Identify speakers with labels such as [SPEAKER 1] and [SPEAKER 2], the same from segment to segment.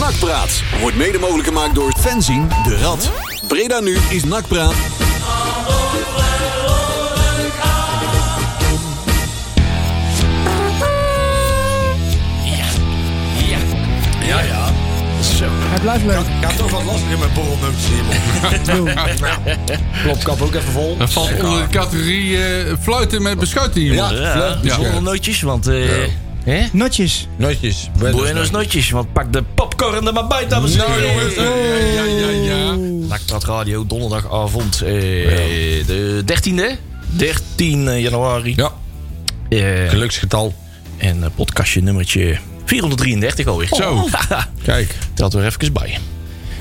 [SPEAKER 1] Nakpraat wordt mede mogelijk gemaakt door Fenzin de Rad. Breda nu is Nakpraat.
[SPEAKER 2] Ja, ja. Zo.
[SPEAKER 3] Hij blijft leuk.
[SPEAKER 2] Ik had toch wat last in mijn borrelnootjes in Klopt, kap ook even vol.
[SPEAKER 4] Dat valt onder de categorie eh, fluiten met beschuit in je mond.
[SPEAKER 5] Nou, Ja,
[SPEAKER 4] Ja.
[SPEAKER 5] zonder nootjes, want... eh Hè?
[SPEAKER 3] Notjes.
[SPEAKER 2] Notjes.
[SPEAKER 5] Buenos nootjes, want pak de popcorn er maar bij, dames en
[SPEAKER 4] Nou
[SPEAKER 5] heren. Eh,
[SPEAKER 4] jongens, ja, ja, ja, ja.
[SPEAKER 5] Nakpraat Radio, donderdagavond, eh, de 13e. 13 januari.
[SPEAKER 2] Ja,
[SPEAKER 5] Eh,
[SPEAKER 2] geluksgetal.
[SPEAKER 5] en eh, podcastje nummertje 433 alweer.
[SPEAKER 4] Zo.
[SPEAKER 2] Kijk.
[SPEAKER 5] Telt er even bij.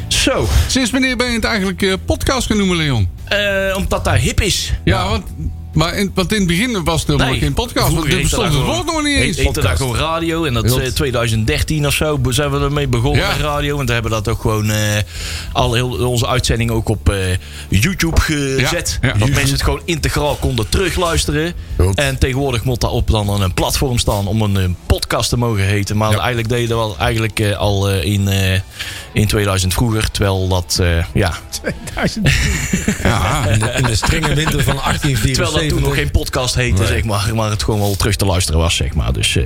[SPEAKER 5] Zo,
[SPEAKER 4] Sinds wanneer ben je het eigenlijk eh, podcast gaan noemen, Leon?
[SPEAKER 5] eh, omdat dat hip is.
[SPEAKER 4] Ja, want, maar in, want in het begin was het helemaal geen podcast. Want
[SPEAKER 5] vroeger
[SPEAKER 4] er
[SPEAKER 5] heette
[SPEAKER 4] bestond
[SPEAKER 5] dat
[SPEAKER 4] het
[SPEAKER 5] gewoon-
[SPEAKER 4] woord nog niet
[SPEAKER 5] heet-
[SPEAKER 4] eens.
[SPEAKER 5] Heette dat gewoon radio. En dat is
[SPEAKER 4] Klopt.
[SPEAKER 5] 2013 of zo be- zijn we ermee begonnen
[SPEAKER 4] Ja.
[SPEAKER 5] met radio. En toen hebben we dat ook gewoon eh, al heel onze uitzending ook op eh, YouTube gezet.
[SPEAKER 4] Ja, ja.
[SPEAKER 5] Dat mensen het gewoon integraal konden terugluisteren.
[SPEAKER 2] Klopt.
[SPEAKER 5] En tegenwoordig moet dat op dan een platform staan om een, eh, podcast te mogen heten. Maar
[SPEAKER 2] Ja.
[SPEAKER 5] eigenlijk deden we dat eigenlijk eh, al eh, in, eh, in 2000 vroeger. Terwijl dat, eh, ja,
[SPEAKER 3] 2000.
[SPEAKER 4] Ja,
[SPEAKER 2] In de, in de strenge winter van
[SPEAKER 5] Terwijl
[SPEAKER 2] 1874.
[SPEAKER 5] dat toen nog geen podcast heette, zeg maar. Maar het gewoon wel terug te luisteren was, zeg maar. Dus, eh,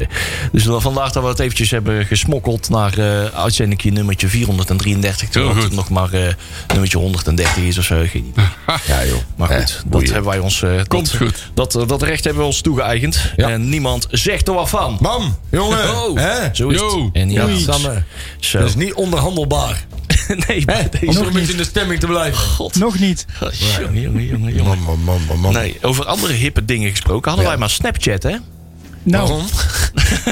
[SPEAKER 5] dus wel vandaar dat we het eventjes hebben gesmokkeld naar eh uitzending nummertje 433. Terwijl
[SPEAKER 4] Heel
[SPEAKER 5] het
[SPEAKER 4] goed.
[SPEAKER 5] nog maar eh, nummertje 130 is of zo. Geen idee.
[SPEAKER 2] Ja, joh. Eh,
[SPEAKER 5] Maar goed, dat hebben wij ons... eh,
[SPEAKER 4] Komt
[SPEAKER 5] dat,
[SPEAKER 4] goed.
[SPEAKER 5] Dat, dat recht hebben we ons toegeëigend.
[SPEAKER 2] Ja.
[SPEAKER 5] En niemand zegt er wat van.
[SPEAKER 2] Bam, jongen.
[SPEAKER 5] Oh,
[SPEAKER 2] Hè?
[SPEAKER 5] zo is
[SPEAKER 4] Yo.
[SPEAKER 5] het. En ja,
[SPEAKER 2] Oei. Samme.
[SPEAKER 5] Zo.
[SPEAKER 2] Dat is niet onderhandelbaar.
[SPEAKER 5] nee, bij
[SPEAKER 2] Om
[SPEAKER 5] deze...
[SPEAKER 2] nog een beetje in de stemming te blijven.
[SPEAKER 5] God.
[SPEAKER 3] Nog niet.
[SPEAKER 5] Jongen, jongen, jongen, jongen.
[SPEAKER 2] Man, man, man, man.
[SPEAKER 5] Nee, over andere hippe dingen gesproken hadden
[SPEAKER 2] Ja.
[SPEAKER 5] wij maar Snapchat, hè?
[SPEAKER 3] Nou,
[SPEAKER 2] Waarom?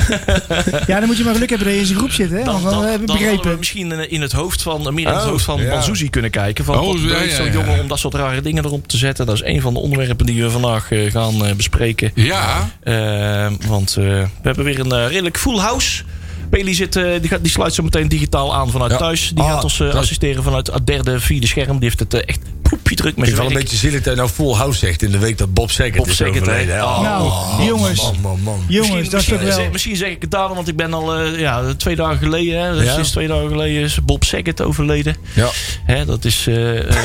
[SPEAKER 3] ja, dan moet je maar geluk hebben dat je in zijn groep zit, hè?
[SPEAKER 5] Dan,
[SPEAKER 3] Want
[SPEAKER 5] dan,
[SPEAKER 3] dan
[SPEAKER 5] dan
[SPEAKER 3] heb ik
[SPEAKER 5] hadden we
[SPEAKER 3] begrepen.
[SPEAKER 5] misschien in- in het hoofd van, meer in het
[SPEAKER 2] Oh,
[SPEAKER 5] hoofd van,
[SPEAKER 2] ja.
[SPEAKER 5] van Suzy kunnen kijken. Van,
[SPEAKER 4] Oh,
[SPEAKER 5] wat
[SPEAKER 4] ja,
[SPEAKER 5] beweegt
[SPEAKER 4] ja,
[SPEAKER 5] zo'n
[SPEAKER 4] ja.
[SPEAKER 5] jongen om dat soort rare dingen erop te zetten? Dat is een van de onderwerpen die we vandaag eh, gaan eh, bespreken.
[SPEAKER 4] ja.
[SPEAKER 5] Eh, want eh, we hebben weer een eh, redelijk full house. Peli zit, eh, die, gaat, die sluit zo meteen digitaal aan vanuit
[SPEAKER 2] Ja.
[SPEAKER 5] thuis. Die
[SPEAKER 2] Ah,
[SPEAKER 5] gaat ons eh,
[SPEAKER 2] dat-
[SPEAKER 5] assisteren vanuit het derde, vierde scherm. Die heeft het eh, echt poepje druk met
[SPEAKER 2] Ik vind het
[SPEAKER 5] zijn
[SPEAKER 2] wel een
[SPEAKER 5] werk.
[SPEAKER 2] beetje zielig dat je nou full house zegt in de week dat Bob Saget
[SPEAKER 5] Bob
[SPEAKER 2] is
[SPEAKER 5] Saget, hè?
[SPEAKER 2] overleden. hè?
[SPEAKER 5] Oh.
[SPEAKER 3] Nou,
[SPEAKER 2] man,
[SPEAKER 3] jongens.
[SPEAKER 2] Man, man, man.
[SPEAKER 3] Jongens, dat is toch
[SPEAKER 5] misschien,
[SPEAKER 3] wel.
[SPEAKER 5] zeg, misschien zeg ik het daarom, want ik ben al eh, ja, twee dagen geleden, hè, dus
[SPEAKER 2] Ja.
[SPEAKER 5] sinds twee dagen geleden is Bob Saget overleden.
[SPEAKER 2] Ja.
[SPEAKER 5] Hè, dat is eh, eh,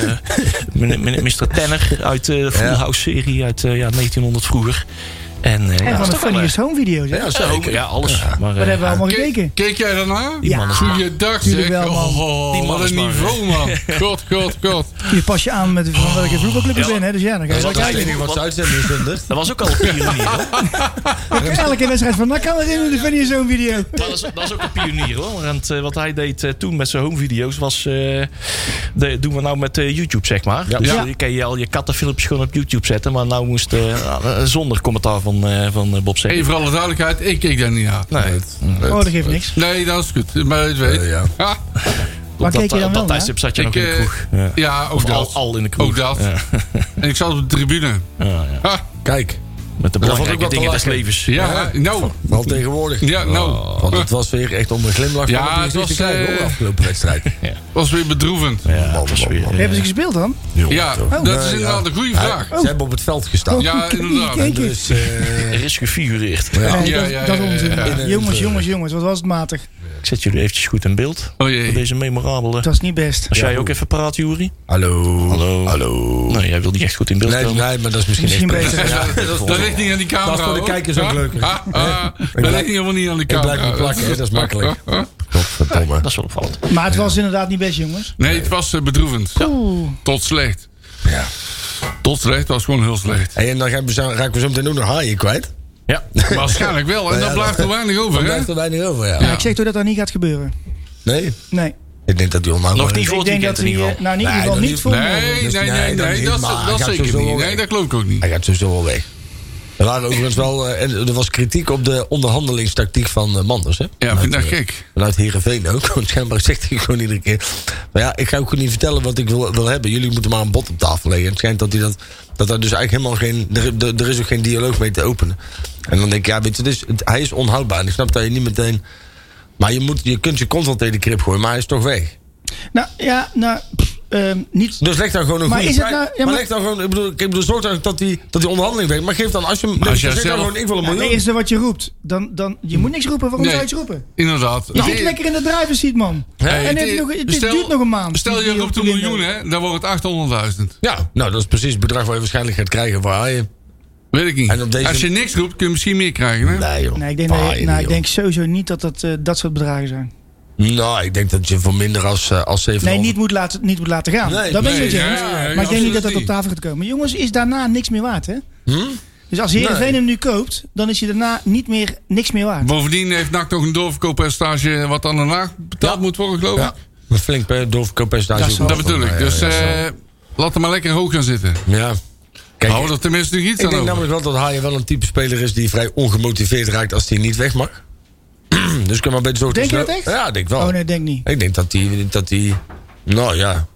[SPEAKER 5] meneer- meneer- Mr. Tanner uit eh, de Full
[SPEAKER 2] Ja.
[SPEAKER 5] House-serie uit eh, ja, 1900 vroeger. En, eh, ja,
[SPEAKER 3] En van
[SPEAKER 5] is
[SPEAKER 3] de
[SPEAKER 5] toch wel,
[SPEAKER 3] funniest home video's, hè?
[SPEAKER 2] Ja,
[SPEAKER 3] Wat
[SPEAKER 5] eh,
[SPEAKER 2] zeker.
[SPEAKER 5] ook, ja, alles. Maar, eh,
[SPEAKER 3] hebben we allemaal
[SPEAKER 4] Keek,
[SPEAKER 3] gekeken?
[SPEAKER 4] keek jij daarna?
[SPEAKER 5] die man is maar-
[SPEAKER 4] Goeiedag
[SPEAKER 3] Jullie
[SPEAKER 4] zeg.
[SPEAKER 3] wel, man.
[SPEAKER 4] Oh,
[SPEAKER 5] Die man
[SPEAKER 4] wat
[SPEAKER 5] is
[SPEAKER 4] een
[SPEAKER 5] maar-
[SPEAKER 4] niveau, man. God, god, god.
[SPEAKER 3] Je pas je aan met van welke voetbalclub je
[SPEAKER 5] Ja.
[SPEAKER 3] bent, hè? Dus ja, dan ga je
[SPEAKER 2] Dat
[SPEAKER 3] wel
[SPEAKER 2] is het
[SPEAKER 3] kijken.
[SPEAKER 2] enige wat ze uitzenden is zonder.
[SPEAKER 5] dat was ook al een pionier. hoor.
[SPEAKER 3] Elke wedstrijd van NAC kan het in de funniest home video.
[SPEAKER 5] Dat is, dat is ook een pionier hoor. Want eh, wat hij deed eh, toen met zijn homevideo's was. eh, de, doen we nou met eh, YouTube zeg maar. Dus
[SPEAKER 3] Ja.
[SPEAKER 5] eh, kan je al je kattenfilmpjes gewoon op YouTube zetten. Maar nou moest eh, eh, zonder commentaar van, eh, van eh, Bob zeggen.
[SPEAKER 4] Even voor alle duidelijkheid, ik keek daar niet naar.
[SPEAKER 5] Nee.
[SPEAKER 3] Oh, dat geeft niks.
[SPEAKER 4] Nee, dat is goed. Maar het weet.
[SPEAKER 2] Eh, ja.
[SPEAKER 4] Ah,
[SPEAKER 3] Waar
[SPEAKER 5] Op dat,
[SPEAKER 3] keek je dan
[SPEAKER 5] op
[SPEAKER 3] wel
[SPEAKER 5] dat
[SPEAKER 3] naar?
[SPEAKER 5] tijdstip zat je
[SPEAKER 4] Ik,
[SPEAKER 5] nog in de
[SPEAKER 4] eh,
[SPEAKER 5] kroeg. Ja.
[SPEAKER 4] ja, ook
[SPEAKER 5] Of al,
[SPEAKER 4] dat.
[SPEAKER 5] al in de kroeg.
[SPEAKER 4] Ook dat.
[SPEAKER 5] Ja.
[SPEAKER 4] En ik zat op de tribune.
[SPEAKER 5] Ja, ja.
[SPEAKER 4] Ah,
[SPEAKER 2] Kijk,
[SPEAKER 5] Met de
[SPEAKER 2] vond ik
[SPEAKER 5] belangrijke
[SPEAKER 2] wel te
[SPEAKER 5] dingen des
[SPEAKER 2] lachen.
[SPEAKER 5] levens.
[SPEAKER 4] ja, nou.
[SPEAKER 2] wel tegenwoordig. Oh,
[SPEAKER 4] Ja, nou.
[SPEAKER 2] Want het was weer echt onder een glimlach.
[SPEAKER 4] Ja,
[SPEAKER 2] van het
[SPEAKER 4] het
[SPEAKER 2] gezicht te
[SPEAKER 4] was,
[SPEAKER 2] kijken, hoor,
[SPEAKER 4] eh,
[SPEAKER 2] afgelopen wedstrijd.
[SPEAKER 4] was weer bedroevend.
[SPEAKER 5] Ja, dat is weer, eh,
[SPEAKER 3] Hebben ze gespeeld dan?
[SPEAKER 2] Jongen,
[SPEAKER 4] Ja,
[SPEAKER 2] toch.
[SPEAKER 4] dat
[SPEAKER 2] Nee,
[SPEAKER 4] is inderdaad een goede
[SPEAKER 2] Hij-
[SPEAKER 4] vraag.
[SPEAKER 2] Ze hebben op het veld
[SPEAKER 3] Oh,
[SPEAKER 2] gestaan.
[SPEAKER 4] Ja, inderdaad.
[SPEAKER 3] Gekeken.
[SPEAKER 2] Dus, eh,
[SPEAKER 5] er is gefigureerd.
[SPEAKER 2] ja.
[SPEAKER 3] Nee,
[SPEAKER 4] Ja,
[SPEAKER 3] dat-
[SPEAKER 4] ja,
[SPEAKER 3] dat
[SPEAKER 4] ja, ja,
[SPEAKER 3] onzin.
[SPEAKER 4] ja.
[SPEAKER 2] In een,
[SPEAKER 3] Jongens,
[SPEAKER 2] eh,
[SPEAKER 3] jongens, jongens, wat was het matig?
[SPEAKER 5] Ik zet jullie eventjes goed in beeld.
[SPEAKER 4] Oh
[SPEAKER 5] Voor
[SPEAKER 4] jee.
[SPEAKER 5] Deze memorabele.
[SPEAKER 3] Dat was niet best.
[SPEAKER 5] Als jij ook even praat, Juri.
[SPEAKER 2] Hallo.
[SPEAKER 5] Hallo.
[SPEAKER 2] Hallo.
[SPEAKER 5] Nee, jij wil niet echt goed in beeld
[SPEAKER 2] Nee,
[SPEAKER 5] komen.
[SPEAKER 2] nee, maar dat is misschien,
[SPEAKER 3] Misschien
[SPEAKER 2] echt
[SPEAKER 3] beter.
[SPEAKER 2] prettig. Ja,
[SPEAKER 4] Dat richt niet aan die camera.
[SPEAKER 2] Dat is voor de
[SPEAKER 4] hoor.
[SPEAKER 2] kijkers ook
[SPEAKER 4] Ah,
[SPEAKER 2] leuker.
[SPEAKER 4] ah, ah. Dat
[SPEAKER 2] blijf-
[SPEAKER 4] richt helemaal niet aan die
[SPEAKER 2] Ik
[SPEAKER 4] camera.
[SPEAKER 2] blijf niet plakken, hè, dat is makkelijk. Godverdomme.
[SPEAKER 5] Dat is wel opvallend.
[SPEAKER 3] Maar het was inderdaad niet best, jongens.
[SPEAKER 4] Nee, het was eh, bedroevend.
[SPEAKER 3] Oeh.
[SPEAKER 4] Tot slecht.
[SPEAKER 2] Ja.
[SPEAKER 4] Tot slecht, dat was gewoon heel slecht.
[SPEAKER 2] Hey, en dan gaan we zo- raken we zo meteen ook nog haaien kwijt.
[SPEAKER 5] Ja.
[SPEAKER 4] Waarschijnlijk wel. Oh, En
[SPEAKER 2] Ja,
[SPEAKER 4] dan
[SPEAKER 2] ja,
[SPEAKER 4] blijft
[SPEAKER 2] dat-
[SPEAKER 4] er weinig
[SPEAKER 2] Dan
[SPEAKER 4] over, hè?
[SPEAKER 2] blijft er weinig over, ja.
[SPEAKER 3] Ja, ik zeg toch dat dat niet gaat gebeuren.
[SPEAKER 2] Nee?
[SPEAKER 3] Nee.
[SPEAKER 2] Ik denk dat die onlangs...
[SPEAKER 5] Nog niet voor
[SPEAKER 3] Ik
[SPEAKER 5] het weekend
[SPEAKER 3] denk dat
[SPEAKER 5] in
[SPEAKER 3] hij,
[SPEAKER 5] ieder
[SPEAKER 3] eh,
[SPEAKER 5] geval.
[SPEAKER 3] nou in ieder
[SPEAKER 2] Nee,
[SPEAKER 3] geval
[SPEAKER 2] dat
[SPEAKER 3] niet
[SPEAKER 2] niet.
[SPEAKER 3] voor
[SPEAKER 4] Nee,
[SPEAKER 2] Dus
[SPEAKER 4] nee,
[SPEAKER 2] nee,
[SPEAKER 4] nee,
[SPEAKER 2] dat
[SPEAKER 4] nee.
[SPEAKER 2] niet,
[SPEAKER 4] Dat,
[SPEAKER 2] maar
[SPEAKER 4] dat
[SPEAKER 2] gaat
[SPEAKER 4] zeker
[SPEAKER 2] sowieso
[SPEAKER 4] niet.
[SPEAKER 2] wel
[SPEAKER 4] Nee,
[SPEAKER 2] weg.
[SPEAKER 4] dat geloof ik ook niet.
[SPEAKER 2] Hij gaat sowieso wel weg. Er waren overigens wel... eh, en er was kritiek op de onderhandelingstactiek van eh, Manders, hè?
[SPEAKER 4] Ja, vind ik
[SPEAKER 2] Vanuit,
[SPEAKER 4] dat
[SPEAKER 2] eh,
[SPEAKER 4] gek.
[SPEAKER 2] Vanuit Heerenveen ook. Want schijnbaar zegt hij gewoon iedere keer... Maar ja, ik ga ook niet vertellen wat ik wil, wil hebben. Jullie moeten maar een bod op tafel leggen. En het schijnt dat hij dat... Dat daar dus eigenlijk helemaal geen... Er, er- er is ook geen dialoog mee te openen. En dan denk ik, ja, weet je... Dus, het- hij is onhoudbaar. En ik snap dat je niet meteen... Maar je, moet, je kunt je kont wel tegen de krip gooien. Maar hij is toch weg.
[SPEAKER 3] Nou ja, nou, pff, ehm, niet...
[SPEAKER 2] Dus leg dan gewoon een
[SPEAKER 3] Maar
[SPEAKER 2] goede
[SPEAKER 3] is het
[SPEAKER 2] prijs.
[SPEAKER 3] nou- ja,
[SPEAKER 2] maar
[SPEAKER 3] maar-
[SPEAKER 2] leg dan gewoon, ik bedoel, ik bedoel zorg dan dat die, dat die onderhandeling werkt. Maar geef dan, als je, hem-
[SPEAKER 4] Maar als jij
[SPEAKER 2] zeg dan
[SPEAKER 4] zelf-
[SPEAKER 2] gewoon, ik wil een
[SPEAKER 3] Ja, het
[SPEAKER 2] miljoen.
[SPEAKER 3] eerste wat je roept, dan, dan, je moet niks roepen. Waarom
[SPEAKER 4] Nee.
[SPEAKER 3] zou je iets roepen?
[SPEAKER 4] Inderdaad.
[SPEAKER 3] Je
[SPEAKER 4] Nou,
[SPEAKER 3] zit lekker in de driver's seat, man.
[SPEAKER 4] hey,
[SPEAKER 3] en het,
[SPEAKER 4] dit-
[SPEAKER 3] nog, het
[SPEAKER 4] stel-
[SPEAKER 3] duurt nog een maand.
[SPEAKER 4] Stel je
[SPEAKER 3] Die-
[SPEAKER 4] roept een
[SPEAKER 3] die-
[SPEAKER 4] miljoen, hè? Dan wordt het 800.000.
[SPEAKER 2] ja, nou dat is precies het bedrag waar je waarschijnlijk gaat krijgen waar je.
[SPEAKER 4] Weet ik niet.
[SPEAKER 2] En op deze-
[SPEAKER 4] Als je niks roept, kun je misschien meer krijgen, hè?
[SPEAKER 2] Nee joh.
[SPEAKER 3] Nee, ik denk, dat je-
[SPEAKER 2] Paaien,
[SPEAKER 3] nou, ik
[SPEAKER 2] joh.
[SPEAKER 3] denk sowieso niet dat dat, eh, dat soort bedragen zijn.
[SPEAKER 2] Nou, ik denk dat je voor minder als, eh, als 700...
[SPEAKER 3] Nee, niet moet laten, niet moet laten gaan.
[SPEAKER 2] Nee,
[SPEAKER 3] dat ben ik
[SPEAKER 4] nee,
[SPEAKER 3] met je eens.
[SPEAKER 4] ja, ja,
[SPEAKER 3] maar ik denk niet
[SPEAKER 4] absoluut
[SPEAKER 3] dat dat op
[SPEAKER 4] niet. Hm?
[SPEAKER 3] tafel gaat komen. Jongens, is daarna niks meer waard, hè? Dus als Heerenveen
[SPEAKER 2] Nee.
[SPEAKER 3] hem nu koopt, dan is hij daarna niet meer, niks meer waard.
[SPEAKER 4] Bovendien heeft NAC nog een doorverkooppercentage wat aan een laag betaald moet worden, geloof
[SPEAKER 2] Ja,
[SPEAKER 4] ik.
[SPEAKER 2] een flink per- doorverkooppercentage.
[SPEAKER 3] Dat is
[SPEAKER 2] ook
[SPEAKER 4] Dat
[SPEAKER 2] wel.
[SPEAKER 4] bedoel ik.
[SPEAKER 2] Ja,
[SPEAKER 4] Dus
[SPEAKER 2] ja, ja.
[SPEAKER 4] eh, laat hem maar lekker hoog gaan zitten.
[SPEAKER 2] Ja. Kijk,
[SPEAKER 4] Houden we er tenminste nog iets
[SPEAKER 2] ik
[SPEAKER 4] aan
[SPEAKER 2] denk
[SPEAKER 4] over.
[SPEAKER 2] namelijk wel dat Haaien wel een type speler is die vrij ongemotiveerd raakt als hij niet weg mag. dus kun je maar beter zorgen
[SPEAKER 3] Denk je
[SPEAKER 2] snel-
[SPEAKER 3] dat echt?
[SPEAKER 2] Ja, ik denk wel.
[SPEAKER 3] Oh nee, denk niet.
[SPEAKER 2] Ik denk dat die, dat die... Nou ja,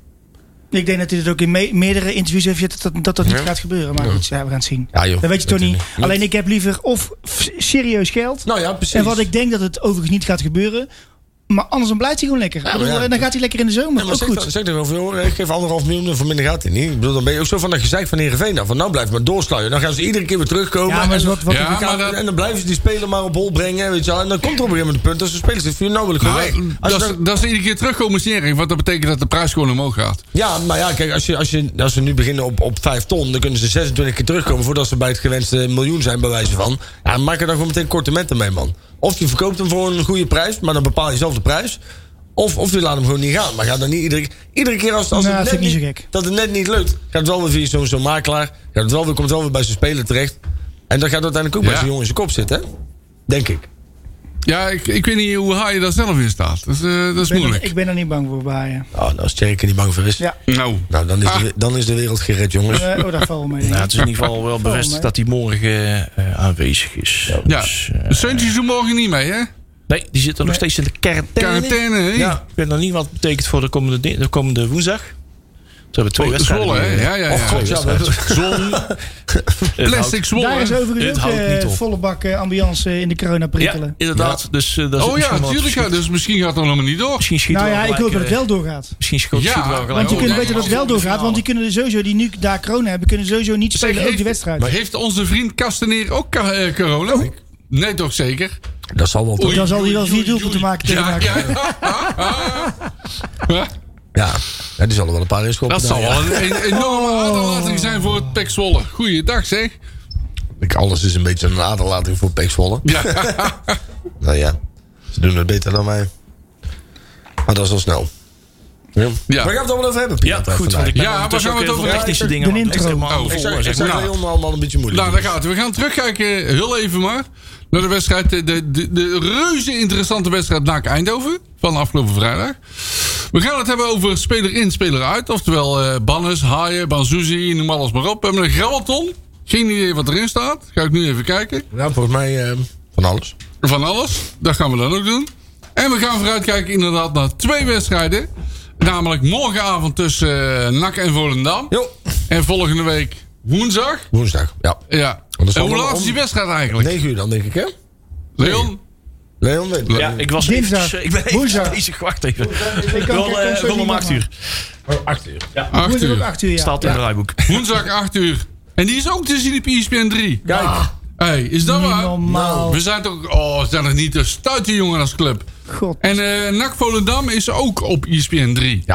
[SPEAKER 3] Ik denk dat hij het ook in me- meerdere interviews heeft gezegd dat dat, dat, dat niet
[SPEAKER 2] Ja.
[SPEAKER 3] gaat gebeuren. Maar goed, ja, we gaan het zien.
[SPEAKER 2] Ja, joh.
[SPEAKER 3] dat weet je toch niet.
[SPEAKER 2] Natuurlijk.
[SPEAKER 3] Alleen ik heb liever of f- serieus geld.
[SPEAKER 2] Nou ja, precies.
[SPEAKER 3] en wat ik denk dat het overigens niet gaat gebeuren. Maar andersom blijft hij gewoon lekker. Ik bedoel,
[SPEAKER 2] maar ja.
[SPEAKER 3] en dan gaat hij lekker in de zomer.
[SPEAKER 2] Ja, maar
[SPEAKER 3] ook
[SPEAKER 2] zeg,
[SPEAKER 3] goed.
[SPEAKER 2] dan- zeg dan wel van, joh, ik geef anderhalf miljoen en voor minder gaat het niet. Ik bedoel, dan ben je ook zo van dat gezeik van Heerenveen af. Van nou blijf maar doorsluien. Dan gaan ze iedere keer weer terugkomen.
[SPEAKER 3] Ja, maar is wat- wat-
[SPEAKER 4] Ja,
[SPEAKER 2] en, dan
[SPEAKER 4] Ah, maar eh,
[SPEAKER 2] gaan-
[SPEAKER 4] dat-
[SPEAKER 2] en dan blijven ze die speler maar op hol brengen. Weet je wel. En dan komt er op een gegeven moment een punt. Als de speler zegt van, nou wil ik gewoon
[SPEAKER 4] Nou,
[SPEAKER 2] weg. Als je
[SPEAKER 4] dat,
[SPEAKER 2] dan-
[SPEAKER 4] ze- dat ze iedere keer terugkomen is niet erg, want dat betekent dat de prijs gewoon omhoog gaat.
[SPEAKER 2] Ja, maar ja, kijk, als, je, als, je, als we nu beginnen op, op 5 ton, dan kunnen ze 26 keer terugkomen voordat ze bij het gewenste miljoen zijn, bij wijze van. Ja, maak er dan gewoon meteen korte metten mee, man. Of je verkoopt hem voor een goede prijs, maar dan bepaal je zelf de prijs. Of, of je laat hem gewoon niet gaan. Maar ga dan niet iedere, iedere keer als, als
[SPEAKER 3] Nou,
[SPEAKER 2] het
[SPEAKER 3] dat
[SPEAKER 2] net
[SPEAKER 3] vind ik niet zo gek.
[SPEAKER 2] dat het net niet lukt, gaat het wel weer via zo'n zo'n makelaar. Gaat het wel weer, komt het wel weer bij zijn speler terecht. En dan gaat het uiteindelijk ook
[SPEAKER 4] Ja.
[SPEAKER 2] bij zo'n jongen in zijn kop zitten, hè? Denk ik.
[SPEAKER 4] Ja, ik, ik weet niet hoe haai je daar zelf in staat. Dat is, eh, dat is
[SPEAKER 3] Ik ben er-
[SPEAKER 4] moeilijk.
[SPEAKER 3] Ik ben er niet bang voor, Baaien.
[SPEAKER 2] Oh, nou, als Tjerk er niet bang voor is.
[SPEAKER 3] Ja.
[SPEAKER 4] Nou,
[SPEAKER 2] Nou, dan is,
[SPEAKER 4] Ah.
[SPEAKER 2] de, dan is de wereld gered, jongens.
[SPEAKER 3] Eh, oh, daar valt wel mee.
[SPEAKER 5] Nou, het is in ieder geval wel bevestigd
[SPEAKER 3] hè?
[SPEAKER 5] dat hij morgen eh, aanwezig is.
[SPEAKER 4] ja.
[SPEAKER 5] Dus, eh,
[SPEAKER 4] Seuntje doet morgen niet mee, hè?
[SPEAKER 5] nee, die zit er nog steeds in de quarantaine.
[SPEAKER 4] Quarantaine, hè?
[SPEAKER 5] Ja, ik weet nog niet wat het betekent voor de komende, di- de komende woensdag. Ze hebben twee
[SPEAKER 4] Oh,
[SPEAKER 5] wedstrijden.
[SPEAKER 4] Zwolle, hè?
[SPEAKER 5] nu, eh,
[SPEAKER 4] Ja, ja, ja.
[SPEAKER 5] of twee
[SPEAKER 2] God, ja,
[SPEAKER 5] wedstrijden. Het
[SPEAKER 4] Plastic Zwolle.
[SPEAKER 3] Daar is
[SPEAKER 5] Dit
[SPEAKER 3] overigens ook
[SPEAKER 5] houdt
[SPEAKER 3] eh,
[SPEAKER 5] niet op.
[SPEAKER 3] volle bak eh, ambiance eh, in de corona
[SPEAKER 5] Ja,
[SPEAKER 3] prikkelen.
[SPEAKER 5] inderdaad. Dus, eh, dat is
[SPEAKER 4] Oh ja, natuurlijk.
[SPEAKER 5] Misschien,
[SPEAKER 4] ja, Dus misschien gaat dat helemaal niet door.
[SPEAKER 5] misschien schiet
[SPEAKER 3] nou
[SPEAKER 5] wel
[SPEAKER 3] ja, ik
[SPEAKER 5] gelijk,
[SPEAKER 3] hoop dat het
[SPEAKER 5] eh,
[SPEAKER 3] wel doorgaat.
[SPEAKER 5] Misschien schiet
[SPEAKER 4] Ja,
[SPEAKER 5] schiet wel gelijk.
[SPEAKER 4] want
[SPEAKER 3] Want je
[SPEAKER 4] oh,
[SPEAKER 3] kunt
[SPEAKER 4] nee,
[SPEAKER 3] weten dat het wel
[SPEAKER 5] volgende
[SPEAKER 3] doorgaat, want die kunnen er sowieso, die nu daar corona hebben, kunnen sowieso niet
[SPEAKER 4] Zeg,
[SPEAKER 3] spelen, ook die wedstrijd. Oh.
[SPEAKER 4] Maar heeft onze vriend Kasteneer ook ka- eh, corona? Nee, toch zeker?
[SPEAKER 2] Dat zal wel toch.
[SPEAKER 4] Oei,
[SPEAKER 3] Dan zal hij wel
[SPEAKER 4] oei,
[SPEAKER 3] vier
[SPEAKER 4] oei,
[SPEAKER 3] doelpunten
[SPEAKER 4] oei.
[SPEAKER 3] maken tegen
[SPEAKER 4] Ja,
[SPEAKER 3] NAC.
[SPEAKER 4] ja.
[SPEAKER 2] Ja, ja, die zullen wel een paar inschoppen.
[SPEAKER 4] Dat zal
[SPEAKER 5] Nou
[SPEAKER 2] daar, ja.
[SPEAKER 4] wel een een enorme
[SPEAKER 3] Oh.
[SPEAKER 4] aderlating zijn voor het Pek Zwolle. Goeiedag zeg.
[SPEAKER 2] Ik, alles is een beetje een aderlating voor Pek Zwolle.
[SPEAKER 4] Ja.
[SPEAKER 2] Nou ja, ze doen het beter dan wij. Maar dat is al snel. Ja.
[SPEAKER 4] Ja.
[SPEAKER 2] We gaan het allemaal over hebben, eh,
[SPEAKER 5] Ja, goed. Want ik ben
[SPEAKER 4] Ja,
[SPEAKER 5] ondertussen
[SPEAKER 4] waar gaan we
[SPEAKER 5] ook heel
[SPEAKER 4] het over
[SPEAKER 5] veel technische dingen.
[SPEAKER 3] De
[SPEAKER 5] aan het
[SPEAKER 3] intro.
[SPEAKER 5] helemaal
[SPEAKER 4] Oh,
[SPEAKER 5] voor,
[SPEAKER 2] Ik zou
[SPEAKER 5] zeg
[SPEAKER 2] ik zou
[SPEAKER 5] maar.
[SPEAKER 2] het allemaal allemaal een beetje moeilijk
[SPEAKER 4] Nou, daar gaat het. We gaan terugkijken, heel even maar, naar de wedstrijd. De, de, de reuze interessante wedstrijd NAC Eindhoven van afgelopen vrijdag. We gaan het hebben over speler in, speler uit. Oftewel eh Bannes, Haaien, Banzuzi, noem alles maar op. We hebben een grabbelton. Geen idee wat erin staat. Ga ik nu even kijken.
[SPEAKER 2] Nou, volgens mij eh, van alles.
[SPEAKER 4] Van alles. Dat gaan we dan ook doen. En we gaan vooruitkijken inderdaad naar twee wedstrijden. Namelijk morgenavond tussen eh, NAC en Volendam.
[SPEAKER 2] Jo,
[SPEAKER 4] En volgende week woensdag.
[SPEAKER 2] woensdag. Ja.
[SPEAKER 4] Ja.
[SPEAKER 2] Oh, Dat is
[SPEAKER 4] En hoe
[SPEAKER 2] wel
[SPEAKER 4] laat
[SPEAKER 2] om-
[SPEAKER 4] is die wedstrijd eigenlijk?
[SPEAKER 2] 9 uur dan, denk ik, hè?
[SPEAKER 4] Leon?
[SPEAKER 2] Leon, weet
[SPEAKER 5] Ja, ik was
[SPEAKER 3] Dinsdag.
[SPEAKER 5] even... Ik ben even
[SPEAKER 3] Woensdag.
[SPEAKER 5] bezig. Wacht even. Ik
[SPEAKER 3] ik kan
[SPEAKER 5] wil eh,
[SPEAKER 3] zo
[SPEAKER 5] wil
[SPEAKER 3] niet
[SPEAKER 5] om
[SPEAKER 3] meer
[SPEAKER 5] acht uur.
[SPEAKER 2] 8 uur.
[SPEAKER 4] 8
[SPEAKER 3] Woensdag ook
[SPEAKER 4] uur.
[SPEAKER 3] acht uur, ja.
[SPEAKER 5] Staat in het rijboek.
[SPEAKER 4] Woensdag 8 uur. En die is ook te zien op E ESPN 3.
[SPEAKER 2] Kijk.
[SPEAKER 4] Hey, is dat
[SPEAKER 3] Niet
[SPEAKER 4] waar?
[SPEAKER 3] normaal.
[SPEAKER 4] We zijn toch... Oh, we zijn er niet te stuiten jongen als club.
[SPEAKER 3] God.
[SPEAKER 4] En eh NAC Volendam is ook op E ESPN 3.
[SPEAKER 2] Ja.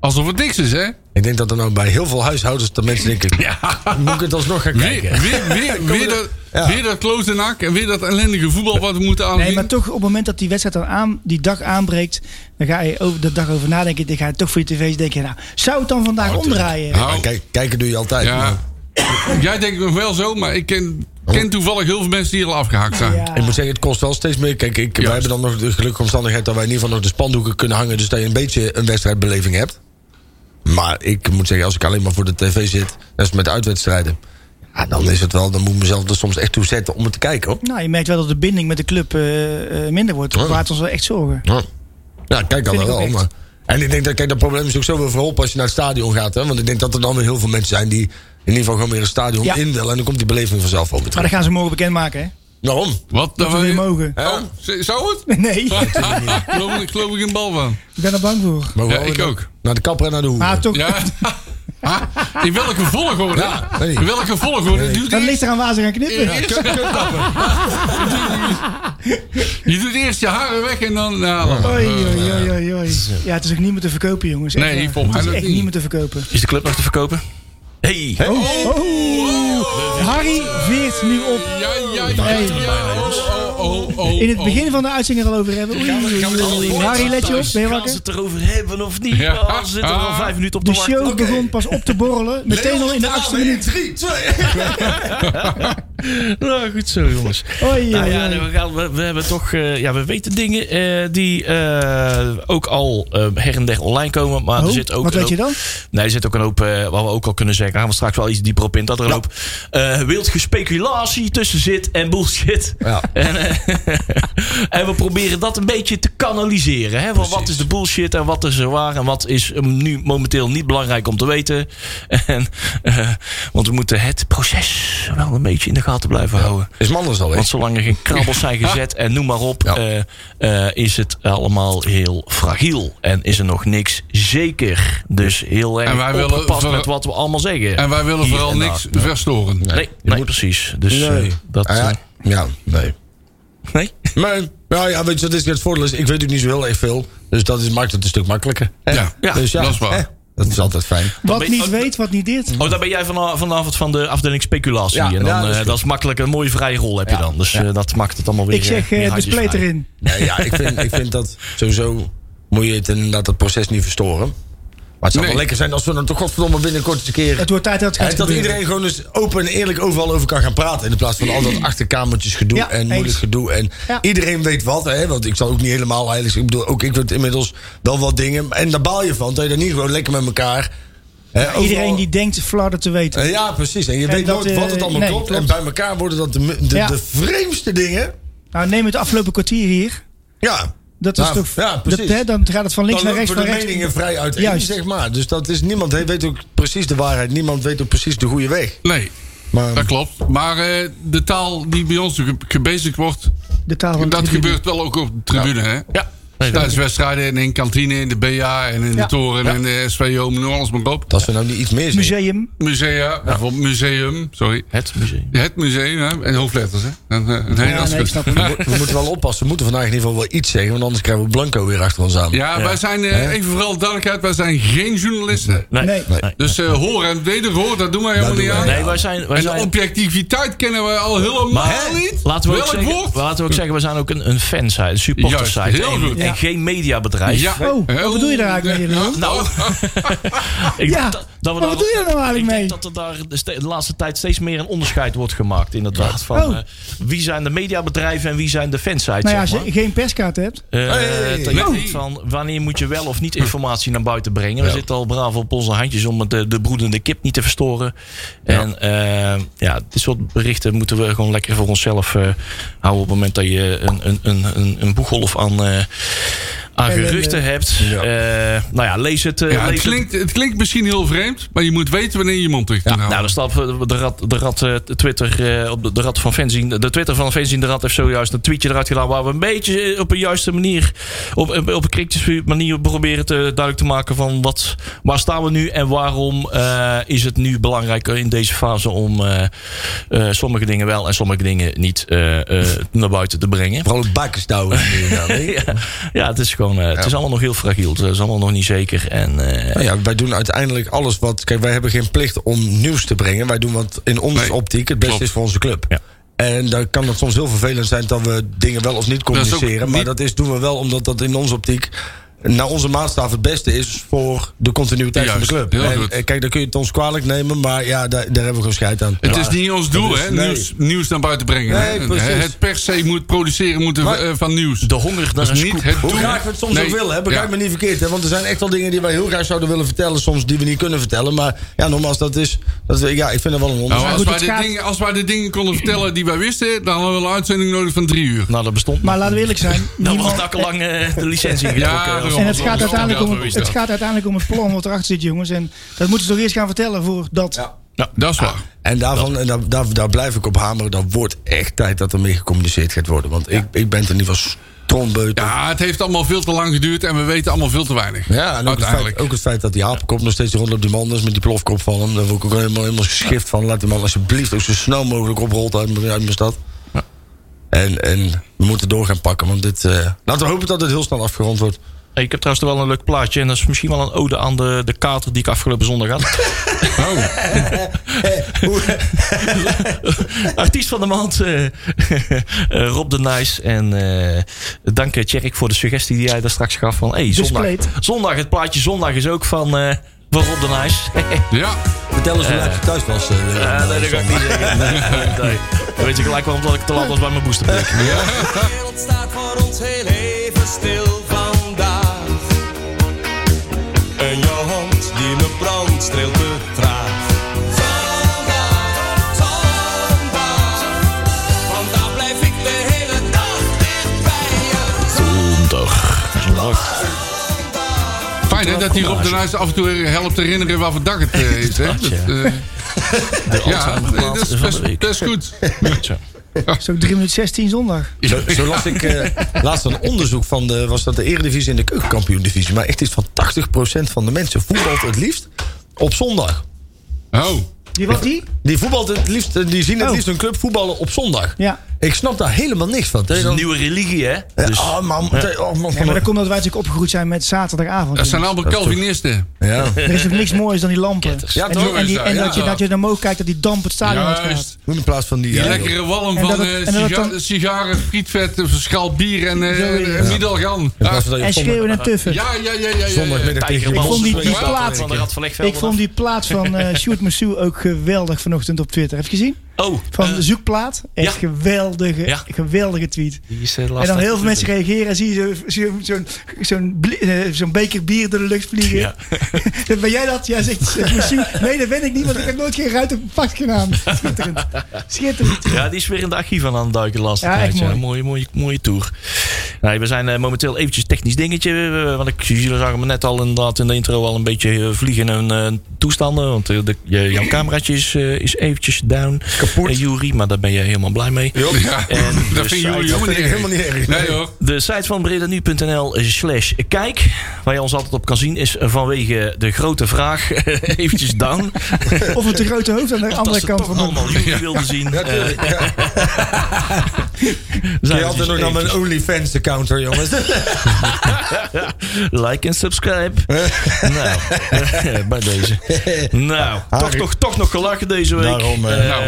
[SPEAKER 4] Alsof het niks is, hè?
[SPEAKER 2] Ik denk dat er nou bij heel veel huishoudens de mensen denken... Moet ik het alsnog gaan
[SPEAKER 4] Weer,
[SPEAKER 2] kijken?
[SPEAKER 4] weer, weer, weer, dat,
[SPEAKER 2] Ja.
[SPEAKER 4] weer dat klote NAC en weer dat ellendige voetbal wat we moeten aanzien.
[SPEAKER 3] Nee, maar toch op het moment dat die wedstrijd dan aan, die dag aanbreekt, dan ga je over de dag over nadenken. Dan ga je toch voor je tv's denken, nou, zou het dan vandaag omdraaien?
[SPEAKER 4] Nou,
[SPEAKER 2] Maar Kijk, kijken doe je altijd.
[SPEAKER 4] ja. Jij denkt nog wel zo, maar ik ken, ken toevallig heel veel mensen die al afgehaakt zijn.
[SPEAKER 3] Ja.
[SPEAKER 2] Ik moet zeggen, het kost wel steeds meer. Kijk, ik, wij hebben dan nog de gelukkige omstandigheid dat wij in ieder geval nog de spandoeken kunnen hangen. Dus dat je een beetje een wedstrijdbeleving hebt. Maar ik moet zeggen, als ik alleen maar voor de tv zit, dat is met uitwedstrijden. Ja, dan is het wel, dan moet ik mezelf er soms echt toe zetten om het te kijken hoor.
[SPEAKER 3] Nou, je merkt wel dat de binding met de club eh, eh, minder wordt. Dat
[SPEAKER 2] Ja.
[SPEAKER 3] baart ons wel echt zorgen.
[SPEAKER 2] Ja, Ja, kijk dan
[SPEAKER 3] Vind ik
[SPEAKER 2] wel.
[SPEAKER 3] ook echt.
[SPEAKER 2] Maar. En ik denk dat kijk, dat probleem is ook zo weer verholpen als je naar het stadion gaat. Hè? Want ik denk dat er dan weer heel veel mensen zijn die in ieder geval gewoon weer een stadion
[SPEAKER 3] Ja.
[SPEAKER 2] in willen. En dan komt die beleving vanzelf wel weer
[SPEAKER 3] Maar
[SPEAKER 2] terug. Nou,
[SPEAKER 3] dat gaan ze morgen bekendmaken, hè?
[SPEAKER 2] Waarom?
[SPEAKER 4] Wat?
[SPEAKER 3] Dat we weer mogen.
[SPEAKER 4] Oh, z- zou het?
[SPEAKER 3] Nee,
[SPEAKER 4] geloof, ik- geloof ik in bal van.
[SPEAKER 3] ik ben er bang voor.
[SPEAKER 2] Mogen we
[SPEAKER 4] Ja,
[SPEAKER 2] wel
[SPEAKER 4] ik
[SPEAKER 2] weer
[SPEAKER 4] ook.
[SPEAKER 2] Naar de kapper en naar de hoer.
[SPEAKER 3] Maar toch,
[SPEAKER 4] Ja. Ha? In welke volgorde?
[SPEAKER 2] Ja, weet ik.
[SPEAKER 4] In welke volgorde? Doe
[SPEAKER 3] dat ligt eraan waar ze gaan knippen.
[SPEAKER 4] eerst- Je doet eerst je haren weg en dan... nou,
[SPEAKER 3] Oei, oei, oei, oei, oei. Ja, het is ook niet meer te verkopen, jongens. Echt
[SPEAKER 4] Nee,
[SPEAKER 3] waar.
[SPEAKER 4] volgens mij
[SPEAKER 3] Het is
[SPEAKER 4] ook
[SPEAKER 3] echt niet
[SPEAKER 4] niet.
[SPEAKER 3] meer te verkopen.
[SPEAKER 5] Is de club nog te verkopen? Hey.
[SPEAKER 3] Oh, Harry veert nu op.
[SPEAKER 4] Ja, ja, ja, ja. Oh, oh, oh, oh.
[SPEAKER 3] In het begin van de uitzending al over hebben. Oei, oei, oei, oei. Harry, let je op. Ben je
[SPEAKER 5] Gaan ze
[SPEAKER 3] wakker?
[SPEAKER 5] het erover hebben of niet?
[SPEAKER 4] Ja.
[SPEAKER 5] Ja. ze zitten er al
[SPEAKER 4] Ah.
[SPEAKER 5] vijf minuten op te
[SPEAKER 3] De
[SPEAKER 5] wachten.
[SPEAKER 3] show begon pas op te borrelen. Meteen al in de achtste minuut.
[SPEAKER 2] 3, 2.
[SPEAKER 5] Nou, goed zo, jongens.
[SPEAKER 3] Oei,
[SPEAKER 5] Nou
[SPEAKER 3] oei,
[SPEAKER 5] ja,
[SPEAKER 3] oei.
[SPEAKER 5] we, gaan, we, we hebben toch, eh, ja, we weten dingen eh, die eh, ook al eh, her en der online komen. Maar er
[SPEAKER 3] Oh,
[SPEAKER 5] zit ook
[SPEAKER 3] wat
[SPEAKER 5] een
[SPEAKER 3] weet je
[SPEAKER 5] hoop-
[SPEAKER 3] dan?
[SPEAKER 5] Nee, er zit ook een hoop, eh, wat we ook al kunnen zeggen. Gaan we straks wel iets dieper op in. Dat er een hoop eh, wild gespeculatie tussen zit en bullshit.
[SPEAKER 2] Ja.
[SPEAKER 5] En, eh, en we proberen dat een beetje te kanaliseren. Hè? Van wat is de bullshit en wat is er waar en wat is eh, nu momenteel niet belangrijk om te weten. En, eh, want we moeten het proces wel een beetje in de gaten blijven houden.
[SPEAKER 2] Is Manders al
[SPEAKER 5] Want
[SPEAKER 2] eens?
[SPEAKER 5] zolang er geen krabbels zijn gezet en noem maar op,
[SPEAKER 2] Ja.
[SPEAKER 5] eh, eh, is het allemaal heel fragiel. En is er nog niks zeker. Dus heel erg
[SPEAKER 4] En wij willen
[SPEAKER 5] opgepast
[SPEAKER 4] vooral-
[SPEAKER 5] met wat we allemaal zeggen.
[SPEAKER 4] En wij willen
[SPEAKER 5] Hier
[SPEAKER 4] vooral
[SPEAKER 5] en daar.
[SPEAKER 4] niks verstoren.
[SPEAKER 5] Nee, nee, precies. Dus eh,
[SPEAKER 2] Nee.
[SPEAKER 5] dat...
[SPEAKER 2] Ah, ja.
[SPEAKER 5] eh,
[SPEAKER 2] ja, nee.
[SPEAKER 5] nee?
[SPEAKER 2] Maar, nou ja, weet je, dat is het voordeel is, ik weet ook niet zo heel erg veel. Dus dat is, maakt het een stuk makkelijker. hè?
[SPEAKER 4] Ja,
[SPEAKER 2] dus ja,
[SPEAKER 4] dat is waar.
[SPEAKER 2] hè, Dat is altijd fijn.
[SPEAKER 3] Wat
[SPEAKER 5] weet-
[SPEAKER 3] niet
[SPEAKER 5] oh,
[SPEAKER 3] weet, wat niet dit.
[SPEAKER 5] Oh, daar ben jij vana- vanavond van de afdeling speculatie.
[SPEAKER 2] Ja,
[SPEAKER 5] en dan,
[SPEAKER 2] ja, dat
[SPEAKER 5] eh,
[SPEAKER 2] is
[SPEAKER 5] dat,
[SPEAKER 2] goed.
[SPEAKER 5] is makkelijk. Een mooie vrije rol heb je dan. Dus eh, dat maakt het allemaal weer...
[SPEAKER 3] Ik zeg
[SPEAKER 5] eh,
[SPEAKER 3] eh,
[SPEAKER 5] meer
[SPEAKER 3] de
[SPEAKER 5] handjes
[SPEAKER 3] spleet
[SPEAKER 5] vrij.
[SPEAKER 3] erin.
[SPEAKER 2] Nee, ja, ik vind, ik vind dat sowieso moet je het inderdaad dat proces niet verstoren. Maar het zou wel
[SPEAKER 4] Nee.
[SPEAKER 2] lekker zijn als we dan toch godverdomme binnenkort eens een keer...
[SPEAKER 3] Het wordt tijd dat het
[SPEAKER 2] Hè,
[SPEAKER 3] gaat
[SPEAKER 2] dat
[SPEAKER 3] gebeuren.
[SPEAKER 2] iedereen gewoon eens open en eerlijk overal over kan gaan praten. In plaats van al dat achterkamertjes gedoe
[SPEAKER 3] Ja,
[SPEAKER 2] en
[SPEAKER 3] eens.
[SPEAKER 2] moeilijk gedoe. En
[SPEAKER 3] Ja.
[SPEAKER 2] iedereen weet wat, hè? want ik zal ook niet helemaal heilig zijn. Ik bedoel, ook ik weet inmiddels wel wat dingen. En daar baal je van, dat je dat niet gewoon lekker met elkaar... hè, overal-
[SPEAKER 3] Iedereen die denkt Flarden te weten.
[SPEAKER 2] Eh, Ja, precies. En je
[SPEAKER 3] En
[SPEAKER 2] weet
[SPEAKER 3] dat,
[SPEAKER 2] nooit
[SPEAKER 3] eh,
[SPEAKER 2] wat het allemaal
[SPEAKER 3] nee,
[SPEAKER 2] klopt.
[SPEAKER 3] klopt.
[SPEAKER 2] En bij elkaar worden dat de, mu- de,
[SPEAKER 3] Ja.
[SPEAKER 2] de vreemdste dingen.
[SPEAKER 3] Nou, neem het afgelopen kwartier hier.
[SPEAKER 2] Ja,
[SPEAKER 3] Dat is
[SPEAKER 2] Nou,
[SPEAKER 3] toch.
[SPEAKER 2] ja, precies.
[SPEAKER 3] dat, hè, dan gaat het van links
[SPEAKER 2] dan
[SPEAKER 3] naar rechts,
[SPEAKER 2] lopen
[SPEAKER 3] van
[SPEAKER 2] de
[SPEAKER 3] rechts.
[SPEAKER 2] meningen vrij uit.
[SPEAKER 3] Juist.
[SPEAKER 2] zeg maar. Dus dat is, niemand he- weet ook precies de waarheid. Niemand weet ook precies de goede weg.
[SPEAKER 4] Nee,
[SPEAKER 2] Maar,
[SPEAKER 4] dat klopt. Maar eh, de taal die bij ons ge- gebezigd wordt,
[SPEAKER 3] De taal van de
[SPEAKER 4] dat
[SPEAKER 3] tribune.
[SPEAKER 4] gebeurt wel ook op de tribune, hè?
[SPEAKER 5] Ja. Nee, dat-
[SPEAKER 4] Tijdens wedstrijden en in kantine, in de BA en in
[SPEAKER 3] Ja.
[SPEAKER 4] de Toren en de SVO, noem alles maar op.
[SPEAKER 2] als we nou niet iets meer zien.
[SPEAKER 3] Museum.
[SPEAKER 4] Musea, bijvoorbeeld museum, sorry.
[SPEAKER 5] Het museum.
[SPEAKER 4] Het museum, hè? En hoofdletters, hè? En, eh, een hele
[SPEAKER 3] Ja, nee, ik
[SPEAKER 4] afschrift.
[SPEAKER 3] snap het.
[SPEAKER 2] We moeten wel oppassen. We moeten vandaag in ieder geval wel iets zeggen. Want anders krijgen we Blanco weer achter ons aan.
[SPEAKER 4] Ja, wij zijn, eh, even vooral duidelijkheid, wij zijn geen journalisten.
[SPEAKER 5] Nee.
[SPEAKER 3] Nee.
[SPEAKER 5] Nee.
[SPEAKER 4] Dus eh hoor en wederhoor, dat doen wij helemaal
[SPEAKER 2] doen
[SPEAKER 4] niet
[SPEAKER 2] wij
[SPEAKER 4] aan.
[SPEAKER 2] niet.
[SPEAKER 5] Nee, wij zijn... Wij
[SPEAKER 4] En
[SPEAKER 5] zijn
[SPEAKER 4] de objectiviteit kennen wij al helemaal
[SPEAKER 5] hè,
[SPEAKER 4] niet.
[SPEAKER 5] Laten we, ook
[SPEAKER 4] Welk
[SPEAKER 5] zeggen,
[SPEAKER 4] woord?
[SPEAKER 5] laten we ook zeggen, we zijn ook een, een fansite, een supportersite.
[SPEAKER 4] Juist, heel
[SPEAKER 5] en,
[SPEAKER 4] goed.
[SPEAKER 5] en
[SPEAKER 3] Ja.
[SPEAKER 5] geen mediabedrijf.
[SPEAKER 3] Oh, wat bedoel je daar eigenlijk mee, Jeroen?
[SPEAKER 4] Nou,
[SPEAKER 5] Ik
[SPEAKER 3] Ja,
[SPEAKER 5] denk dat- dat we
[SPEAKER 3] maar
[SPEAKER 5] daar-
[SPEAKER 3] wat doe je er nou
[SPEAKER 5] Ik
[SPEAKER 3] eigenlijk
[SPEAKER 5] denk
[SPEAKER 3] mee?
[SPEAKER 5] dat er daar de, ste- de laatste tijd steeds meer een onderscheid wordt gemaakt, inderdaad. Van
[SPEAKER 3] Oh.
[SPEAKER 5] eh, wie zijn de mediabedrijven en wie zijn de fansites,
[SPEAKER 3] Nou ja, als
[SPEAKER 5] zeg
[SPEAKER 3] je
[SPEAKER 5] maar.
[SPEAKER 3] geen perskaart hebt.
[SPEAKER 5] Eh,
[SPEAKER 2] Hey.
[SPEAKER 5] ten opzichte
[SPEAKER 4] Nee.
[SPEAKER 5] van wanneer moet je wel of niet informatie naar buiten brengen. We zitten al braaf op onze handjes om eh, de, de broedende kip niet te verstoren. En eh, ja, dit soort berichten moeten we gewoon lekker voor onszelf eh, houden. Op het moment dat je een, een, een, een, een boeggolf aan, eh, aan
[SPEAKER 3] Ellende.
[SPEAKER 5] geruchten hebt. Eh, nou ja, lees het. eh,
[SPEAKER 4] ja, het,
[SPEAKER 5] lees het.
[SPEAKER 4] klinkt, het klinkt misschien heel vreemd, maar je moet weten wanneer je je mond dicht moet
[SPEAKER 5] Nou,
[SPEAKER 4] houden.
[SPEAKER 5] dan staat eh, de rat, de rat eh, Twitter, eh, op de, de rat van Fenzien. De Twitter van Fenzien de Rat heeft zojuist een tweetje eruit gedaan. Waar we een beetje eh, op een juiste manier, op, op, op een kritische manier proberen te, duidelijk te maken van wat, waar staan we nu en waarom eh, is het nu belangrijk in deze fase om eh, eh, sommige dingen wel en sommige dingen niet eh, eh, naar buiten te brengen.
[SPEAKER 2] Vooral het bakkenstouwen.
[SPEAKER 5] Ja, ja, het is gewoon, eh, het is allemaal nog heel fragiel. Het is allemaal nog niet zeker. En, eh,
[SPEAKER 4] Oh
[SPEAKER 2] Nou ja, wij doen uiteindelijk alles wat... Kijk, wij hebben geen plicht om nieuws te brengen. Wij doen wat in onze
[SPEAKER 4] Nee,
[SPEAKER 2] optiek het beste
[SPEAKER 4] klopt.
[SPEAKER 2] is voor onze club.
[SPEAKER 5] Ja.
[SPEAKER 2] En dan kan het soms heel vervelend zijn dat we dingen wel of niet
[SPEAKER 4] is ook
[SPEAKER 2] communiceren. Maar
[SPEAKER 4] niet-
[SPEAKER 2] dat is, doen we wel omdat dat in onze optiek... naar onze maatstaf het beste is voor de continuïteit
[SPEAKER 4] Juist,
[SPEAKER 2] van de club.
[SPEAKER 4] heel
[SPEAKER 2] En,
[SPEAKER 4] goed.
[SPEAKER 2] eh, kijk, dan kun je het ons kwalijk nemen. Maar ja, daar, daar hebben we gewoon scheid aan.
[SPEAKER 4] Het is niet ons doel,
[SPEAKER 2] is-
[SPEAKER 4] hè?
[SPEAKER 2] nee.
[SPEAKER 4] Nieuws, nieuws naar buiten brengen. hè.
[SPEAKER 2] Nee, precies.
[SPEAKER 4] het per se moet produceren moeten
[SPEAKER 2] Maar-
[SPEAKER 4] eh, van nieuws.
[SPEAKER 5] de honger naar
[SPEAKER 4] Dat
[SPEAKER 5] een
[SPEAKER 4] is niet
[SPEAKER 5] scoop.
[SPEAKER 4] het doel.
[SPEAKER 2] Hoe graag we het soms
[SPEAKER 4] Nee,
[SPEAKER 2] ook willen, hè? begrijp
[SPEAKER 4] ja.
[SPEAKER 2] me niet verkeerd. Hè? Want er zijn echt wel dingen die wij heel graag zouden willen vertellen, soms die we niet kunnen vertellen. Maar ja, nogmaals, dat is. Dat, ja, ik vind dat wel een
[SPEAKER 4] Nou,
[SPEAKER 2] onderscheid.
[SPEAKER 4] als,
[SPEAKER 3] goed,
[SPEAKER 4] wij
[SPEAKER 3] het
[SPEAKER 4] de
[SPEAKER 3] gaat-
[SPEAKER 4] dingen, als wij de dingen konden vertellen die wij wisten, dan hadden we een uitzending nodig van drie uur.
[SPEAKER 5] Nou, dat bestond
[SPEAKER 3] Maar laten we eerlijk
[SPEAKER 4] Nou,
[SPEAKER 3] zijn.
[SPEAKER 5] Dan
[SPEAKER 3] niemand-
[SPEAKER 5] was dakkenlang lang eh, de licentie getrokken.
[SPEAKER 4] daarom.
[SPEAKER 3] En het gaat,
[SPEAKER 4] Zo
[SPEAKER 3] uiteindelijk om,
[SPEAKER 4] inderdaad, zo is
[SPEAKER 3] het
[SPEAKER 4] dat.
[SPEAKER 3] gaat uiteindelijk om het plan wat erachter zit, jongens. En dat moeten ze toch eerst gaan vertellen voordat
[SPEAKER 2] Ja.
[SPEAKER 4] Ja, dat is waar.
[SPEAKER 2] En daarvan, en daar, daar, daar blijf ik op hameren. Dat wordt echt tijd dat er meer gecommuniceerd gaat worden. Want ik, ik ben het in ieder geval trombeut. Ja,
[SPEAKER 4] Ja, het heeft allemaal veel te lang geduurd en we weten allemaal veel te weinig.
[SPEAKER 2] en ook het, feit,
[SPEAKER 4] uiteindelijk.
[SPEAKER 2] ook het feit dat die apenkop nog steeds rond op die man is met die plofkop van hem. Daar word ik ook helemaal, helemaal geschift van. Laat die man alsjeblieft ook zo snel mogelijk oprolt uit, mijn- uit mijn stad. En, en we moeten door gaan pakken. Want dit, eh, laten we hopen dat dit heel snel afgerond wordt.
[SPEAKER 5] Hey, Ik heb trouwens wel een leuk plaatje. En dat is misschien wel een ode aan de, de kater die ik afgelopen zondag had.
[SPEAKER 4] Oh.
[SPEAKER 5] Artiest van de maand, eh, eh, Rob de Nijs. En eh dank eh, Tjerk voor de suggestie die jij daar straks gaf. Van, hey, zondag,
[SPEAKER 3] Displayed.
[SPEAKER 5] zondag, het plaatje zondag is ook van, eh, van Rob de Nijs.
[SPEAKER 2] oh.
[SPEAKER 4] Ja,
[SPEAKER 2] Vertel eens hoe laat je thuis was. eh,
[SPEAKER 5] Ja, nee, dat ga ik niet zeggen. Nee, nee, nee. Dan weet je gelijk waarom dat ik te laat was bij mijn boosterprik.
[SPEAKER 6] De wereld staat voor ons heel even stil vandaag. En jouw hand die me brandt, streelt te traag. Vandaag, vandaag, vandaag blijf ik de hele dag dicht bij je.
[SPEAKER 4] fijn hè, dat die Rob de Nijs af en toe helpt herinneren waar voor dag het eh, is. Hè?
[SPEAKER 5] Dat, ja.
[SPEAKER 4] Dat, eh, ja, dat
[SPEAKER 5] Alzheimerplaat
[SPEAKER 4] is
[SPEAKER 5] van de
[SPEAKER 4] best,
[SPEAKER 5] week.
[SPEAKER 4] best goed.
[SPEAKER 5] Zo.
[SPEAKER 3] is ook 3 minuten 16 zondag.
[SPEAKER 2] Zo, zo las ik eh, laatst een onderzoek van de, was dat de Eredivisie en de Keukenkampioen-divisie. Maar echt iets van 80% van de mensen voetbalt het liefst op zondag.
[SPEAKER 4] Oh,
[SPEAKER 3] Die was die?
[SPEAKER 2] Die, voetbalt het liefst, eh, die zien het
[SPEAKER 3] Oh.
[SPEAKER 2] liefst hun club voetballen op zondag.
[SPEAKER 3] Ja.
[SPEAKER 2] Ik snap daar helemaal niks van.
[SPEAKER 5] Dat is een nieuwe religie, hè?
[SPEAKER 2] Ja,
[SPEAKER 5] Dus,
[SPEAKER 2] oh man, te- oh, man,
[SPEAKER 3] Ja,
[SPEAKER 2] van
[SPEAKER 3] maar
[SPEAKER 2] de-
[SPEAKER 3] dat komt omdat wij natuurlijk opgegroeid zijn met zaterdagavond.
[SPEAKER 4] dat zijn allemaal Calvinisten.
[SPEAKER 2] ja.
[SPEAKER 3] Er is ook niks moois dan die lampen.
[SPEAKER 2] Ja,
[SPEAKER 3] En, die- en, die- en
[SPEAKER 4] Ja.
[SPEAKER 3] dat, je, dat je naar omhoog kijkt dat die damp het stadion uit gaat.
[SPEAKER 4] Juist.
[SPEAKER 2] in plaats van die... eh,
[SPEAKER 4] Die
[SPEAKER 2] ja,
[SPEAKER 4] lekkere walm
[SPEAKER 3] En dat
[SPEAKER 4] van
[SPEAKER 3] het-
[SPEAKER 4] eh,
[SPEAKER 3] en dat het
[SPEAKER 4] siga-
[SPEAKER 3] dan-
[SPEAKER 4] sigaren, frietvet, eh, schaal bier en
[SPEAKER 3] Zo
[SPEAKER 4] eh,
[SPEAKER 3] is het.
[SPEAKER 4] en middelgan.
[SPEAKER 2] in
[SPEAKER 4] Ja,
[SPEAKER 2] plaats van dat je
[SPEAKER 3] En
[SPEAKER 2] op zondag-
[SPEAKER 3] schreeuwen en tuffen.
[SPEAKER 4] ja, ja, ja. ja, ja, ja.
[SPEAKER 2] Zondagmiddag tegen
[SPEAKER 5] Tijgerman.
[SPEAKER 2] je
[SPEAKER 3] Ik vond die- die
[SPEAKER 5] Zondagmiddag
[SPEAKER 3] plaat-
[SPEAKER 5] van de Rad van Legveld
[SPEAKER 3] Ik vond die plaat van eh Sjoerd Massou ook geweldig vanochtend op Twitter. Heb je gezien?
[SPEAKER 5] af. Oh,
[SPEAKER 3] Van
[SPEAKER 5] eh,
[SPEAKER 3] de zoekplaat. Echt
[SPEAKER 5] ja.
[SPEAKER 3] geweldige,
[SPEAKER 5] Ja.
[SPEAKER 3] geweldige tweet.
[SPEAKER 5] die is, eh,
[SPEAKER 3] En
[SPEAKER 5] laatst
[SPEAKER 3] dan heel veel
[SPEAKER 5] afgelopen.
[SPEAKER 3] mensen reageren en zie je zo- zo- zo'n zo'n blie- eh, zo'n beker bier door de lucht vliegen.
[SPEAKER 5] Ja.
[SPEAKER 3] ben jij dat? Ja, zegt zegt Massou. Nee, dat ben ik niet, want ik heb nooit geen ruit op een pak gedaan. Schitterend. Schitterend.
[SPEAKER 5] Ja, die is weer in de archieven aan het duiken de laatste
[SPEAKER 3] Ja,
[SPEAKER 5] tijd.
[SPEAKER 3] echt
[SPEAKER 5] Ja,
[SPEAKER 3] mooi.
[SPEAKER 5] mooie, mooie, mooie tour. Nou, we zijn eh, momenteel eventjes technisch dingetje. eh, want ik, jullie zagen me net al inderdaad in de intro al een beetje eh, vliegen en eh, toestanden. Want eh, de, je, jouw cameraatje is, eh, is eventjes down. Kapot. Jury, maar daar ben je helemaal blij mee.
[SPEAKER 4] Ja,
[SPEAKER 5] En de
[SPEAKER 4] dat
[SPEAKER 3] dus
[SPEAKER 4] vinden
[SPEAKER 5] site-
[SPEAKER 4] jullie
[SPEAKER 2] Dat
[SPEAKER 4] helemaal
[SPEAKER 2] vind
[SPEAKER 4] niet
[SPEAKER 2] ik helemaal niet erg.
[SPEAKER 4] Nee hoor.
[SPEAKER 5] De site van bredanu.nl slash kijk, waar je ons altijd op kan zien, is vanwege de grote vraag eventjes down.
[SPEAKER 3] Of het grote hoofd aan de
[SPEAKER 5] Als
[SPEAKER 3] andere
[SPEAKER 5] ze
[SPEAKER 3] kant
[SPEAKER 5] toch
[SPEAKER 3] van de
[SPEAKER 5] allemaal jullie wilden zien. eh, zijn
[SPEAKER 2] Je
[SPEAKER 5] we
[SPEAKER 2] had
[SPEAKER 5] dus
[SPEAKER 2] er nog dan
[SPEAKER 5] eventjes-
[SPEAKER 2] een OnlyFans-counter, jongens.
[SPEAKER 5] Like en subscribe. nou, bij deze. Nou, toch, toch, toch nog gelachen deze week.
[SPEAKER 2] Daarom, eh,
[SPEAKER 5] Eh,
[SPEAKER 4] nou.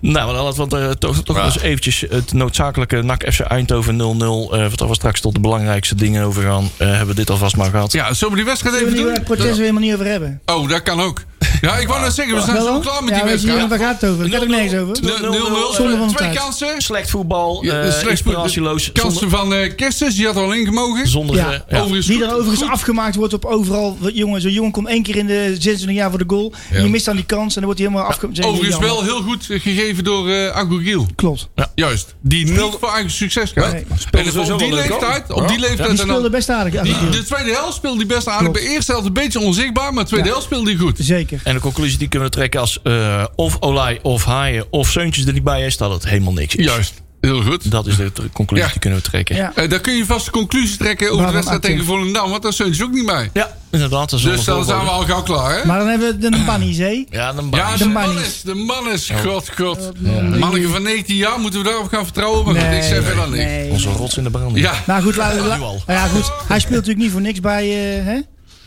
[SPEAKER 5] nou, dan laten we het, eh, toch, toch eens eventjes het noodzakelijke NAC FC Eindhoven 0-0. eh wat we straks tot de belangrijkste dingen overgaan. eh hebben we dit alvast maar gehad.
[SPEAKER 4] Ja, zullen we die wedstrijd
[SPEAKER 3] Zullen
[SPEAKER 4] even
[SPEAKER 3] we nu het
[SPEAKER 4] doen?
[SPEAKER 3] protest weer helemaal niet over hebben?
[SPEAKER 4] Oh, dat kan ook. Ja, ik wou net zeggen, we zijn
[SPEAKER 3] Wel?
[SPEAKER 4] zo klaar met
[SPEAKER 3] ja,
[SPEAKER 4] die
[SPEAKER 3] weet je niet,
[SPEAKER 4] wedstrijd.
[SPEAKER 3] Waar gaat het over? Ik heb er nergens over.
[SPEAKER 5] 0-0.
[SPEAKER 4] 0-0.
[SPEAKER 3] Zonde van de
[SPEAKER 4] Twee
[SPEAKER 3] tijd.
[SPEAKER 4] kansen.
[SPEAKER 5] Slecht voetbal,
[SPEAKER 4] Ja,
[SPEAKER 5] eh
[SPEAKER 4] slecht
[SPEAKER 5] inspiratieloos.
[SPEAKER 4] Kansen Oh. van eh Kerstens, die had al in gemogen.
[SPEAKER 5] Zonder,
[SPEAKER 3] Ja.
[SPEAKER 5] zonder, eh, ja.
[SPEAKER 4] Overigens
[SPEAKER 3] Die
[SPEAKER 4] goed-
[SPEAKER 3] er overigens
[SPEAKER 4] goed.
[SPEAKER 3] afgemaakt wordt op overal. Wat, Jongen, zo'n jongen komt één keer in de 26 jaar voor de goal. En je mist dan die kans en dan wordt hij helemaal afgemaakt. Zeg,
[SPEAKER 4] Overigens
[SPEAKER 3] jammer.
[SPEAKER 4] wel heel goed eh, gegeven door eh Agogiel.
[SPEAKER 3] Klopt.
[SPEAKER 4] Juist. Die niet voor eigen succes gaat.
[SPEAKER 3] Nee.
[SPEAKER 4] En op die leeftijd, op die leeftijd
[SPEAKER 3] Die
[SPEAKER 4] en dan-
[SPEAKER 3] speelde best aardig.
[SPEAKER 4] die-
[SPEAKER 3] Agogiel.
[SPEAKER 4] de tweede helft speelde hij best aardig.
[SPEAKER 3] Klopt.
[SPEAKER 4] Bij de eerste helft een beetje onzichtbaar, maar de tweede
[SPEAKER 3] Ja.
[SPEAKER 4] helft speelde hij goed.
[SPEAKER 3] Zeker.
[SPEAKER 5] En de conclusie die kunnen we trekken als eh, of Olij of Haaien of Zeuntjes er niet bij is, dat het helemaal niks is.
[SPEAKER 4] Juist. Heel goed.
[SPEAKER 5] Dat is de tr- conclusie
[SPEAKER 4] Ja.
[SPEAKER 5] die kunnen we trekken.
[SPEAKER 3] Ja.
[SPEAKER 4] Eh, daar kun je vast een conclusie trekken over de
[SPEAKER 3] Waarom
[SPEAKER 4] wedstrijd tegen
[SPEAKER 3] actief?
[SPEAKER 4] Volendam, want daar zijn ze ook niet bij.
[SPEAKER 5] Ja, inderdaad. Dat is
[SPEAKER 4] Dus dan
[SPEAKER 5] allemaal
[SPEAKER 4] zijn we al gauw klaar, hè?
[SPEAKER 3] Maar dan hebben we de Bannies, hè?
[SPEAKER 5] Ja, dan
[SPEAKER 4] Ja,
[SPEAKER 5] ja,
[SPEAKER 4] de
[SPEAKER 3] de
[SPEAKER 4] man
[SPEAKER 3] bunnies.
[SPEAKER 4] is, de man is, god, god. Manneke van 19 jaar, moeten we daarop gaan vertrouwen? Maar goed,
[SPEAKER 3] Nee,
[SPEAKER 4] ik zeg verder niks.
[SPEAKER 3] nee.
[SPEAKER 5] Onze rots in de brand.
[SPEAKER 4] Ja,
[SPEAKER 3] Nou goed, laten we-
[SPEAKER 5] Ja,
[SPEAKER 3] la-
[SPEAKER 5] nu al.
[SPEAKER 3] nou ja, goed. Hij speelt natuurlijk niet voor niks bij. eh, hè?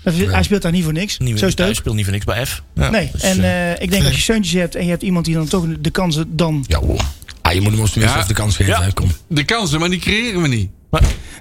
[SPEAKER 3] Dat is- Hij speelt daar niet voor niks.
[SPEAKER 5] Niet,
[SPEAKER 3] Zo
[SPEAKER 5] Zo
[SPEAKER 3] is het ook.
[SPEAKER 5] speelt niet voor niks bij F. Ja,
[SPEAKER 3] Nee,
[SPEAKER 5] dus,
[SPEAKER 3] en
[SPEAKER 5] eh,
[SPEAKER 3] eh, ik denk als je zeuntjes hebt en je hebt iemand die dan toch de kansen dan...
[SPEAKER 2] Ja, hoor. Ah, je moet hem ons tenminste
[SPEAKER 4] Ja.
[SPEAKER 2] even de kans geven.
[SPEAKER 5] Ja.
[SPEAKER 2] hè, Kom.
[SPEAKER 4] de kansen, maar die creëren we niet.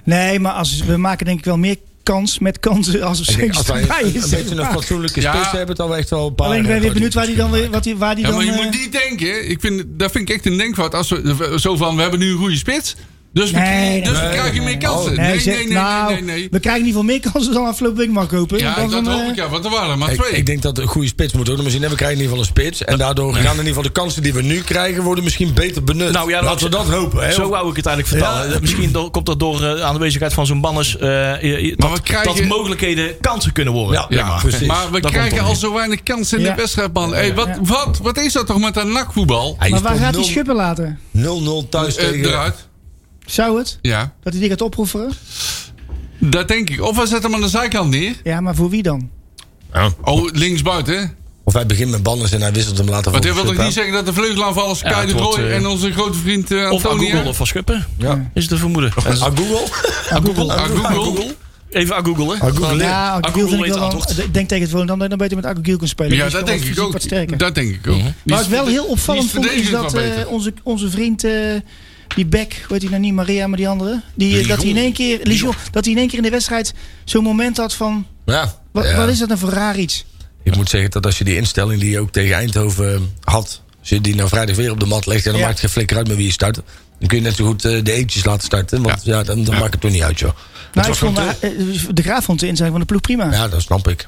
[SPEAKER 3] Nee, maar als, we maken denk ik wel meer kans met kansen als er
[SPEAKER 2] Ik denk, Als
[SPEAKER 3] zeuntjes
[SPEAKER 2] wij
[SPEAKER 3] erbij
[SPEAKER 2] een,
[SPEAKER 3] is.
[SPEAKER 2] een beetje een fatsoenlijke
[SPEAKER 4] Ja.
[SPEAKER 2] spits hebben, dan we echt wel een paar...
[SPEAKER 3] Alleen ik ben weer
[SPEAKER 2] eh,
[SPEAKER 3] benieuwd waar die dan... weer- Wat die, waar die
[SPEAKER 4] Ja,
[SPEAKER 3] dan
[SPEAKER 4] maar je
[SPEAKER 3] eh,
[SPEAKER 4] moet niet denken. Ik vind, dat vind ik echt een denkfout. Als we zo van, we hebben nu een goede spits. Dus we,
[SPEAKER 3] Nee, nee,
[SPEAKER 4] dus we
[SPEAKER 3] nee,
[SPEAKER 4] krijgen
[SPEAKER 3] nee,
[SPEAKER 4] meer kansen.
[SPEAKER 3] nee,
[SPEAKER 4] Nee, nee,
[SPEAKER 3] zeg-
[SPEAKER 4] nee,
[SPEAKER 3] nou,
[SPEAKER 4] nee, nee, nee.
[SPEAKER 3] We krijgen in ieder geval meer kansen dan afgelopen week, mag ik hopen.
[SPEAKER 4] Ja,
[SPEAKER 3] Want
[SPEAKER 4] dat
[SPEAKER 3] dan,
[SPEAKER 4] hoop
[SPEAKER 3] eh,
[SPEAKER 4] ik. Ja, want er waren er maar
[SPEAKER 2] Ik,
[SPEAKER 4] twee.
[SPEAKER 2] ik denk dat een goede spits moet worden. Misschien hebben we krijgen in ieder geval een spits. En daardoor gaan in ieder geval de kansen die we nu krijgen... worden misschien beter benut.
[SPEAKER 5] Nou ja,
[SPEAKER 2] Laten we
[SPEAKER 5] dat-
[SPEAKER 2] dat hopen. Hè?
[SPEAKER 5] Zo
[SPEAKER 2] Of-
[SPEAKER 5] wou ik het eigenlijk vertellen.
[SPEAKER 2] Ja.
[SPEAKER 5] Misschien do- komt dat door eh, aanwezigheid van zo'n banners. eh, eh, dat,
[SPEAKER 4] we krijgen-
[SPEAKER 5] dat mogelijkheden kansen kunnen worden.
[SPEAKER 2] ja, ja, precies.
[SPEAKER 4] Maar we
[SPEAKER 5] Dat
[SPEAKER 4] krijgen
[SPEAKER 5] komt
[SPEAKER 4] al
[SPEAKER 5] toch
[SPEAKER 4] zo weinig kansen in
[SPEAKER 3] Ja.
[SPEAKER 4] de wedstrijd, man. Hey, wat, wat, wat is dat toch met dat nakvoetbal?
[SPEAKER 2] Hij
[SPEAKER 3] Maar waar
[SPEAKER 2] speelt
[SPEAKER 3] gaat hij schuppen laten?
[SPEAKER 2] 0-0 thuis
[SPEAKER 4] Eh,
[SPEAKER 2] tegen...
[SPEAKER 4] eruit.
[SPEAKER 3] Zou het?
[SPEAKER 4] Ja,
[SPEAKER 3] Dat hij die gaat opofferen?
[SPEAKER 4] dat denk ik. Of we zetten hem aan de zijkant neer.
[SPEAKER 3] Ja, maar voor wie dan?
[SPEAKER 4] Oh, linksbuiten.
[SPEAKER 2] Of hij begint met banners en hij wisselt hem later voor
[SPEAKER 4] Want hij wil
[SPEAKER 2] de
[SPEAKER 4] toch niet
[SPEAKER 2] sub,
[SPEAKER 4] zeggen dat de vleugelaanvallers
[SPEAKER 5] Ja,
[SPEAKER 4] Kai de
[SPEAKER 5] het wordt,
[SPEAKER 4] Roy
[SPEAKER 5] eh,
[SPEAKER 4] en onze grote vriend eh,
[SPEAKER 5] Of aan Google
[SPEAKER 4] Antonia...
[SPEAKER 5] of van Schuppen.
[SPEAKER 2] Ja.
[SPEAKER 5] Is het een vermoeden. En
[SPEAKER 2] hè?
[SPEAKER 5] z-
[SPEAKER 2] Ah, Google?
[SPEAKER 4] Google. Google.
[SPEAKER 5] Even aan Google. hè.
[SPEAKER 2] Ah, Google.
[SPEAKER 5] Dan-
[SPEAKER 3] Ja,
[SPEAKER 5] Akku
[SPEAKER 3] Aguil vind
[SPEAKER 5] weet
[SPEAKER 3] ik wel
[SPEAKER 5] het
[SPEAKER 3] dan-
[SPEAKER 5] antwoord.
[SPEAKER 3] Ik denk tegen het Volendam dat je dan beter met Aguil kan spelen.
[SPEAKER 4] Ja,
[SPEAKER 3] Die is
[SPEAKER 4] dat
[SPEAKER 3] wel
[SPEAKER 4] denk ik
[SPEAKER 3] fysiek Wat sterker.
[SPEAKER 4] ook. Dat denk ik ook.
[SPEAKER 3] Maar wat ik wel heel opvallend
[SPEAKER 4] die is
[SPEAKER 3] vond is dat
[SPEAKER 4] verdedigend wel
[SPEAKER 3] eh,
[SPEAKER 4] beter.
[SPEAKER 3] onze, onze vriend, eh, die Beck, hoe heet hij nou niet, Maria, maar die andere. Die, eh, dat hij in één keer, Lijon, dat hij in één keer in de wedstrijd zo'n moment had van,
[SPEAKER 2] Ja.
[SPEAKER 3] wat,
[SPEAKER 2] Ja.
[SPEAKER 3] wat is dat nou voor raar iets?
[SPEAKER 2] Ik moet zeggen dat als je die instelling die je ook tegen Eindhoven eh, had... als je die nou vrijdag weer op de mat legt... en dan
[SPEAKER 3] Ja.
[SPEAKER 2] maakt het geen flikker uit met wie je start... dan kun je net zo goed eh, de eentjes laten starten. Want ja, dan, dan maakt het toch niet uit, joh.
[SPEAKER 3] Nou, ik
[SPEAKER 2] was
[SPEAKER 3] vond,
[SPEAKER 2] gewoon
[SPEAKER 3] eh, de Graaf vond de inzet van de ploeg prima.
[SPEAKER 2] Ja, dat snap ik.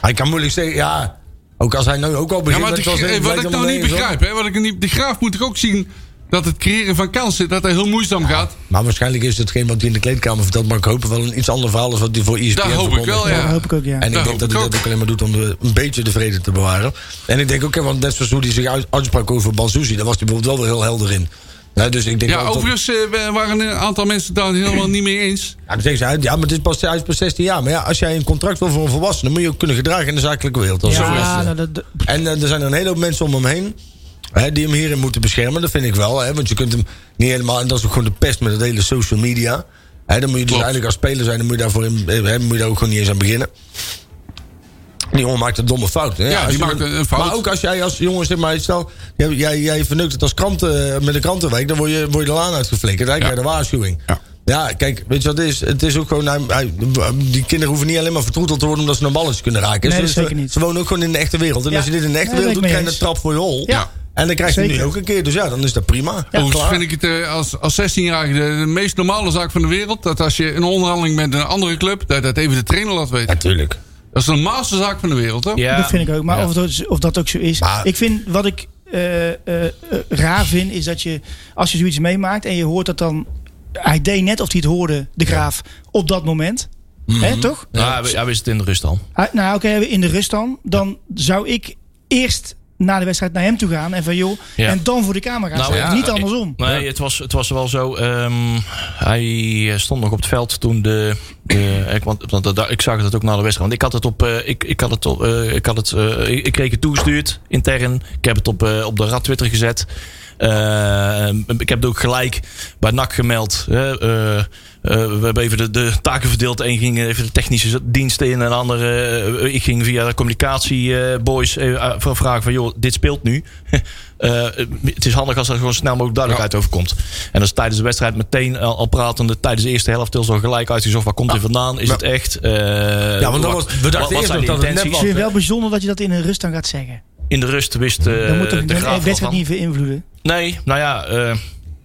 [SPEAKER 2] Hij kan moeilijk zeggen, ja... ook als hij nou ook al
[SPEAKER 4] Ja,
[SPEAKER 2] begint...
[SPEAKER 4] maar
[SPEAKER 2] dat
[SPEAKER 4] de-
[SPEAKER 2] ik wel zeg,
[SPEAKER 4] eh,
[SPEAKER 2] het
[SPEAKER 4] wat
[SPEAKER 2] lijkt
[SPEAKER 4] ik nou
[SPEAKER 2] allemaal
[SPEAKER 4] niet
[SPEAKER 2] nergens op.
[SPEAKER 4] begrijp, hè, wat ik niet, de graaf moet toch ook zien dat het creëren van kansen, dat hij heel moeizaam gaat.
[SPEAKER 2] Maar waarschijnlijk is hetgeen wat hij in de kleedkamer vertelt... maar ik hoop wel een iets ander verhaal als wat hij voor E ESPN
[SPEAKER 4] Dat hoop ik
[SPEAKER 2] verkondigt.
[SPEAKER 4] wel,
[SPEAKER 3] Ja, dat
[SPEAKER 4] ja.
[SPEAKER 3] hoop ik ook, ja.
[SPEAKER 2] En ik
[SPEAKER 4] Dat
[SPEAKER 2] denk
[SPEAKER 4] hoop
[SPEAKER 2] dat hij
[SPEAKER 4] ik
[SPEAKER 2] dat
[SPEAKER 4] ook.
[SPEAKER 2] ook alleen maar doet om de- een beetje de vrede te bewaren. En ik denk ook, hè, want net zoals hoe hij zich uit- uitsprak over Bansuzi, daar was hij bijvoorbeeld wel weer heel helder in. Nou, dus ik denk
[SPEAKER 4] Ja,
[SPEAKER 2] wel dat-
[SPEAKER 4] overigens eh, we waren een aantal mensen daar helemaal niet mee eens.
[SPEAKER 2] Ja, dan zeggen ze, hij- ja, maar het is pas, hij is pas 16 jaar. Maar ja, als jij een contract wil voor een volwassene, moet je ook kunnen gedragen in de zakelijke wereld. Dat is zo is
[SPEAKER 3] Ja,
[SPEAKER 2] het.
[SPEAKER 3] nou, dat, dat-
[SPEAKER 2] En eh, er zijn een hele hoop mensen om hem heen. Hè, die hem hierin moeten beschermen, dat vind ik wel. Hè, want je kunt hem niet helemaal. En dat is ook gewoon de pest met het hele social media. Hè, dan moet je dus
[SPEAKER 4] Klopt.
[SPEAKER 2] eigenlijk als speler zijn, dan moet je, daarvoor in, eh, hè, moet je daar ook gewoon niet eens aan beginnen. Die jongen maakt een domme fout. hè.
[SPEAKER 4] Ja,
[SPEAKER 2] als
[SPEAKER 4] die
[SPEAKER 2] je-
[SPEAKER 4] maakt een- een fout.
[SPEAKER 2] Maar ook als jij als jongen, zeg maar, stel, jij, jij, jij verneukt het als kranten, eh, met de krantenwijk, dan word je, word je de laan uitgeflikkerd. Dan krijg je de waarschuwing.
[SPEAKER 4] Ja.
[SPEAKER 2] Ja, kijk, weet je wat het is? Het is ook gewoon, hij- hij- die kinderen hoeven niet alleen maar vertroeteld te worden omdat ze een balletje kunnen raken.
[SPEAKER 3] Nee,
[SPEAKER 2] Ze-
[SPEAKER 3] dat
[SPEAKER 2] ze-
[SPEAKER 3] zeker niet.
[SPEAKER 2] Ze wonen ook gewoon in de echte wereld. En
[SPEAKER 3] Ja.
[SPEAKER 2] als je dit in de echte
[SPEAKER 3] Nee,
[SPEAKER 2] wereld
[SPEAKER 3] ben
[SPEAKER 2] doet,
[SPEAKER 3] ik mee
[SPEAKER 2] krijg je een
[SPEAKER 3] eens.
[SPEAKER 2] trap voor je hol.
[SPEAKER 3] Ja.
[SPEAKER 2] En dan krijg je nu
[SPEAKER 3] Zeker.
[SPEAKER 2] ook een keer. Dus ja, dan is dat prima.
[SPEAKER 4] Overigens
[SPEAKER 2] klaar.
[SPEAKER 4] vind ik het eh, als, als 16-jarige de, de meest normale zaak van de wereld. Dat als je een onderhandeling met een andere club, dat dat even de trainer laat weten.
[SPEAKER 2] Natuurlijk.
[SPEAKER 4] Dat is de normaalste zaak van de wereld, hoor.
[SPEAKER 5] Ja.
[SPEAKER 3] dat vind ik ook. Maar
[SPEAKER 5] Ja.
[SPEAKER 3] of, dat, of dat ook zo is.
[SPEAKER 2] Maar-
[SPEAKER 3] ik vind, wat ik eh, eh, eh, raar vind, is dat je, als je zoiets meemaakt en je hoort dat dan... Hij deed net of hij het hoorde, de Graaf, op dat moment. Hè, toch?
[SPEAKER 5] Mhm. Ja, hij- hij wist het in de rust al.
[SPEAKER 3] Ah, Nou, oké, in de rust dan. Dan zou ik eerst na de wedstrijd naar hem toe gaan. En van joh,
[SPEAKER 5] Ja.
[SPEAKER 3] en dan voor de camera.
[SPEAKER 5] Nou,
[SPEAKER 3] staan.
[SPEAKER 5] ja.
[SPEAKER 3] Niet andersom.
[SPEAKER 5] Nee, het, was, het was wel zo. ehm, hij eh, stond nog op het veld toen de. de ik, want, want dat- ik zag het ook na de wedstrijd. Want ik had het op. eh, ik, ik had het op. eh, ik, had het, eh, ik, ik kreeg het toegestuurd intern. Ik heb het op, eh, op de rad Twitter gezet. Eh, ik heb het ook gelijk bij NAC gemeld. hè. Eh, eh, we hebben even de, de taken verdeeld. Eén ging even de technische diensten in. En de andere, eh, ik ging via de eh, communicatieboys voor vragen van... joh, dit speelt nu. Eh, het is handig als er gewoon snel mogelijk duidelijkheid over komt. En dat is tijdens de wedstrijd meteen eh, al, al pratende. Tijdens de eerste helft heel zo gelijk uitgezocht. Waar komt dit vandaan? Is het echt? Eh,
[SPEAKER 2] Ah. Ja, want dat
[SPEAKER 5] wat-
[SPEAKER 2] was- we dachten
[SPEAKER 5] wat- wat
[SPEAKER 2] eerst
[SPEAKER 5] zijn
[SPEAKER 2] nog
[SPEAKER 5] de
[SPEAKER 2] dat het net
[SPEAKER 5] intenties?
[SPEAKER 3] Ik
[SPEAKER 2] was.
[SPEAKER 3] vind het wel bijzonder dat je dat in de rust dan gaat zeggen.
[SPEAKER 5] In de rust wist eh,
[SPEAKER 3] Dan moet toch
[SPEAKER 5] de
[SPEAKER 3] de
[SPEAKER 5] graaf wel
[SPEAKER 3] wedstrijd
[SPEAKER 5] van.
[SPEAKER 3] niet beïnvloeden.
[SPEAKER 5] Nee, nou ja, eh,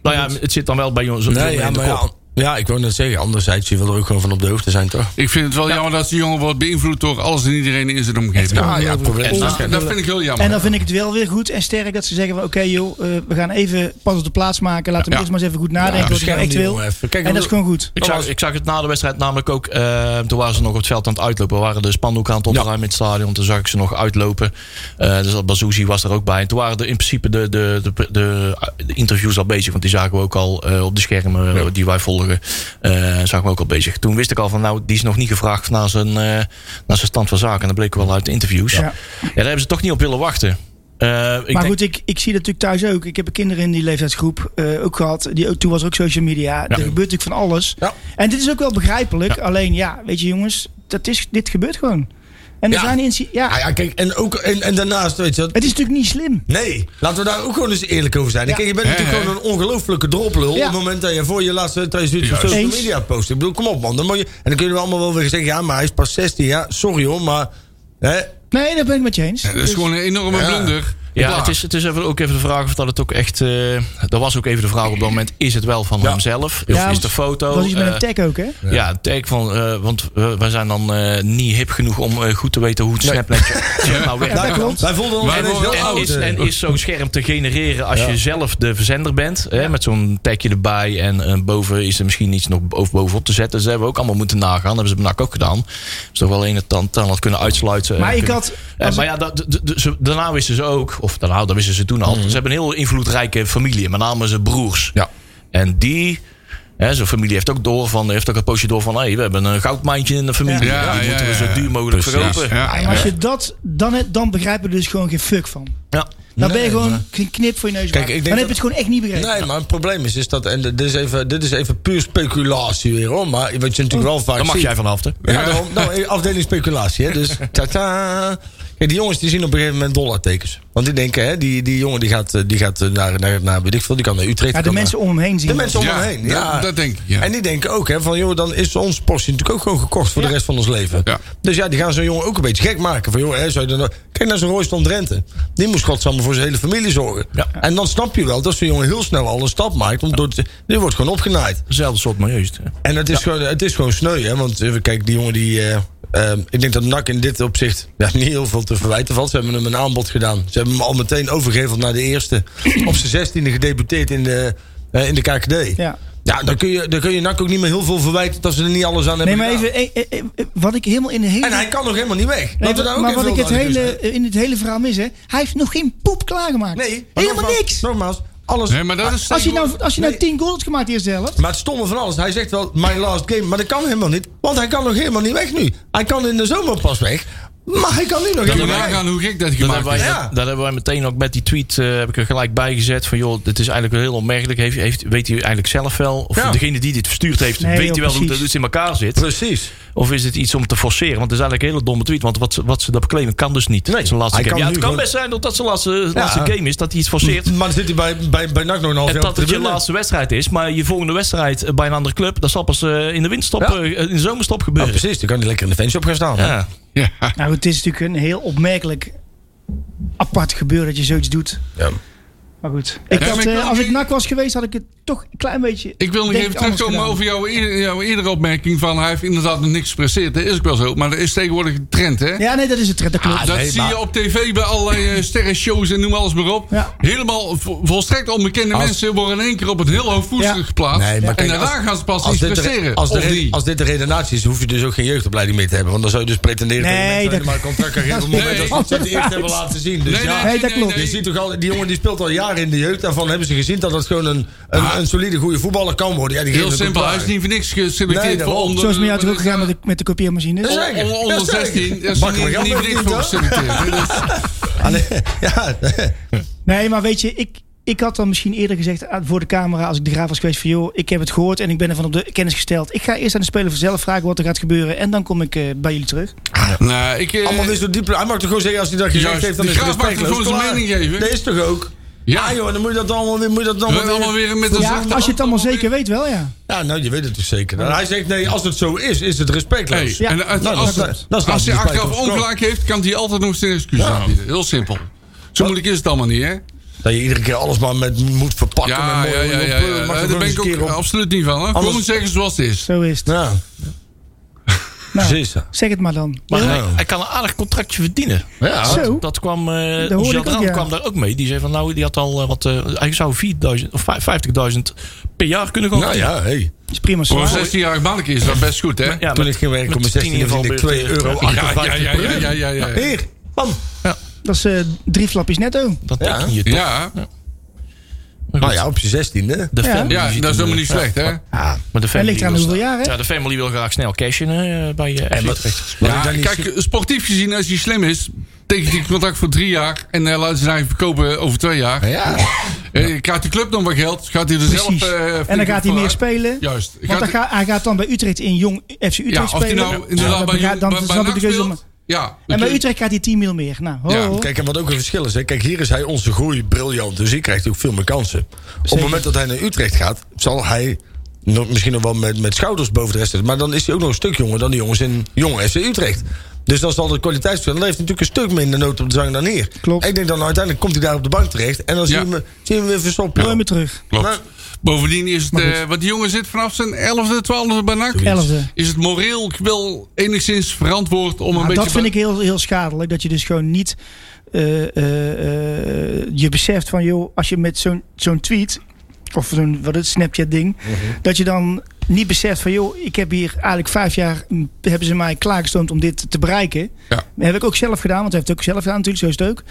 [SPEAKER 5] nou ja, het zit dan wel bij jongens.
[SPEAKER 2] Nee, ja,
[SPEAKER 5] in de
[SPEAKER 2] maar ja,
[SPEAKER 5] kop.
[SPEAKER 2] ja, ik wou net zeggen. Anderzijds, je wil er ook gewoon van op de hoogte zijn, toch?
[SPEAKER 4] Ik vind het wel jammer dat die jongen wordt beïnvloed door alles en iedereen in zijn omgeving.
[SPEAKER 2] Ja, ja, het probleem is...
[SPEAKER 4] Dat, dat vind ik heel jammer.
[SPEAKER 3] En dan vind ik het wel weer goed en sterk dat ze zeggen van... Oké joh, eh, we gaan even pas op de plaats maken. Laten we
[SPEAKER 4] Ja.
[SPEAKER 3] eerst maar eens even goed nadenken wat ik nou
[SPEAKER 2] bescherm
[SPEAKER 3] echt
[SPEAKER 2] die
[SPEAKER 3] wil.
[SPEAKER 2] jongen even. Kijk,
[SPEAKER 3] en dat is gewoon goed.
[SPEAKER 5] Ik zag, ik zag het na de wedstrijd namelijk ook. eh, toen waren ze nog op het veld aan het uitlopen. We waren de spandoeken aan het opruimen in het stadion. Toen zag ik ze nog uitlopen. Eh, dus dat Bazouzi was er ook bij. En toen waren er in principe de, de, de, de, de interviews al bezig. Want die zagen we ook al eh, op de schermen eh, die wij volgen. eh, zagen we ook al bezig. Toen wist ik al van nou, die is nog niet gevraagd naar zijn, eh, naar zijn stand van zaken. En dat bleek wel uit de interviews. Ja.
[SPEAKER 3] Ja.
[SPEAKER 5] daar hebben ze toch niet op willen wachten. Eh, ik
[SPEAKER 3] maar
[SPEAKER 5] denk-
[SPEAKER 3] goed, ik, ik zie dat natuurlijk thuis ook. Ik heb kinderen in die leeftijdsgroep eh, ook gehad. Die, ook, toen was er ook social media. Er gebeurt natuurlijk van alles.
[SPEAKER 2] Ja.
[SPEAKER 3] En dit is ook wel begrijpelijk. Alleen ja, weet je jongens, dat is, dit gebeurt gewoon. En er
[SPEAKER 2] Ja.
[SPEAKER 3] zijn inci- ja,
[SPEAKER 2] Ah, ja, kijk, en, ook, en, en daarnaast, weet je wat?
[SPEAKER 3] Het is natuurlijk niet slim.
[SPEAKER 2] Nee, laten we daar ook gewoon eens eerlijk over zijn. Kijk, je bent natuurlijk
[SPEAKER 4] Hè, hè?
[SPEAKER 2] gewoon een ongelooflijke droplul...
[SPEAKER 3] Ja.
[SPEAKER 2] op het moment dat je voor je laatste dat je zoiets op
[SPEAKER 4] Juist.
[SPEAKER 2] social
[SPEAKER 3] Eens.
[SPEAKER 2] media post. Ik bedoel, kom op man. Dan moet je, en dan kunnen we allemaal wel weer zeggen... ja, maar hij is pas 16, ja, sorry hoor, maar... Hè,
[SPEAKER 3] Nee, dat ben ik met je eens.
[SPEAKER 4] dat is gewoon een enorme
[SPEAKER 2] Ja.
[SPEAKER 4] blunder.
[SPEAKER 5] Ja,
[SPEAKER 4] Klaar.
[SPEAKER 5] het is, het is even, ook even de vraag of dat het ook echt... eh dat was ook even de vraag op dat moment. Is het wel van
[SPEAKER 2] Ja.
[SPEAKER 5] hemzelf?
[SPEAKER 3] Ja,
[SPEAKER 5] Of is
[SPEAKER 3] want-
[SPEAKER 5] de foto...
[SPEAKER 3] Dat was iets met
[SPEAKER 5] eh,
[SPEAKER 3] een tag ook, hè?
[SPEAKER 5] Ja, het teken van, eh, want we- wij zijn dan eh, niet hip genoeg om eh, goed te weten hoe het snapnetje nou werkt.
[SPEAKER 3] dat klopt.
[SPEAKER 2] Wij voelden ons
[SPEAKER 4] Wij
[SPEAKER 2] ineens
[SPEAKER 4] worden
[SPEAKER 2] heel
[SPEAKER 5] En
[SPEAKER 2] oud. eh.
[SPEAKER 5] is, en is zo'n scherm te genereren als je zelf de verzender bent. Hè, Met zo'n tagje erbij. En eh, boven is er misschien iets nog bo- bovenop te zetten. Dus dat hebben we ook allemaal moeten nagaan. Dat hebben ze bij NAC ook gedaan. Dus toch wel een en het dan had kunnen uitsluiten.
[SPEAKER 3] Maar
[SPEAKER 5] En
[SPEAKER 3] ik
[SPEAKER 5] kunnen-
[SPEAKER 3] had-
[SPEAKER 5] Eh,
[SPEAKER 3] als
[SPEAKER 5] maar
[SPEAKER 3] ik-
[SPEAKER 5] ja, dat, d- d- ze- daarna wisten ze ook. Of daarna, dat wisten ze toen al.
[SPEAKER 3] Mhm.
[SPEAKER 5] Ze hebben een heel invloedrijke familie. Met name zijn broers.
[SPEAKER 2] Ja.
[SPEAKER 5] En die... hè, Zo'n familie heeft ook, door van, heeft ook een poosje door van... Hey, we hebben een goudmijntje in de familie.
[SPEAKER 4] Ja. Ja,
[SPEAKER 5] die
[SPEAKER 4] ja,
[SPEAKER 5] moeten we
[SPEAKER 4] ja,
[SPEAKER 5] zo
[SPEAKER 4] ja.
[SPEAKER 5] duur mogelijk verkopen.
[SPEAKER 4] Ja,
[SPEAKER 3] En
[SPEAKER 4] ja.
[SPEAKER 3] als je dat, dan, het- dan begrijpen we dus gewoon geen fuck van.
[SPEAKER 5] Ja.
[SPEAKER 3] Dan ben je
[SPEAKER 2] Nee,
[SPEAKER 3] gewoon
[SPEAKER 2] maar-
[SPEAKER 3] geen knip voor je neus.
[SPEAKER 2] Kijk,
[SPEAKER 3] waard.
[SPEAKER 2] ik denk
[SPEAKER 3] dan heb
[SPEAKER 2] dat-
[SPEAKER 3] je het gewoon echt niet begrepen.
[SPEAKER 2] Nee, maar het probleem is, is dat. En dit is, even, dit is even puur speculatie weer hoor. Maar wat je natuurlijk wel vaak.
[SPEAKER 5] Daar mag
[SPEAKER 2] ziet-
[SPEAKER 5] jij vanaf, hè?
[SPEAKER 2] Ja, daarom, nou, afdeling speculatie. Hè? Dus tata. Kijk, die jongens die zien op een gegeven moment dollartekens. Want die denken, hè, die, die jongen die gaat, eh, die gaat eh, naar, naar, naar, weet ik veel, die kan naar Utrecht.
[SPEAKER 3] Ja, de
[SPEAKER 2] kan
[SPEAKER 3] mensen
[SPEAKER 2] naar-
[SPEAKER 3] om hem heen zien.
[SPEAKER 2] de mensen om
[SPEAKER 4] Ja,
[SPEAKER 2] hem heen.
[SPEAKER 4] dat-
[SPEAKER 2] Ja.
[SPEAKER 4] dat denk ik, ja.
[SPEAKER 2] En die denken ook, hè, van joh, dan is onze portie natuurlijk ook gewoon gekocht voor de rest van ons leven.
[SPEAKER 4] Ja.
[SPEAKER 2] Dus ja, die gaan zo'n jongen ook een beetje gek maken. Van joh, hè, zou je dan, nou- kijk naar zo'n Royce van Drenthe. Die moest godsamme voor zijn hele familie zorgen. En dan snap je wel dat zo'n jongen heel snel al een stap maakt. Om door te, die wordt gewoon opgenaaid.
[SPEAKER 5] Zelfde soort milieu. is het, hè?
[SPEAKER 2] En het is, gewoon, het is gewoon sneu, hè? Want eh, kijk, die jongen die. eh, ehm, ik denk dat NAC in dit opzicht ja, niet heel veel te verwijten valt. Ze hebben hem een aanbod gedaan. Ze hebben hem al meteen overgeheveld naar de eerste. Op zijn zestiende gedeputeerd in de, eh, in de KKD.
[SPEAKER 3] Ja.
[SPEAKER 2] Ja, dan kun, je, dan kun je NAC ook niet meer heel veel verwijten dat ze er niet alles aan
[SPEAKER 3] Nee,
[SPEAKER 2] hebben
[SPEAKER 3] maar
[SPEAKER 2] gedaan.
[SPEAKER 3] even, eh, eh, eh, wat ik helemaal in de hele...
[SPEAKER 2] En hij kan nog helemaal niet weg.
[SPEAKER 3] Nee,
[SPEAKER 2] Laten we daar ook
[SPEAKER 3] maar
[SPEAKER 2] even
[SPEAKER 3] wat ik het
[SPEAKER 2] duidelijk in
[SPEAKER 3] hele, eh,
[SPEAKER 2] zijn.
[SPEAKER 3] in het hele verhaal mis, hè? Hij heeft nog geen poep klaargemaakt.
[SPEAKER 2] Nee, maar
[SPEAKER 3] helemaal
[SPEAKER 2] nogmaals-
[SPEAKER 3] niks.
[SPEAKER 2] Nogmaals, alles.
[SPEAKER 4] Nee, maar dat is
[SPEAKER 3] Als je nou, als je nou
[SPEAKER 2] Nee.
[SPEAKER 3] 10 goals hebt gemaakt eerst zelf.
[SPEAKER 2] Maar het stomme van alles, hij zegt wel my last game, maar dat kan helemaal niet. Want hij kan nog helemaal niet weg nu. Hij kan in de zomer pas weg, maar hij kan nu nog
[SPEAKER 4] Kun je
[SPEAKER 2] helemaal niet weg.
[SPEAKER 4] nagaan hoe gek dat
[SPEAKER 5] Dat
[SPEAKER 4] gemaakt
[SPEAKER 5] hebben, wij,
[SPEAKER 4] is.
[SPEAKER 2] Ja.
[SPEAKER 5] dat, dat hebben wij meteen ook met die tweet eh, heb ik er gelijk bij gezet. Van joh, dit is eigenlijk heel onmerkelijk. Heeft, heeft, weet hij eigenlijk zelf wel? Of
[SPEAKER 2] Ja.
[SPEAKER 5] degene die dit verstuurd heeft,
[SPEAKER 3] Nee,
[SPEAKER 5] weet
[SPEAKER 3] joh,
[SPEAKER 5] hij wel hoe
[SPEAKER 3] precies.
[SPEAKER 5] dat iets in elkaar zit?
[SPEAKER 2] Precies.
[SPEAKER 5] Of is het iets om te forceren? Want het is eigenlijk een hele domme tweet. Want wat, ze- wat ze dat claimen kan dus niet.
[SPEAKER 2] Nee,
[SPEAKER 5] Zijn laatste
[SPEAKER 2] hij
[SPEAKER 5] game.
[SPEAKER 2] kan
[SPEAKER 5] ja, het
[SPEAKER 2] nu
[SPEAKER 5] kan
[SPEAKER 2] gewoon-
[SPEAKER 5] best zijn dat dat zijn laatste, laatste game is. Dat hij iets forceert.
[SPEAKER 2] Maar dan zit hij bij, bij, bij NAC nog een half
[SPEAKER 5] En
[SPEAKER 2] jaar op
[SPEAKER 5] dat
[SPEAKER 2] de
[SPEAKER 5] het je
[SPEAKER 2] tribune.
[SPEAKER 5] laatste wedstrijd is. Maar je volgende wedstrijd eh, bij een andere club. Dat zal pas eh, in de winterstop,
[SPEAKER 2] Ja.
[SPEAKER 5] eh, in de zomerstop
[SPEAKER 2] Ja,
[SPEAKER 5] gebeuren.
[SPEAKER 2] precies, dan kan hij lekker in de fanshop gaan staan. hè.
[SPEAKER 5] ja.
[SPEAKER 4] Ja.
[SPEAKER 3] Nou, het is natuurlijk een heel opmerkelijk apart gebeuren dat je zoiets doet.
[SPEAKER 2] Ja.
[SPEAKER 3] Maar goed. Ik
[SPEAKER 4] Ja,
[SPEAKER 3] had,
[SPEAKER 4] maar ik
[SPEAKER 3] eh,
[SPEAKER 4] wil-
[SPEAKER 3] als ik nak was geweest, had ik het toch een klein beetje.
[SPEAKER 4] Ik wil nog
[SPEAKER 3] denk
[SPEAKER 4] even
[SPEAKER 3] anders
[SPEAKER 4] terugkomen
[SPEAKER 3] gedaan.
[SPEAKER 4] over jouw, eer- jouw eerdere opmerking van hij heeft inderdaad nog niks gepresteerd. Dat is ook wel zo, maar dat is tegenwoordig een trend, hè?
[SPEAKER 3] Ja, Ah, nee, dat is het. Dat klopt.
[SPEAKER 4] dat
[SPEAKER 2] nee,
[SPEAKER 4] zie je
[SPEAKER 2] maar-
[SPEAKER 4] op tv bij allerlei eh, sterrenshows en noem alles maar op.
[SPEAKER 3] Ja.
[SPEAKER 4] Helemaal vo- volstrekt onbekende
[SPEAKER 2] Als-
[SPEAKER 4] mensen worden in één keer op het heel hoog voetstuk
[SPEAKER 3] Ja.
[SPEAKER 4] geplaatst.
[SPEAKER 2] Nee, maar
[SPEAKER 4] en
[SPEAKER 2] kijk,
[SPEAKER 4] daarna
[SPEAKER 2] als-
[SPEAKER 4] gaan ze pas
[SPEAKER 2] Als
[SPEAKER 4] iets
[SPEAKER 2] dit, de,
[SPEAKER 4] presteren.
[SPEAKER 2] als, de
[SPEAKER 4] Of
[SPEAKER 2] re-
[SPEAKER 4] niet.
[SPEAKER 2] als dit de redenatie is, hoef je dus ook geen jeugdopleiding meer te hebben. Want dan zou je dus pretenderen
[SPEAKER 3] Nee,
[SPEAKER 2] dat
[SPEAKER 3] dat-
[SPEAKER 2] je maar een contract kan geven op het
[SPEAKER 4] Nee.
[SPEAKER 2] moment dat ze het eerst hebben laten zien. Dus
[SPEAKER 4] Nee,
[SPEAKER 2] ja,
[SPEAKER 3] Nee, dat klopt.
[SPEAKER 2] Je ziet toch al, die jongen die speelt al jaren in de jeugd. Daarvan hebben ze gezien dat dat gewoon een, een, een solide goede voetballer kan worden. Ja, die
[SPEAKER 4] Ah. Heel
[SPEAKER 2] geven het
[SPEAKER 4] simpel,
[SPEAKER 2] ook
[SPEAKER 4] hij is
[SPEAKER 2] waar.
[SPEAKER 4] niet voor niks
[SPEAKER 2] Nee,
[SPEAKER 4] geselecteerd voor
[SPEAKER 2] daarom.
[SPEAKER 4] onder...
[SPEAKER 3] Zo is het mij natuurlijk ook
[SPEAKER 4] onder-
[SPEAKER 3] gegaan met de, met de kopieermachines.
[SPEAKER 2] Ja, zeker.
[SPEAKER 4] onder- Onder
[SPEAKER 2] Ja, zeker.
[SPEAKER 4] 16, daar is hij
[SPEAKER 2] Makkelijk
[SPEAKER 4] niet niet voor niks voor
[SPEAKER 2] afgevlogen, toch?
[SPEAKER 4] geselecteerd. hè? Dus-
[SPEAKER 2] Allee, Ah, ja,
[SPEAKER 3] Nee, maar weet je, ik, ik had dan misschien eerder gezegd ah, voor de camera, als ik de graaf was geweest, van joh, ik heb het gehoord en ik ben ervan op de kennis gesteld. Ik ga eerst aan de speler zelf vragen wat er gaat gebeuren en dan kom ik eh, bij jullie terug.
[SPEAKER 4] Nou, ik... eh,
[SPEAKER 2] allemaal is door diep. Hij mag toch gewoon zeggen als hij dat gezegd
[SPEAKER 4] Juist,
[SPEAKER 2] heeft, dan
[SPEAKER 4] de
[SPEAKER 2] is het
[SPEAKER 4] Graaf mag toch
[SPEAKER 2] respectloos.
[SPEAKER 4] gewoon zijn
[SPEAKER 2] Klaar.
[SPEAKER 4] mening geven?
[SPEAKER 2] Dat is toch ook?
[SPEAKER 4] Ja.
[SPEAKER 2] Ja, joh, dan moet je dat allemaal weer... Moet je dat
[SPEAKER 4] we
[SPEAKER 2] allemaal
[SPEAKER 4] allemaal weer met een
[SPEAKER 3] Ja,
[SPEAKER 4] zachte
[SPEAKER 3] als je
[SPEAKER 4] hand-
[SPEAKER 3] het allemaal zeker weet, wel ja.
[SPEAKER 2] Ja, nou, je weet het dus zeker. Nou, hij zegt, nee, als het zo is, is het respectloos.
[SPEAKER 4] Hey,
[SPEAKER 3] Ja.
[SPEAKER 4] En als,
[SPEAKER 2] Nou, dat
[SPEAKER 4] als,
[SPEAKER 2] is- dat is
[SPEAKER 4] als hij
[SPEAKER 2] nou precies
[SPEAKER 4] achteraf
[SPEAKER 2] waar je
[SPEAKER 4] ongelijk heeft, kan hij altijd nog zijn excuus aanbieden. Heel simpel. Zo moeilijk is het allemaal niet, hè?
[SPEAKER 2] Dat je iedere keer alles maar met moet verpakken.
[SPEAKER 4] Ja, ja,
[SPEAKER 2] met
[SPEAKER 4] ja.
[SPEAKER 2] mooi
[SPEAKER 4] ja, ja, Eh,
[SPEAKER 2] pleuren, mag er
[SPEAKER 4] Daar
[SPEAKER 2] gewoon
[SPEAKER 4] ben
[SPEAKER 2] eens
[SPEAKER 4] ik
[SPEAKER 2] een keer
[SPEAKER 4] ook
[SPEAKER 2] op.
[SPEAKER 4] absoluut niet van. Hè?
[SPEAKER 2] Anders-
[SPEAKER 4] Gewoon zeggen zoals het is.
[SPEAKER 3] Zo is het.
[SPEAKER 2] Ja,
[SPEAKER 3] Nou,
[SPEAKER 2] precies.
[SPEAKER 3] zeg het maar dan.
[SPEAKER 5] Maar
[SPEAKER 2] Ja.
[SPEAKER 5] hij, hij kan een aardig contractje verdienen.
[SPEAKER 2] Ja,
[SPEAKER 3] Zo.
[SPEAKER 5] Dat kwam, eh
[SPEAKER 3] Oh. hoorde
[SPEAKER 5] onze
[SPEAKER 3] ik ook,
[SPEAKER 5] Adriaan
[SPEAKER 3] ja.
[SPEAKER 5] kwam daar ook mee. Die zei van nou, die had al eh, wat, eh, hij zou 4000 of vijf- 50.000 per jaar kunnen gaan.
[SPEAKER 2] nou ja, hey.
[SPEAKER 3] is prima
[SPEAKER 4] Voor een
[SPEAKER 3] zo.
[SPEAKER 4] 16-jarig mannetje is dat best goed, hè? Ja,
[SPEAKER 2] Toen ik ging werken om mijn 16 verdiende ik
[SPEAKER 5] eh,
[SPEAKER 2] 2 euro.
[SPEAKER 4] ja, ja, ja. ja, ja, ja.
[SPEAKER 2] Hier, man.
[SPEAKER 3] Dat is eh, drie flapjes netto.
[SPEAKER 5] Dat
[SPEAKER 2] Ja.
[SPEAKER 5] teken je toch.
[SPEAKER 4] Ja,
[SPEAKER 2] Nou ja, op je 16e.
[SPEAKER 5] De
[SPEAKER 3] Ja.
[SPEAKER 5] family
[SPEAKER 4] ja,
[SPEAKER 5] ziet
[SPEAKER 4] dat is
[SPEAKER 5] hem,
[SPEAKER 4] helemaal niet
[SPEAKER 5] eh,
[SPEAKER 4] slecht, hè?
[SPEAKER 5] Maar de
[SPEAKER 3] Hij
[SPEAKER 5] family
[SPEAKER 3] ligt aan
[SPEAKER 5] wil
[SPEAKER 3] hoeveel
[SPEAKER 5] sta-
[SPEAKER 3] jaar, hè?
[SPEAKER 5] Ja, de family wil graag snel cashen eh, bij eh, FC Utrecht.
[SPEAKER 2] Wat
[SPEAKER 4] Ja,
[SPEAKER 2] ik dan niet zie-
[SPEAKER 4] kijk, sportief gezien, als hij slim is, tekent hij een contract voor drie jaar en eh, laten ze het eigenlijk verkopen over twee jaar.
[SPEAKER 2] Ja,
[SPEAKER 4] Eh, krijgt de club dan wat geld, gaat hij er
[SPEAKER 3] Precies.
[SPEAKER 4] zelf... eh,
[SPEAKER 3] en dan
[SPEAKER 4] flink
[SPEAKER 3] gaat hij
[SPEAKER 4] op
[SPEAKER 3] meer
[SPEAKER 4] vooruit.
[SPEAKER 3] spelen.
[SPEAKER 4] Juist.
[SPEAKER 3] Want dan
[SPEAKER 4] Gaat-
[SPEAKER 3] ga, hij gaat dan bij Utrecht in jong FC Utrecht
[SPEAKER 4] Ja, of hij
[SPEAKER 3] spelen.
[SPEAKER 4] nou
[SPEAKER 3] Ja,
[SPEAKER 4] inderdaad
[SPEAKER 3] dan
[SPEAKER 4] bij
[SPEAKER 3] begrijp-
[SPEAKER 4] bij-
[SPEAKER 3] dan
[SPEAKER 4] bij
[SPEAKER 3] snap ik de
[SPEAKER 4] NAC
[SPEAKER 3] keuze. om-
[SPEAKER 4] speelt. Ja.
[SPEAKER 3] En bij Utrecht gaat hij 10 mil meer. Nou, ho,
[SPEAKER 4] Ja,
[SPEAKER 3] ho.
[SPEAKER 2] Kijk, en wat ook een verschil is. Hè? Kijk, hier is hij onze groei briljant. Dus hier krijgt hij ook veel meer kansen. Op het moment dat hij naar Utrecht gaat, zal hij nog, misschien nog wel met, met schouders boven de rest zitten. Maar dan is hij ook nog een stuk jonger dan de jongens in jong FC Utrecht. Dus dan zal de kwaliteitsverschil. Dan leeft natuurlijk een stuk minder nood op de zang dan hier.
[SPEAKER 3] Klopt.
[SPEAKER 2] Ik denk dan uiteindelijk komt hij daar op de bank terecht. En dan zien
[SPEAKER 4] Ja.
[SPEAKER 2] we hem- zien we hem weer verstoppen.
[SPEAKER 3] Gooi me terug.
[SPEAKER 4] Klopt.
[SPEAKER 2] Nou.
[SPEAKER 4] Bovendien is het, eh, wat die jongen zit vanaf zijn 11e, 12e bij NAC,
[SPEAKER 3] Elfde.
[SPEAKER 4] is het moreel wel enigszins verantwoord om een
[SPEAKER 3] Maar
[SPEAKER 4] beetje...
[SPEAKER 3] Nou, dat vind ik heel, heel schadelijk. Dat je dus gewoon niet. eh, eh, eh, je beseft van, joh, als je met zo'n zo'n tweet. of zo'n wat het Snapchat-ding.
[SPEAKER 4] Mhm.
[SPEAKER 3] dat je dan niet beseft van, joh, ik heb hier eigenlijk vijf jaar. m, hebben ze mij klaargestoomd om dit te bereiken.
[SPEAKER 4] Ja.
[SPEAKER 3] Dat heb ik ook zelf gedaan, want hij heeft het ook zelf gedaan, natuurlijk, zo is het ook.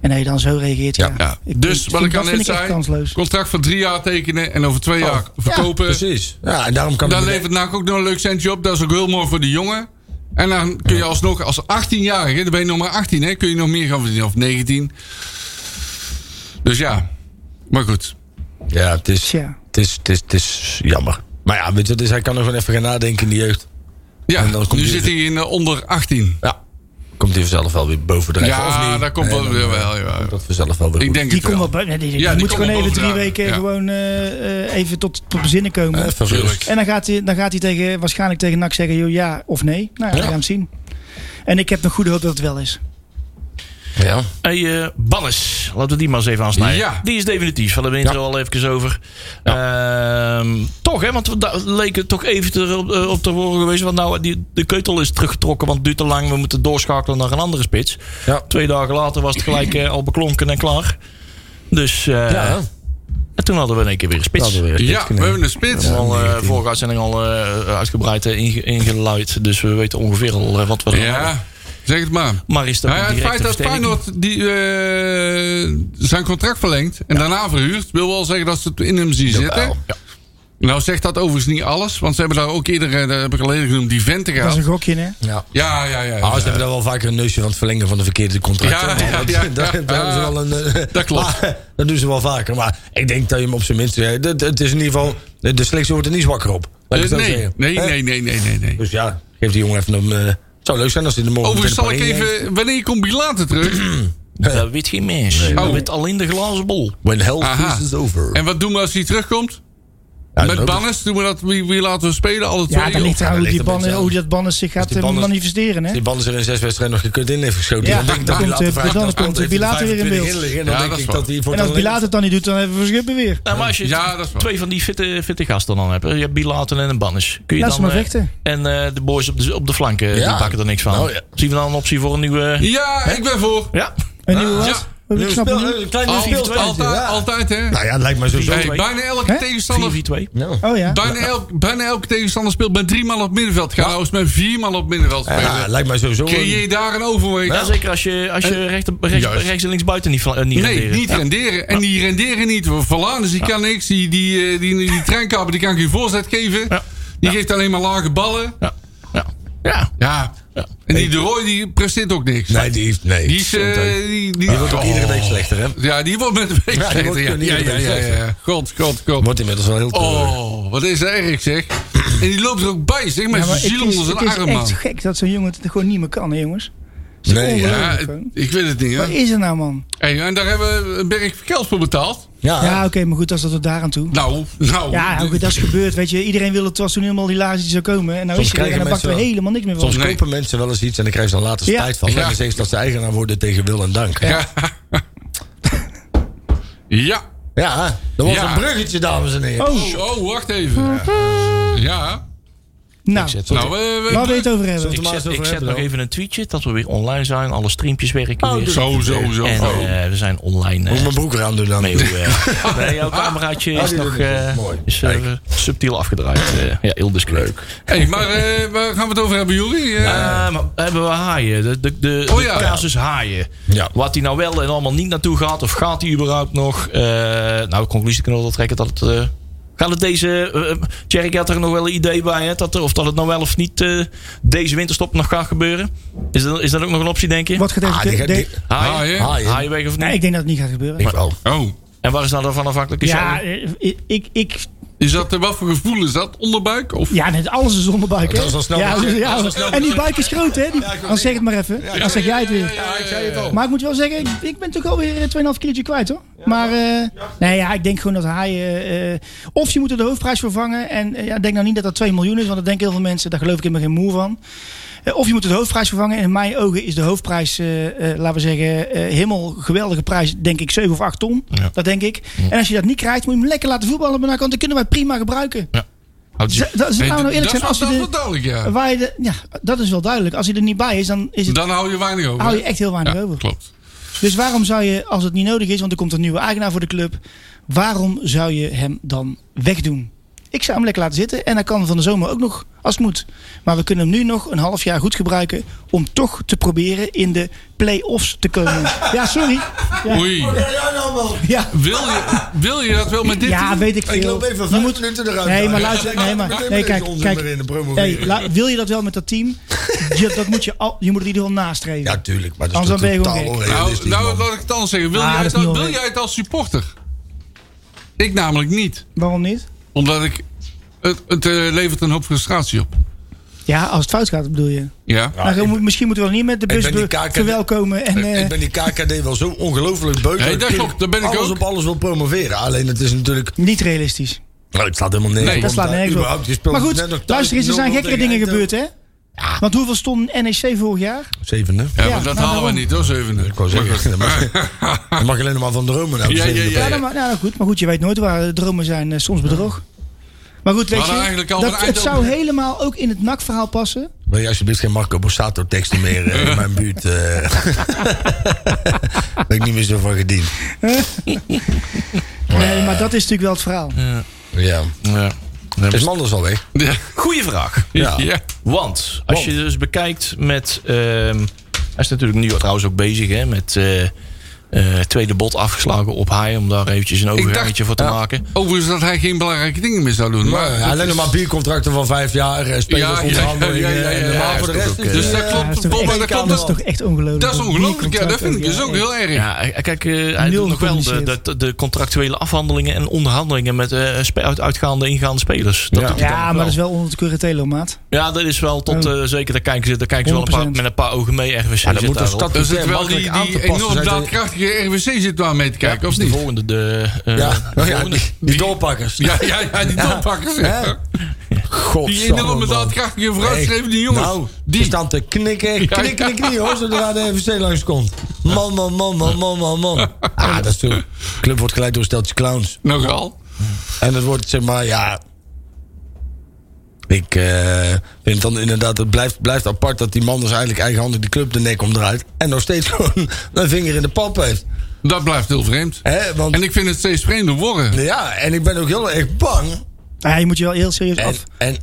[SPEAKER 3] En dat je dan zo reageert. Ja.
[SPEAKER 4] Ja. Dus wat
[SPEAKER 3] vind-
[SPEAKER 4] ik al
[SPEAKER 3] dat vind
[SPEAKER 4] net
[SPEAKER 3] echt
[SPEAKER 4] zei,
[SPEAKER 3] kansloos. Oh.
[SPEAKER 4] Contract van drie jaar tekenen en over twee jaar verkopen.
[SPEAKER 2] Precies. Ja, en daarom kan
[SPEAKER 4] Dan
[SPEAKER 2] het-
[SPEAKER 4] levert NAC ook nog een leuk centje op. Dat is ook heel mooi voor de jongen. En dan kun je alsnog als 18-jarige, dan ben je nog maar 18, hè, kun je nog meer gaan verdienen. Of 19. Dus ja, maar goed.
[SPEAKER 2] Ja, het is,
[SPEAKER 3] Tja.
[SPEAKER 2] het, is, het, is, het is jammer. Maar ja, weet je, dus hij kan er gewoon even gaan nadenken in de jeugd.
[SPEAKER 4] Ja,
[SPEAKER 2] En dan komt
[SPEAKER 4] nu
[SPEAKER 2] die-
[SPEAKER 4] zit hij in eh, onder 18.
[SPEAKER 2] Ja. Komt hij vanzelf wel weer bovendrijven,
[SPEAKER 4] Ja,
[SPEAKER 2] of niet?
[SPEAKER 4] daar komt wel-
[SPEAKER 2] dan, eh,
[SPEAKER 4] jawel, jawel.
[SPEAKER 2] komt Dat vanzelf wel weer
[SPEAKER 4] Ik
[SPEAKER 2] goed.
[SPEAKER 4] denk
[SPEAKER 3] Die
[SPEAKER 4] het wel.
[SPEAKER 3] komt wel bij. nee, die, die
[SPEAKER 4] Ja, die
[SPEAKER 3] moet
[SPEAKER 4] komt
[SPEAKER 3] gewoon even
[SPEAKER 4] bovenaan.
[SPEAKER 3] drie weken
[SPEAKER 4] Ja.
[SPEAKER 3] gewoon eh, eh, even tot, tot bezinnen komen.
[SPEAKER 2] Even
[SPEAKER 4] Tuurlijk.
[SPEAKER 2] rust.
[SPEAKER 3] En dan gaat hij, dan gaat hij tegen, waarschijnlijk tegen NAC zeggen joh, ja of nee. Nou ja, we gaan het zien. En ik heb nog goede hoop dat het wel is.
[SPEAKER 2] Ja.
[SPEAKER 5] Hey, eh, Bannes, laten we die maar eens even aansnijden.
[SPEAKER 4] Ja.
[SPEAKER 5] Die is definitief, hadden we het er al even over. Ehm, toch, hè? Want daar leek het toch even erop eh, op te horen geweest. Want nou, die, de keutel is teruggetrokken, want het duurt te lang. We moeten doorschakelen naar een andere spits.
[SPEAKER 2] Ja.
[SPEAKER 5] Twee dagen later was het gelijk eh, al beklonken en klaar. Dus eh,
[SPEAKER 2] Ja, hè?
[SPEAKER 5] en toen hadden we in één keer weer een spits.
[SPEAKER 2] Hadden we weer een
[SPEAKER 4] Ja,
[SPEAKER 2] tikje,
[SPEAKER 4] we
[SPEAKER 2] nee.
[SPEAKER 4] hebben een spits.
[SPEAKER 5] We hebben al eh, vorige uitzending al eh, uitgebreid eh, inge- ingeluid. Dus we weten ongeveer al eh, wat we er hebben.
[SPEAKER 4] Ja, zeg het maar.
[SPEAKER 5] Maar is dat
[SPEAKER 4] Nou ja,
[SPEAKER 5] een
[SPEAKER 4] het feit
[SPEAKER 5] directe
[SPEAKER 4] dat
[SPEAKER 5] versterking?
[SPEAKER 4] Feyenoord die, eh, zijn contract verlengt en daarna verhuurt, wil wel zeggen dat ze het in hem zien zitten. Nou zegt dat overigens niet alles, want ze hebben daar ook eerder, eh, dat heb ik al eerder genoemd, die venten
[SPEAKER 3] Dat is een
[SPEAKER 4] gehad.
[SPEAKER 3] gokje, hè?
[SPEAKER 2] Ja.
[SPEAKER 4] Ja, ja, ja.
[SPEAKER 2] Ah,
[SPEAKER 4] ja.
[SPEAKER 2] ze hebben daar wel vaker een neusje van het verlengen van de verkeerde contracten.
[SPEAKER 4] Ja, ja,
[SPEAKER 2] dat,
[SPEAKER 4] ja,
[SPEAKER 2] dat-
[SPEAKER 4] ja.
[SPEAKER 2] dat hebben ze wel een, eh,
[SPEAKER 4] Dat klopt.
[SPEAKER 2] maar, dat doen ze wel vaker. Maar ik denk dat je hem op zijn minst... eh, dat- Het is in ieder geval... De de selectie wordt er niet zwakker op. Laat ik
[SPEAKER 4] Eh,
[SPEAKER 2] het zo
[SPEAKER 4] nee,
[SPEAKER 2] zeggen.
[SPEAKER 4] nee,
[SPEAKER 2] Hè?
[SPEAKER 4] nee, nee, nee, nee, nee.
[SPEAKER 2] Dus ja, geef die jongen even een... eh, het zou leuk zijn als hij de morgen...
[SPEAKER 4] Overigens zal ik
[SPEAKER 2] meteen een paar in-
[SPEAKER 4] even, wanneer komt Bilater terug?
[SPEAKER 5] Dat weet geen mens.
[SPEAKER 4] Oh.
[SPEAKER 5] Dat weet alleen de glazen bol.
[SPEAKER 2] When hell
[SPEAKER 4] Aha.
[SPEAKER 2] freezes over.
[SPEAKER 4] En wat doen we als hij terugkomt?
[SPEAKER 2] Ja,
[SPEAKER 4] Met
[SPEAKER 2] dat-
[SPEAKER 4] Bannes, doen we dat, wie, wie laten we spelen? Alle twee?
[SPEAKER 3] Ja, dan ligt
[SPEAKER 4] of-
[SPEAKER 3] eraan hoe,
[SPEAKER 2] ligt
[SPEAKER 3] die
[SPEAKER 2] er een
[SPEAKER 3] bannen,
[SPEAKER 2] beetje aan.
[SPEAKER 3] hoe dat bannen zich gaat
[SPEAKER 2] die
[SPEAKER 3] eh,
[SPEAKER 2] bannen-
[SPEAKER 3] manifesteren, hè?
[SPEAKER 2] Die band er in zes wedstrijden nog gekut in heeft geschoten.
[SPEAKER 3] Ja,
[SPEAKER 2] dan denk ik dat
[SPEAKER 3] dan
[SPEAKER 2] Bilater
[SPEAKER 3] komt, eh,
[SPEAKER 2] vijf-
[SPEAKER 3] dan
[SPEAKER 2] dan
[SPEAKER 3] komt
[SPEAKER 2] komt
[SPEAKER 3] Bilater weer in
[SPEAKER 2] 25
[SPEAKER 3] beeld.
[SPEAKER 2] liggen. Dan
[SPEAKER 4] Ja,
[SPEAKER 2] denk
[SPEAKER 4] dat is
[SPEAKER 2] ik
[SPEAKER 4] waar.
[SPEAKER 2] dat hij voor
[SPEAKER 3] En als
[SPEAKER 2] talent-
[SPEAKER 3] Bilater het dan niet doet, dan hebben we Schippen weer.
[SPEAKER 5] Nou, maar als je
[SPEAKER 4] Ja, dat is waar.
[SPEAKER 5] twee van die fitte, fitte gasten dan hebt. hè, Je hebt Bilaten en een Bannes. Kun je
[SPEAKER 3] Laat
[SPEAKER 5] dan,
[SPEAKER 3] ze maar
[SPEAKER 5] eh,
[SPEAKER 3] vechten.
[SPEAKER 5] En eh, de boys op de, op de flanken,
[SPEAKER 2] Ja.
[SPEAKER 5] die pakken er niks van.
[SPEAKER 2] Nou, ja.
[SPEAKER 5] Zien we dan een optie voor een nieuwe...
[SPEAKER 4] Ja, ik ben voor.
[SPEAKER 5] Ja,
[SPEAKER 3] Een nieuwe
[SPEAKER 4] ja.
[SPEAKER 3] wat? Oh, Ik snap het
[SPEAKER 2] Speel-
[SPEAKER 3] niet.
[SPEAKER 2] eh, Klein
[SPEAKER 4] Al-
[SPEAKER 2] nieuw speeltuintje,
[SPEAKER 4] altijd,
[SPEAKER 2] ja.
[SPEAKER 4] altijd, hè?
[SPEAKER 2] Nou ja, het lijkt mij sowieso.
[SPEAKER 4] Hey,
[SPEAKER 5] twee.
[SPEAKER 4] bijna elke
[SPEAKER 3] Hè?
[SPEAKER 4] tegenstander
[SPEAKER 5] 4-4-2.
[SPEAKER 2] Nou.
[SPEAKER 3] Oh ja.
[SPEAKER 4] Bijna, elk, bijna elke tegenstander speelt met drie man op middenveld. Ga nou eens met vier man op middenveld spelen.
[SPEAKER 2] Ja, lijkt mij sowieso.
[SPEAKER 4] Creëer daar een overweg.
[SPEAKER 5] Ja, zeker als je, als je recht, rechts,
[SPEAKER 4] Juist.
[SPEAKER 5] rechts en links buiten niet, fla- eh, niet
[SPEAKER 4] Nee,
[SPEAKER 5] renderen.
[SPEAKER 4] niet renderen. En die renderen niet. Valanus, die kan niks. Die, die, eh, die, die, die treinkaper, die kan geen voorzet geven.
[SPEAKER 5] Ja.
[SPEAKER 4] Die geeft alleen maar lage ballen.
[SPEAKER 5] Ja. Ja. ja.
[SPEAKER 4] Ja. En die de Roy, die presteert ook niks.
[SPEAKER 2] Nee, die heeft. Nee.
[SPEAKER 4] Die is... eh,
[SPEAKER 2] die,
[SPEAKER 4] die, die,
[SPEAKER 2] wordt ook
[SPEAKER 4] Oh.
[SPEAKER 2] iedere week slechter, hè?
[SPEAKER 4] Ja, die wordt met een week
[SPEAKER 2] Ja, die wordt
[SPEAKER 4] slechter. Ja, ja,
[SPEAKER 2] iedere
[SPEAKER 4] ja,
[SPEAKER 2] week
[SPEAKER 4] ja,
[SPEAKER 2] slechter.
[SPEAKER 4] ja. God, god, god.
[SPEAKER 2] Wordt inmiddels wel heel treurig.
[SPEAKER 4] Oh, wat is dat erg, zeg. En die loopt er ook bij, zeg. Met
[SPEAKER 3] Ja,
[SPEAKER 4] zijn
[SPEAKER 3] maar het
[SPEAKER 4] ziel onder
[SPEAKER 3] is,
[SPEAKER 4] zijn
[SPEAKER 3] het is
[SPEAKER 4] arm, man.
[SPEAKER 3] echt gek dat zo'n jongen het gewoon niet meer kan, hè, jongens.
[SPEAKER 2] Nee, ja.
[SPEAKER 4] Ja,
[SPEAKER 3] Ongelooflijk,
[SPEAKER 4] het- ik weet het niet,
[SPEAKER 3] Wat
[SPEAKER 4] hè.
[SPEAKER 3] is er nou, man?
[SPEAKER 4] Hey, en daar hebben we een berg geld voor betaald.
[SPEAKER 2] Ja,
[SPEAKER 3] Ja, oké, maar goed, als dat tot daar aan toe.
[SPEAKER 4] Nou, nou.
[SPEAKER 3] Ja, nou, goed, dat is gebeurd, weet je. Iedereen wilde het was toen helemaal die laagjes die zou komen. En nou
[SPEAKER 2] Soms
[SPEAKER 3] is hij er en
[SPEAKER 2] krijgen
[SPEAKER 3] dan pakt er
[SPEAKER 2] mensen wel-
[SPEAKER 3] helemaal niks meer van.
[SPEAKER 2] Soms
[SPEAKER 4] Nee.
[SPEAKER 2] kopen mensen wel eens iets en dan krijgen ze dan later
[SPEAKER 3] Ja.
[SPEAKER 2] spijt van.
[SPEAKER 4] Ja.
[SPEAKER 2] En dan zeggen ze dat ze eigenaar worden tegen wil en dank. Ja,
[SPEAKER 4] Ja. ja.
[SPEAKER 2] dat was
[SPEAKER 4] Ja.
[SPEAKER 2] een bruggetje, dames en heren.
[SPEAKER 3] Oh,
[SPEAKER 4] Oh, oh, wacht even. Ja.
[SPEAKER 3] nou,
[SPEAKER 2] Nou,
[SPEAKER 4] Nou, we, we-
[SPEAKER 3] waar wil je het over hebben?
[SPEAKER 5] Ik
[SPEAKER 2] maar eens
[SPEAKER 5] zet,
[SPEAKER 2] over
[SPEAKER 5] ik zet
[SPEAKER 2] hebben
[SPEAKER 5] nog
[SPEAKER 2] dan.
[SPEAKER 5] even een tweetje dat we weer online zijn. Alle streampjes werken weer.
[SPEAKER 4] Zo, zo, zo.
[SPEAKER 5] En
[SPEAKER 4] zo.
[SPEAKER 5] eh, we zijn online. eh,
[SPEAKER 2] moet ik mijn broek eraan doen dan.
[SPEAKER 5] mee. Hoe, eh, nee, jouw cameraatje
[SPEAKER 2] Ah,
[SPEAKER 5] is
[SPEAKER 2] die
[SPEAKER 5] nog
[SPEAKER 2] doen we.
[SPEAKER 5] eh,
[SPEAKER 2] Mooi.
[SPEAKER 5] is, eh, subtiel afgedraaid. Eh, ja, heel discreet.
[SPEAKER 4] hey, maar eh, waar gaan we het over hebben, Juri? Eh,
[SPEAKER 5] Eh, maar hebben we haaien? De, de, de,
[SPEAKER 4] Oh
[SPEAKER 5] de
[SPEAKER 4] ja.
[SPEAKER 5] casus haaien.
[SPEAKER 2] Ja.
[SPEAKER 5] Wat hij nou wel en allemaal niet naartoe gaat. Of gaat hij überhaupt nog? Eh, nou, de conclusie kunnen we wel trekken dat het... eh, gaat het deze... eh, eh, Tjerk had er nog wel een idee bij. Hè, dat, er- of dat het nou wel of niet eh, deze winterstop nog gaat gebeuren. Is dat, is dat ook nog een optie, denk je?
[SPEAKER 3] Wat gaat
[SPEAKER 2] Ah, die
[SPEAKER 3] deze...
[SPEAKER 2] gaat-
[SPEAKER 3] de-
[SPEAKER 2] die-
[SPEAKER 5] Haaien?
[SPEAKER 4] Haaien?
[SPEAKER 5] Haaien. Haaien weg of niet?
[SPEAKER 3] Nee, ik denk dat het niet gaat gebeuren.
[SPEAKER 2] Ik wel.
[SPEAKER 4] Oh,
[SPEAKER 5] En waar is nou dan van afhankelijk? Is
[SPEAKER 3] Ja,
[SPEAKER 5] al-
[SPEAKER 3] eh, ik, ik,
[SPEAKER 4] is dat, eh, wat voor gevoel is dat? Onderbuik? Of?
[SPEAKER 3] ja net alles is zonder buik. hè?
[SPEAKER 2] Oh, Dat is al snel
[SPEAKER 3] ja,
[SPEAKER 2] bezig.
[SPEAKER 3] ja,
[SPEAKER 2] Dat is al snel
[SPEAKER 3] en die
[SPEAKER 2] bezig.
[SPEAKER 3] buik is groot, hè? Die, dan zeg het maar even. dan zeg jij het weer.
[SPEAKER 4] Ja, ik zei het al.
[SPEAKER 3] Maar ik moet wel zeggen, ik ben toch alweer 2,5 kilo eh, kwijt, hoor. Maar eh, nee, ja, ik denk gewoon dat hij... eh, eh, of je moet er de hoofdprijs voor vangen. En eh, ja, ik denk nou niet dat dat 2 miljoen is. Want dat denken heel veel mensen. Daar geloof ik helemaal geen moe van. Eh, of je moet de hoofdprijs vervangen. En in mijn ogen is de hoofdprijs, eh, eh, laten we zeggen, eh, helemaal geweldige prijs. Denk ik 7 of 8 ton. Dat denk ik. En als je dat niet krijgt, moet je hem lekker laten voetballen. Maar dan kan- dan kunnen wij prima gebruiken.
[SPEAKER 4] Houdt je-
[SPEAKER 3] Z- dat-
[SPEAKER 4] Nee,
[SPEAKER 3] laten we nou eerlijk zijn,
[SPEAKER 4] dat
[SPEAKER 3] als
[SPEAKER 4] is wel-
[SPEAKER 3] je
[SPEAKER 4] dat
[SPEAKER 3] de-
[SPEAKER 4] is wel duidelijk, ja.
[SPEAKER 3] Waar je de- ja, dat is wel duidelijk. Als hij er niet bij is, dan is het,
[SPEAKER 4] Dan hou je weinig over.
[SPEAKER 3] hou je echt heel weinig
[SPEAKER 4] ja,
[SPEAKER 3] over.
[SPEAKER 4] Klopt.
[SPEAKER 3] Dus waarom zou je, als het niet nodig is, want er komt een nieuwe eigenaar voor de club, waarom zou je hem dan wegdoen? Ik zou hem lekker laten zitten en hij kan van de zomer ook nog als het moet. Maar we kunnen hem nu nog een half jaar goed gebruiken om toch te proberen in de play-offs te komen. Ja, sorry. Ja,
[SPEAKER 4] Oei.
[SPEAKER 2] nou,
[SPEAKER 3] ja.
[SPEAKER 4] Wil je, wil je dat wel met dit
[SPEAKER 3] Ja,
[SPEAKER 4] doen?
[SPEAKER 3] weet ik veel.
[SPEAKER 2] Ik loop even
[SPEAKER 3] Je
[SPEAKER 2] vijf
[SPEAKER 3] moet-
[SPEAKER 2] minuten eruit.
[SPEAKER 3] Nee,
[SPEAKER 2] daar.
[SPEAKER 3] maar luister.
[SPEAKER 2] Ja,
[SPEAKER 3] Nee,
[SPEAKER 2] ik
[SPEAKER 3] maar,
[SPEAKER 2] heb
[SPEAKER 3] nee,
[SPEAKER 2] deze
[SPEAKER 3] kijk,
[SPEAKER 2] onzin
[SPEAKER 3] kijk.
[SPEAKER 2] weer in de promovering.
[SPEAKER 3] Hey, la- wil je dat wel met dat team? Je, dat moet je, al, je moet het in ieder geval nastreven.
[SPEAKER 2] Ja, tuurlijk. Maar dat is
[SPEAKER 3] Anders
[SPEAKER 2] toch
[SPEAKER 3] dan ben je gewoon
[SPEAKER 2] totaal
[SPEAKER 3] gek.
[SPEAKER 4] Nou,
[SPEAKER 2] onrealistisch.
[SPEAKER 4] nou
[SPEAKER 2] man.
[SPEAKER 4] laat ik het anders zeggen. Wil,
[SPEAKER 3] Ah,
[SPEAKER 4] jij,
[SPEAKER 3] dat is
[SPEAKER 4] het, al-
[SPEAKER 3] niet
[SPEAKER 4] wil
[SPEAKER 3] onreal.
[SPEAKER 4] jij het als supporter? Ik namelijk niet.
[SPEAKER 3] Waarom niet?
[SPEAKER 4] Omdat ik... Het, het eh, levert een hoop frustratie op.
[SPEAKER 3] Ja, als het fout gaat, bedoel je.
[SPEAKER 4] Ja.
[SPEAKER 2] Ja,
[SPEAKER 3] Maar
[SPEAKER 2] ik-
[SPEAKER 3] dan moet- misschien moeten we dan niet met de
[SPEAKER 2] ben
[SPEAKER 3] bus
[SPEAKER 2] die
[SPEAKER 3] be-
[SPEAKER 2] kaken-
[SPEAKER 3] verwelkomen. En,
[SPEAKER 2] Ik-
[SPEAKER 3] eh,
[SPEAKER 2] ik ben die KKD wel zo ongelooflijk beu.
[SPEAKER 4] Nee, dat
[SPEAKER 2] ik
[SPEAKER 4] klopt, daar ben ik
[SPEAKER 2] alles
[SPEAKER 4] ook.
[SPEAKER 2] op alles wil promoveren. Alleen het is natuurlijk...
[SPEAKER 3] niet realistisch.
[SPEAKER 2] Nou, het slaat helemaal nergens op,
[SPEAKER 4] Nee,
[SPEAKER 3] Dat slaat
[SPEAKER 2] want
[SPEAKER 3] nergens
[SPEAKER 2] überhaupt, je
[SPEAKER 3] op.
[SPEAKER 2] speelt
[SPEAKER 3] Maar
[SPEAKER 2] net nog thuis
[SPEAKER 3] goed, luister eens, er zijn
[SPEAKER 2] 0-0
[SPEAKER 3] gekkere
[SPEAKER 2] tegen
[SPEAKER 3] dingen
[SPEAKER 2] Eindhoven.
[SPEAKER 3] gebeurd, hè? Want hoeveel stond NEC vorig jaar?
[SPEAKER 2] Zevende.
[SPEAKER 4] Ja,
[SPEAKER 3] Ja,
[SPEAKER 4] maar dat
[SPEAKER 3] nou,
[SPEAKER 4] halen we
[SPEAKER 3] daarom.
[SPEAKER 4] niet hoor, zevende.
[SPEAKER 2] Ik wou zeggen, dat mag, dat mag alleen nog maar van dromen. Nou,
[SPEAKER 4] Ja, ja,
[SPEAKER 2] zevende
[SPEAKER 4] ja,
[SPEAKER 2] plek.
[SPEAKER 3] Ja, dan, maar, nou, goed, maar goed, je weet nooit waar de dromen zijn. eh, soms bedrog. Maar goed, weet
[SPEAKER 4] hadden
[SPEAKER 3] je,
[SPEAKER 4] Nou, eigenlijk al
[SPEAKER 3] dat,
[SPEAKER 4] een
[SPEAKER 3] het zou
[SPEAKER 4] Eindhoven.
[SPEAKER 3] helemaal ook in het NAC-verhaal passen.
[SPEAKER 2] Wil je alsjeblieft geen Marco Borsato teksten meer eh, in mijn buurt? eh ben ik niet meer zo van gediend.
[SPEAKER 3] Nee, Eh, maar dat is natuurlijk wel het verhaal.
[SPEAKER 2] Ja.
[SPEAKER 5] Ja.
[SPEAKER 2] Is Manders al weg?
[SPEAKER 4] Ja.
[SPEAKER 5] Goeie vraag.
[SPEAKER 4] Ja.
[SPEAKER 2] Ja.
[SPEAKER 5] Want als je dus bekijkt met. ehm, hij is natuurlijk nu trouwens ook bezig hè, met. eh, eh, tweede bot afgeslagen op haai. Om daar eventjes een overgangetje voor te maken.
[SPEAKER 4] Overigens dat hij geen belangrijke dingen meer zou doen. Maar,
[SPEAKER 2] Ja, Eh, alleen nog maar biercontracten van vijf jaar, eh, spelers
[SPEAKER 4] Ja, ja,
[SPEAKER 2] onderhandelingen.
[SPEAKER 4] ja, ja, ja,
[SPEAKER 2] en, eh,
[SPEAKER 4] ja,
[SPEAKER 2] maar voor de
[SPEAKER 4] ja,
[SPEAKER 2] rest
[SPEAKER 4] oké.
[SPEAKER 2] is,
[SPEAKER 4] Dus
[SPEAKER 2] eh,
[SPEAKER 4] dat klopt.
[SPEAKER 3] Ja, dat is toch
[SPEAKER 4] Bob,
[SPEAKER 3] echt-
[SPEAKER 4] maar dat
[SPEAKER 3] dat
[SPEAKER 4] klopt
[SPEAKER 3] is toch echt ongelooflijk.
[SPEAKER 4] dat is ongelooflijk. Ja, dat vind ik
[SPEAKER 3] Contract
[SPEAKER 4] dus ook heel erg.
[SPEAKER 5] Ja, hij- kijk, eh, hij
[SPEAKER 3] Nul
[SPEAKER 5] doet nog wel de,
[SPEAKER 3] gecommuniceerd.
[SPEAKER 5] de, de contractuele afhandelingen en onderhandelingen met eh, spe- uit- uitgaande en ingaande spelers. Dat
[SPEAKER 2] Ja.
[SPEAKER 5] doet hij dan nog
[SPEAKER 3] Ja, maar
[SPEAKER 5] wel.
[SPEAKER 3] dat is wel onder het curatelo, maat.
[SPEAKER 5] Ja, dat is wel tot eh, zeker. Daar kijken ze, daar kijken ze wel een paar,
[SPEAKER 3] 100%.
[SPEAKER 5] met een paar ogen mee. RVC
[SPEAKER 2] Ja, dan
[SPEAKER 5] zit
[SPEAKER 2] moet
[SPEAKER 5] daar
[SPEAKER 2] de
[SPEAKER 5] wel.
[SPEAKER 2] stad
[SPEAKER 4] Er zit wel
[SPEAKER 2] makkelijk
[SPEAKER 4] Dus die,
[SPEAKER 2] aan te
[SPEAKER 4] die
[SPEAKER 2] passen.
[SPEAKER 4] enorm
[SPEAKER 2] Zij zijn-
[SPEAKER 4] daadkrachtige RWC zit daar mee te kijken,
[SPEAKER 5] Dus
[SPEAKER 4] of
[SPEAKER 5] de
[SPEAKER 4] niet?
[SPEAKER 5] volgende. De, eh,
[SPEAKER 2] Ja,
[SPEAKER 5] de
[SPEAKER 2] ja,
[SPEAKER 5] volgende.
[SPEAKER 2] die, die doorpakkers.
[SPEAKER 4] Ja, ja, ja, die toppakkers.
[SPEAKER 2] Hè?
[SPEAKER 4] ja. Die
[SPEAKER 2] Godsamme,
[SPEAKER 4] enorme
[SPEAKER 2] man.
[SPEAKER 4] daadkrachtige
[SPEAKER 2] Nee.
[SPEAKER 4] vooruitstrevende jongens.
[SPEAKER 2] Nou, die
[SPEAKER 4] die.
[SPEAKER 2] staan te knikken, knikken, knikken, hoor, zodra de FVC langskomt. Man, man, man, man, man, man, man. Ah, dat is zo. De club wordt geleid door een steltje clowns.
[SPEAKER 4] Nogal.
[SPEAKER 2] En het wordt, zeg maar, ja... Ik eh, vind dan inderdaad, het blijft, blijft apart dat die man dus eigenlijk eigenhandig de club de nek omdraait. En nog steeds gewoon een vinger in de pap heeft.
[SPEAKER 4] Dat blijft heel vreemd.
[SPEAKER 2] Hè, want,
[SPEAKER 4] En ik vind het steeds vreemder worden.
[SPEAKER 2] ja, en ik ben ook heel erg bang
[SPEAKER 3] Ja, je moet je wel heel serieus
[SPEAKER 2] En,
[SPEAKER 3] af.
[SPEAKER 2] en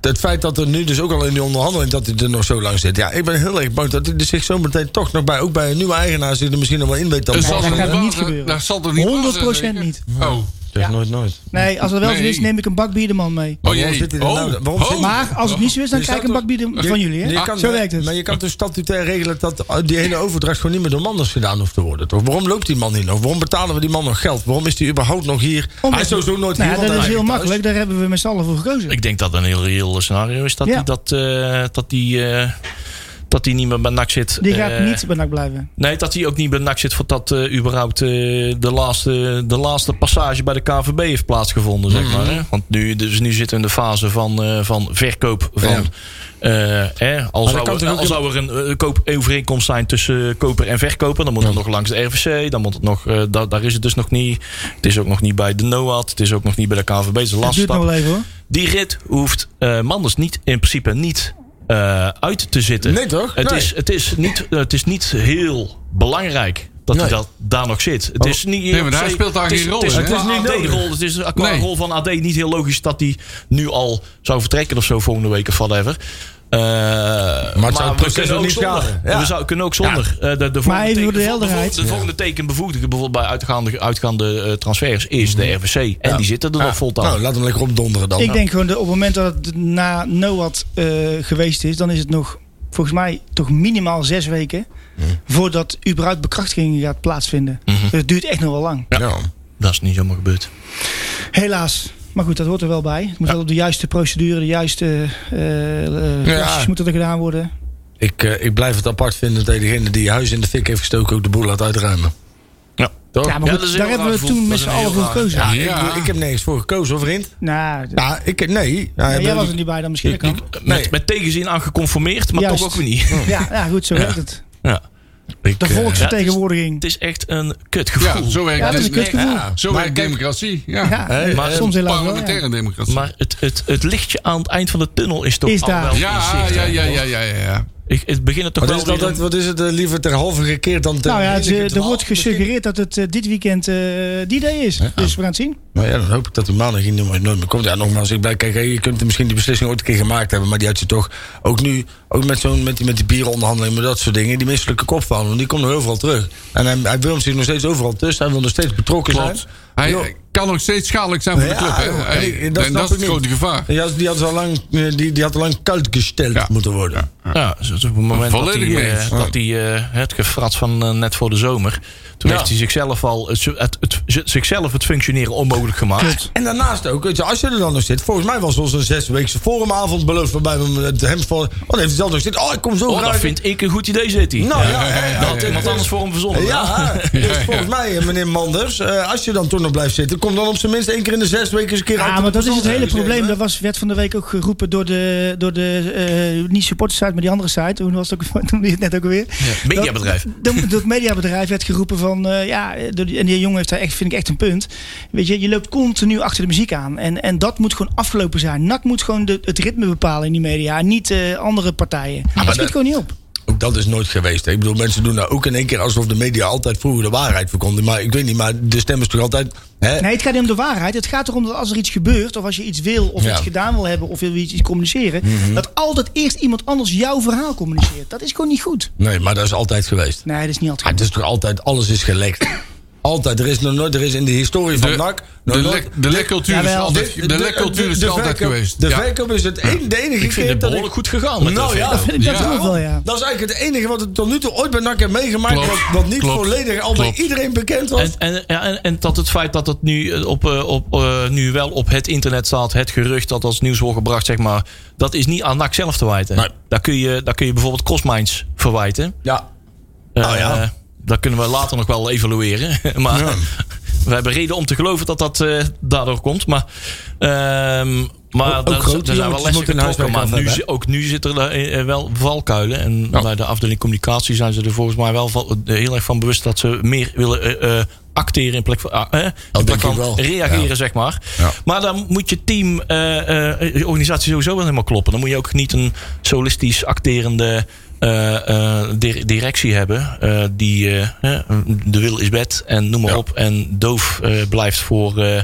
[SPEAKER 2] het feit dat er nu dus ook al in die onderhandeling dat hij er nog zo lang zit. Ja, ik ben heel erg bang dat hij er zich zo meteen toch nog bij, ook bij een nieuwe eigenaar, zich er misschien nog wel in weet. Dat het
[SPEAKER 4] Dat zal
[SPEAKER 3] dat
[SPEAKER 4] toch
[SPEAKER 3] gaat
[SPEAKER 4] niet
[SPEAKER 3] niet
[SPEAKER 4] waar-
[SPEAKER 3] gebeuren.
[SPEAKER 4] Dat zal toch niet waar zijn,
[SPEAKER 3] 100%
[SPEAKER 4] zeker?
[SPEAKER 3] niet.
[SPEAKER 4] Oh.
[SPEAKER 2] is nooit, nooit.
[SPEAKER 3] Nee, als dat wel zo
[SPEAKER 4] Nee.
[SPEAKER 3] is, neem ik een bak bier de man mee.
[SPEAKER 4] Oh
[SPEAKER 2] waarom
[SPEAKER 4] jee.
[SPEAKER 2] zit hij er nou- waarom zit-
[SPEAKER 4] Oh.
[SPEAKER 3] Maar als het niet zo is, dan
[SPEAKER 2] Je
[SPEAKER 3] krijg ik een
[SPEAKER 2] zou
[SPEAKER 3] bak bier de- van jullie. Hè?
[SPEAKER 2] Je kan,
[SPEAKER 3] Ah, zo werkt het.
[SPEAKER 2] Maar je kan dus statutair regelen dat eh, die hele overdracht gewoon niet meer door Manders gedaan hoeft te worden. Toch? Waarom loopt die man hier nog? Waarom betalen we die man nog geld? Waarom is die überhaupt nog hier? hij is sowieso nooit
[SPEAKER 3] Nou
[SPEAKER 2] hier.
[SPEAKER 3] ja,
[SPEAKER 2] want
[SPEAKER 3] dat is
[SPEAKER 2] hij
[SPEAKER 3] heel
[SPEAKER 2] thuis.
[SPEAKER 3] makkelijk, daar hebben we met z'n allen voor gekozen.
[SPEAKER 5] Ik denk dat een heel reëel scenario is dat
[SPEAKER 3] Ja.
[SPEAKER 5] die dat, eh, dat die, eh, dat die niet meer bij NAC zit.
[SPEAKER 3] Die gaat
[SPEAKER 5] Eh,
[SPEAKER 3] niet bij NAC blijven.
[SPEAKER 5] Nee, dat hij ook niet bij NAC zit voordat eh überhaupt eh, de, laatste, de laatste passage bij de KVB heeft plaatsgevonden. Zeg maar, hè? Want nu, dus nu zitten we in de fase van, eh, van verkoop van. eh hè, al
[SPEAKER 2] dat
[SPEAKER 5] zou,
[SPEAKER 2] kan toch ook
[SPEAKER 5] al
[SPEAKER 2] in-
[SPEAKER 5] zou er een eh, koopovereenkomst zijn tussen eh, koper en verkoper, dan moet het nog langs de RVC. Dan moet het nog, eh, da- daar is het dus nog niet. Het is ook nog niet bij de NOAD. Het is ook nog niet bij de KVB. Het is een
[SPEAKER 3] Dat
[SPEAKER 5] lastig.
[SPEAKER 3] duurt nog wel even hoor.
[SPEAKER 5] Die rit hoeft eh, Manders niet, in principe niet eh, uit te zitten.
[SPEAKER 2] Nee, toch?
[SPEAKER 5] Het,
[SPEAKER 2] Nee.
[SPEAKER 5] Is, het, is niet, het is niet heel belangrijk dat hij
[SPEAKER 2] Nee. Oh.
[SPEAKER 5] dat daar nog zit. Het is niet,
[SPEAKER 4] Nee, maar hij speelt daar
[SPEAKER 5] het is-
[SPEAKER 4] geen rol
[SPEAKER 5] Het is,
[SPEAKER 4] in,
[SPEAKER 5] het
[SPEAKER 4] hè?
[SPEAKER 5] is
[SPEAKER 2] Het is niet
[SPEAKER 5] niet AD-rol. Het is qua
[SPEAKER 4] Nee.
[SPEAKER 5] rol van AD niet heel logisch dat hij nu al zou vertrekken of zo volgende week of whatever. Eh,
[SPEAKER 2] het zou het
[SPEAKER 5] we
[SPEAKER 2] proces
[SPEAKER 5] kunnen
[SPEAKER 2] ook
[SPEAKER 5] ook
[SPEAKER 2] niet
[SPEAKER 5] zonder.
[SPEAKER 2] schaden. Ja.
[SPEAKER 5] We zou, kunnen ook zonder. Eh, de, de volgende
[SPEAKER 3] even voor de
[SPEAKER 5] teken-
[SPEAKER 3] helderheid.
[SPEAKER 5] De, volgende tekenbevoegdige bijvoorbeeld bij uitgaande, uitgaande eh, transfers is
[SPEAKER 2] Mhm.
[SPEAKER 5] de RVC. En die zitten er nog vol
[SPEAKER 2] Nou, laat hem lekker opdonderen dan.
[SPEAKER 3] Ik denk gewoon dat op het moment dat het na NOAD eh, geweest is, dan is het nog volgens mij toch minimaal zes weken voordat überhaupt bekrachtiging gaat plaatsvinden. Dus het duurt echt nog wel lang.
[SPEAKER 2] Ja.
[SPEAKER 5] Dat is niet zomaar gebeurd.
[SPEAKER 3] Helaas. Maar goed, dat hoort er wel bij. Het moet wel op de juiste procedure, de juiste eh eh,
[SPEAKER 2] Ja.
[SPEAKER 3] klasjes moeten er gedaan worden.
[SPEAKER 2] Ik, eh, ik blijf het apart vinden dat degene die je huis in de fik heeft gestoken ook de boel laat uitruimen.
[SPEAKER 5] Ja.
[SPEAKER 4] Toch?
[SPEAKER 3] Ja, maar
[SPEAKER 5] Ja,
[SPEAKER 3] goed,
[SPEAKER 5] dat is een
[SPEAKER 3] daar
[SPEAKER 5] heel
[SPEAKER 3] hebben we
[SPEAKER 5] raar gevoel.
[SPEAKER 3] toen
[SPEAKER 5] Dat
[SPEAKER 3] met
[SPEAKER 5] is
[SPEAKER 3] z'n
[SPEAKER 5] een
[SPEAKER 3] allen
[SPEAKER 5] heel
[SPEAKER 3] voor
[SPEAKER 5] raar-
[SPEAKER 3] gekozen.
[SPEAKER 2] Ja,
[SPEAKER 3] Nou,
[SPEAKER 4] Ja.
[SPEAKER 2] Ik, ik heb nergens voor gekozen, hoor, vriend.
[SPEAKER 3] d-
[SPEAKER 2] Ja, ik, nee. Nou,
[SPEAKER 3] ja, jij
[SPEAKER 2] dat-
[SPEAKER 3] was er niet bij dan misschien. dat kan.
[SPEAKER 5] Met, met tegenzin aan geconformeerd, maar
[SPEAKER 3] Juist.
[SPEAKER 5] toch ook weer niet.
[SPEAKER 3] Ja, ja, goed, zo
[SPEAKER 5] Ja.
[SPEAKER 3] werkt het.
[SPEAKER 5] Ja.
[SPEAKER 2] ik,
[SPEAKER 3] De
[SPEAKER 2] eh,
[SPEAKER 5] Het
[SPEAKER 3] volksvertegenwoordiging.
[SPEAKER 5] is echt een
[SPEAKER 4] Ja,
[SPEAKER 5] kutgevoel.
[SPEAKER 4] zo werkt
[SPEAKER 3] Ja, dat is een
[SPEAKER 4] dit-
[SPEAKER 3] kutgevoel.
[SPEAKER 2] ja.
[SPEAKER 4] Zo
[SPEAKER 2] Maar
[SPEAKER 4] werkt
[SPEAKER 2] kijk,
[SPEAKER 4] democratie. Ja.
[SPEAKER 3] Ja, eh,
[SPEAKER 2] Hey,
[SPEAKER 5] maar-
[SPEAKER 3] soms helaas wel.
[SPEAKER 4] Parlementaire
[SPEAKER 3] ja.
[SPEAKER 4] democratie.
[SPEAKER 5] Maar het, het, het lichtje aan het eind van de tunnel is toch
[SPEAKER 3] Is
[SPEAKER 5] al
[SPEAKER 3] daar.
[SPEAKER 5] wel in
[SPEAKER 4] ja,
[SPEAKER 5] zicht,
[SPEAKER 4] ja,
[SPEAKER 5] hè?
[SPEAKER 4] ja, ja, ja, ja, ja.
[SPEAKER 5] Ik, het begint er toch
[SPEAKER 2] Wat
[SPEAKER 5] wel
[SPEAKER 2] is, het altijd,
[SPEAKER 5] weer...
[SPEAKER 2] wat is het eh, liever ter halve gekeerd dan ter
[SPEAKER 3] Nou ja,
[SPEAKER 2] hele
[SPEAKER 3] ze-
[SPEAKER 2] keer
[SPEAKER 3] er
[SPEAKER 2] ter
[SPEAKER 3] wordt
[SPEAKER 2] halve misschien?
[SPEAKER 3] gesuggereerd dat het eh, dit weekend eh, die day is. Dus we gaan het zien.
[SPEAKER 2] Nou ja, dan hoop ik dat de maandag hier nooit nooit meer komt. Ja, nogmaals, ik blijf, kijk, hey, je kunt misschien die beslissing ooit een keer gemaakt hebben, maar die had je toch ook nu, ook met, zo'n, met, die, met die bieronderhandelingen, maar dat soort dingen, die misselijke kop van, want die komt nog overal terug. En hij, hij wil zich nog steeds overal tussen, hij wil nog steeds betrokken
[SPEAKER 4] Klopt.
[SPEAKER 2] zijn.
[SPEAKER 4] Hij
[SPEAKER 2] Joh.
[SPEAKER 4] kan nog steeds schadelijk zijn voor de
[SPEAKER 2] Ja,
[SPEAKER 4] club.
[SPEAKER 2] joh.
[SPEAKER 4] Hè? Hey,
[SPEAKER 2] Hey, dat
[SPEAKER 4] en
[SPEAKER 2] snap
[SPEAKER 4] dat is het
[SPEAKER 2] ik
[SPEAKER 4] grote
[SPEAKER 2] niet.
[SPEAKER 4] gevaar.
[SPEAKER 2] Die had, die had al lang, eh, die, die had al lang koudgesteld
[SPEAKER 4] Ja.
[SPEAKER 2] moeten worden.
[SPEAKER 5] Ja, dus op het moment dat
[SPEAKER 4] Volledig
[SPEAKER 5] hij,
[SPEAKER 4] mee
[SPEAKER 5] eh,
[SPEAKER 4] eens.
[SPEAKER 5] dat hij eh, het gefrat van eh, net voor de zomer... toen
[SPEAKER 2] Ja.
[SPEAKER 5] heeft hij zichzelf al het, het, het- zichzelf het functioneren onmogelijk gemaakt. Oh,
[SPEAKER 2] En daarnaast ook, weet je, als je er dan nog zit, volgens mij was ons een zesweekse forumavond beloofd, waarbij we met hem van, oh, dan heeft hij zelf nog zitten, oh, ik kom zo
[SPEAKER 5] Oh, dat
[SPEAKER 2] graag.
[SPEAKER 5] vind ik een goed idee, zit hij.
[SPEAKER 2] Nou ja,
[SPEAKER 4] ja,
[SPEAKER 5] dat had iemand anders voor hem verzonnen.
[SPEAKER 2] Ja, dus volgens mij, eh, meneer Manders, eh, als je dan toch nog blijft zitten, kom dan op zijn minst één keer in de zes weken eens een keer uit.
[SPEAKER 3] Ja,
[SPEAKER 2] de
[SPEAKER 3] maar dat is het
[SPEAKER 2] persoon.
[SPEAKER 3] hele probleem.
[SPEAKER 2] Ja.
[SPEAKER 3] Dat was, werd van de week ook geroepen door de, door de eh, niet supportersite, maar die andere site. Hoe was het ook, noemde je het net ook alweer.
[SPEAKER 5] mediabedrijf.
[SPEAKER 3] Dat, dat, dat mediabedrijf werd geroepen van, eh, ja, door die- en die jongen heeft daar echt, vind ik echt een punt. Weet je, je loopt continu achter de muziek aan. En, en dat moet gewoon afgelopen zijn. NAC moet gewoon de, het ritme bepalen in die media. en Niet eh, andere partijen. dat schiet
[SPEAKER 2] dat-
[SPEAKER 3] gewoon niet op.
[SPEAKER 2] Ook dat is nooit geweest. hè. Ik bedoel, mensen doen nou ook in één keer alsof de media altijd vroeger de waarheid verkondigde. Maar ik weet niet, maar de stem is toch altijd... Hè?
[SPEAKER 3] Nee, het gaat niet om de waarheid. Het gaat erom dat als er iets gebeurt, of als je iets wil, of
[SPEAKER 2] Ja.
[SPEAKER 3] iets gedaan wil hebben, of wil je iets communiceren, dat altijd eerst iemand anders jouw verhaal communiceert. Dat is gewoon niet goed.
[SPEAKER 2] Nee, maar dat is altijd geweest.
[SPEAKER 3] Nee, dat is niet
[SPEAKER 2] Ja,
[SPEAKER 3] altijd
[SPEAKER 2] het
[SPEAKER 3] goed.
[SPEAKER 2] is toch altijd, alles is gelekt. Altijd, er is nog nooit, er is in de historie van
[SPEAKER 4] De-
[SPEAKER 2] NAC... nog
[SPEAKER 4] De,
[SPEAKER 2] nooit-
[SPEAKER 4] lek- de lekcultuur is
[SPEAKER 3] Jawel.
[SPEAKER 4] altijd, de, lekcultuur is
[SPEAKER 2] de
[SPEAKER 4] altijd
[SPEAKER 2] verkoop-
[SPEAKER 4] geweest.
[SPEAKER 2] De
[SPEAKER 4] Ja.
[SPEAKER 2] verkoop is het een, de enige
[SPEAKER 5] Ik vind
[SPEAKER 2] keer
[SPEAKER 5] het
[SPEAKER 2] dat
[SPEAKER 5] behoorlijk goed gegaan met
[SPEAKER 2] Nou
[SPEAKER 5] de
[SPEAKER 2] ja,
[SPEAKER 5] verkoop.
[SPEAKER 3] Vind ik dat
[SPEAKER 4] Ja.
[SPEAKER 3] ook wel, ja.
[SPEAKER 2] Dat is eigenlijk het enige wat ik tot nu toe ooit bij NAC heb meegemaakt.
[SPEAKER 4] Klopt,
[SPEAKER 2] Wat, wat niet
[SPEAKER 4] klopt,
[SPEAKER 2] volledig al bij
[SPEAKER 4] klopt.
[SPEAKER 2] iedereen bekend was.
[SPEAKER 5] En, en, ja, en, en dat het feit dat het nu, eh, op, eh, op, eh, nu wel op het internet staat, het gerucht dat als nieuws wordt gebracht, zeg maar, dat is niet aan NAC zelf te wijten.
[SPEAKER 2] Nee.
[SPEAKER 5] Daar, kun je, daar kun je bijvoorbeeld Crossminds verwijten.
[SPEAKER 2] ja.
[SPEAKER 5] Eh,
[SPEAKER 2] Nou ja.
[SPEAKER 5] eh, dat kunnen we later nog wel evalueren. maar we hebben reden om te geloven dat dat eh, daardoor komt. Maar, ehm, maar
[SPEAKER 2] Ook- ook
[SPEAKER 5] daar, daar
[SPEAKER 2] grote
[SPEAKER 5] zijn wel
[SPEAKER 2] jongetjes
[SPEAKER 5] lessen
[SPEAKER 2] moeten hun
[SPEAKER 5] getrokken.
[SPEAKER 2] huiswerk
[SPEAKER 5] Maar
[SPEAKER 2] af
[SPEAKER 5] nu,
[SPEAKER 2] hebben, hè?
[SPEAKER 5] zi- ook nu zitten er eh, wel valkuilen. En bij de afdeling communicatie zijn ze er volgens mij wel van- eh, heel erg van bewust dat ze meer willen eh, eh, acteren in plek van, ah, eh, in plek
[SPEAKER 2] denk ik
[SPEAKER 5] van
[SPEAKER 2] wel.
[SPEAKER 5] reageren,
[SPEAKER 2] Ja.
[SPEAKER 5] zeg maar.
[SPEAKER 2] Ja.
[SPEAKER 5] Maar dan moet je team, eh, eh, je organisatie sowieso wel helemaal kloppen. Dan moet je ook niet een solistisch acterende eh, eh, dir- directie hebben. eh, die eh, eh, de wil is wet en noem maar op. En doof eh, blijft voor eh,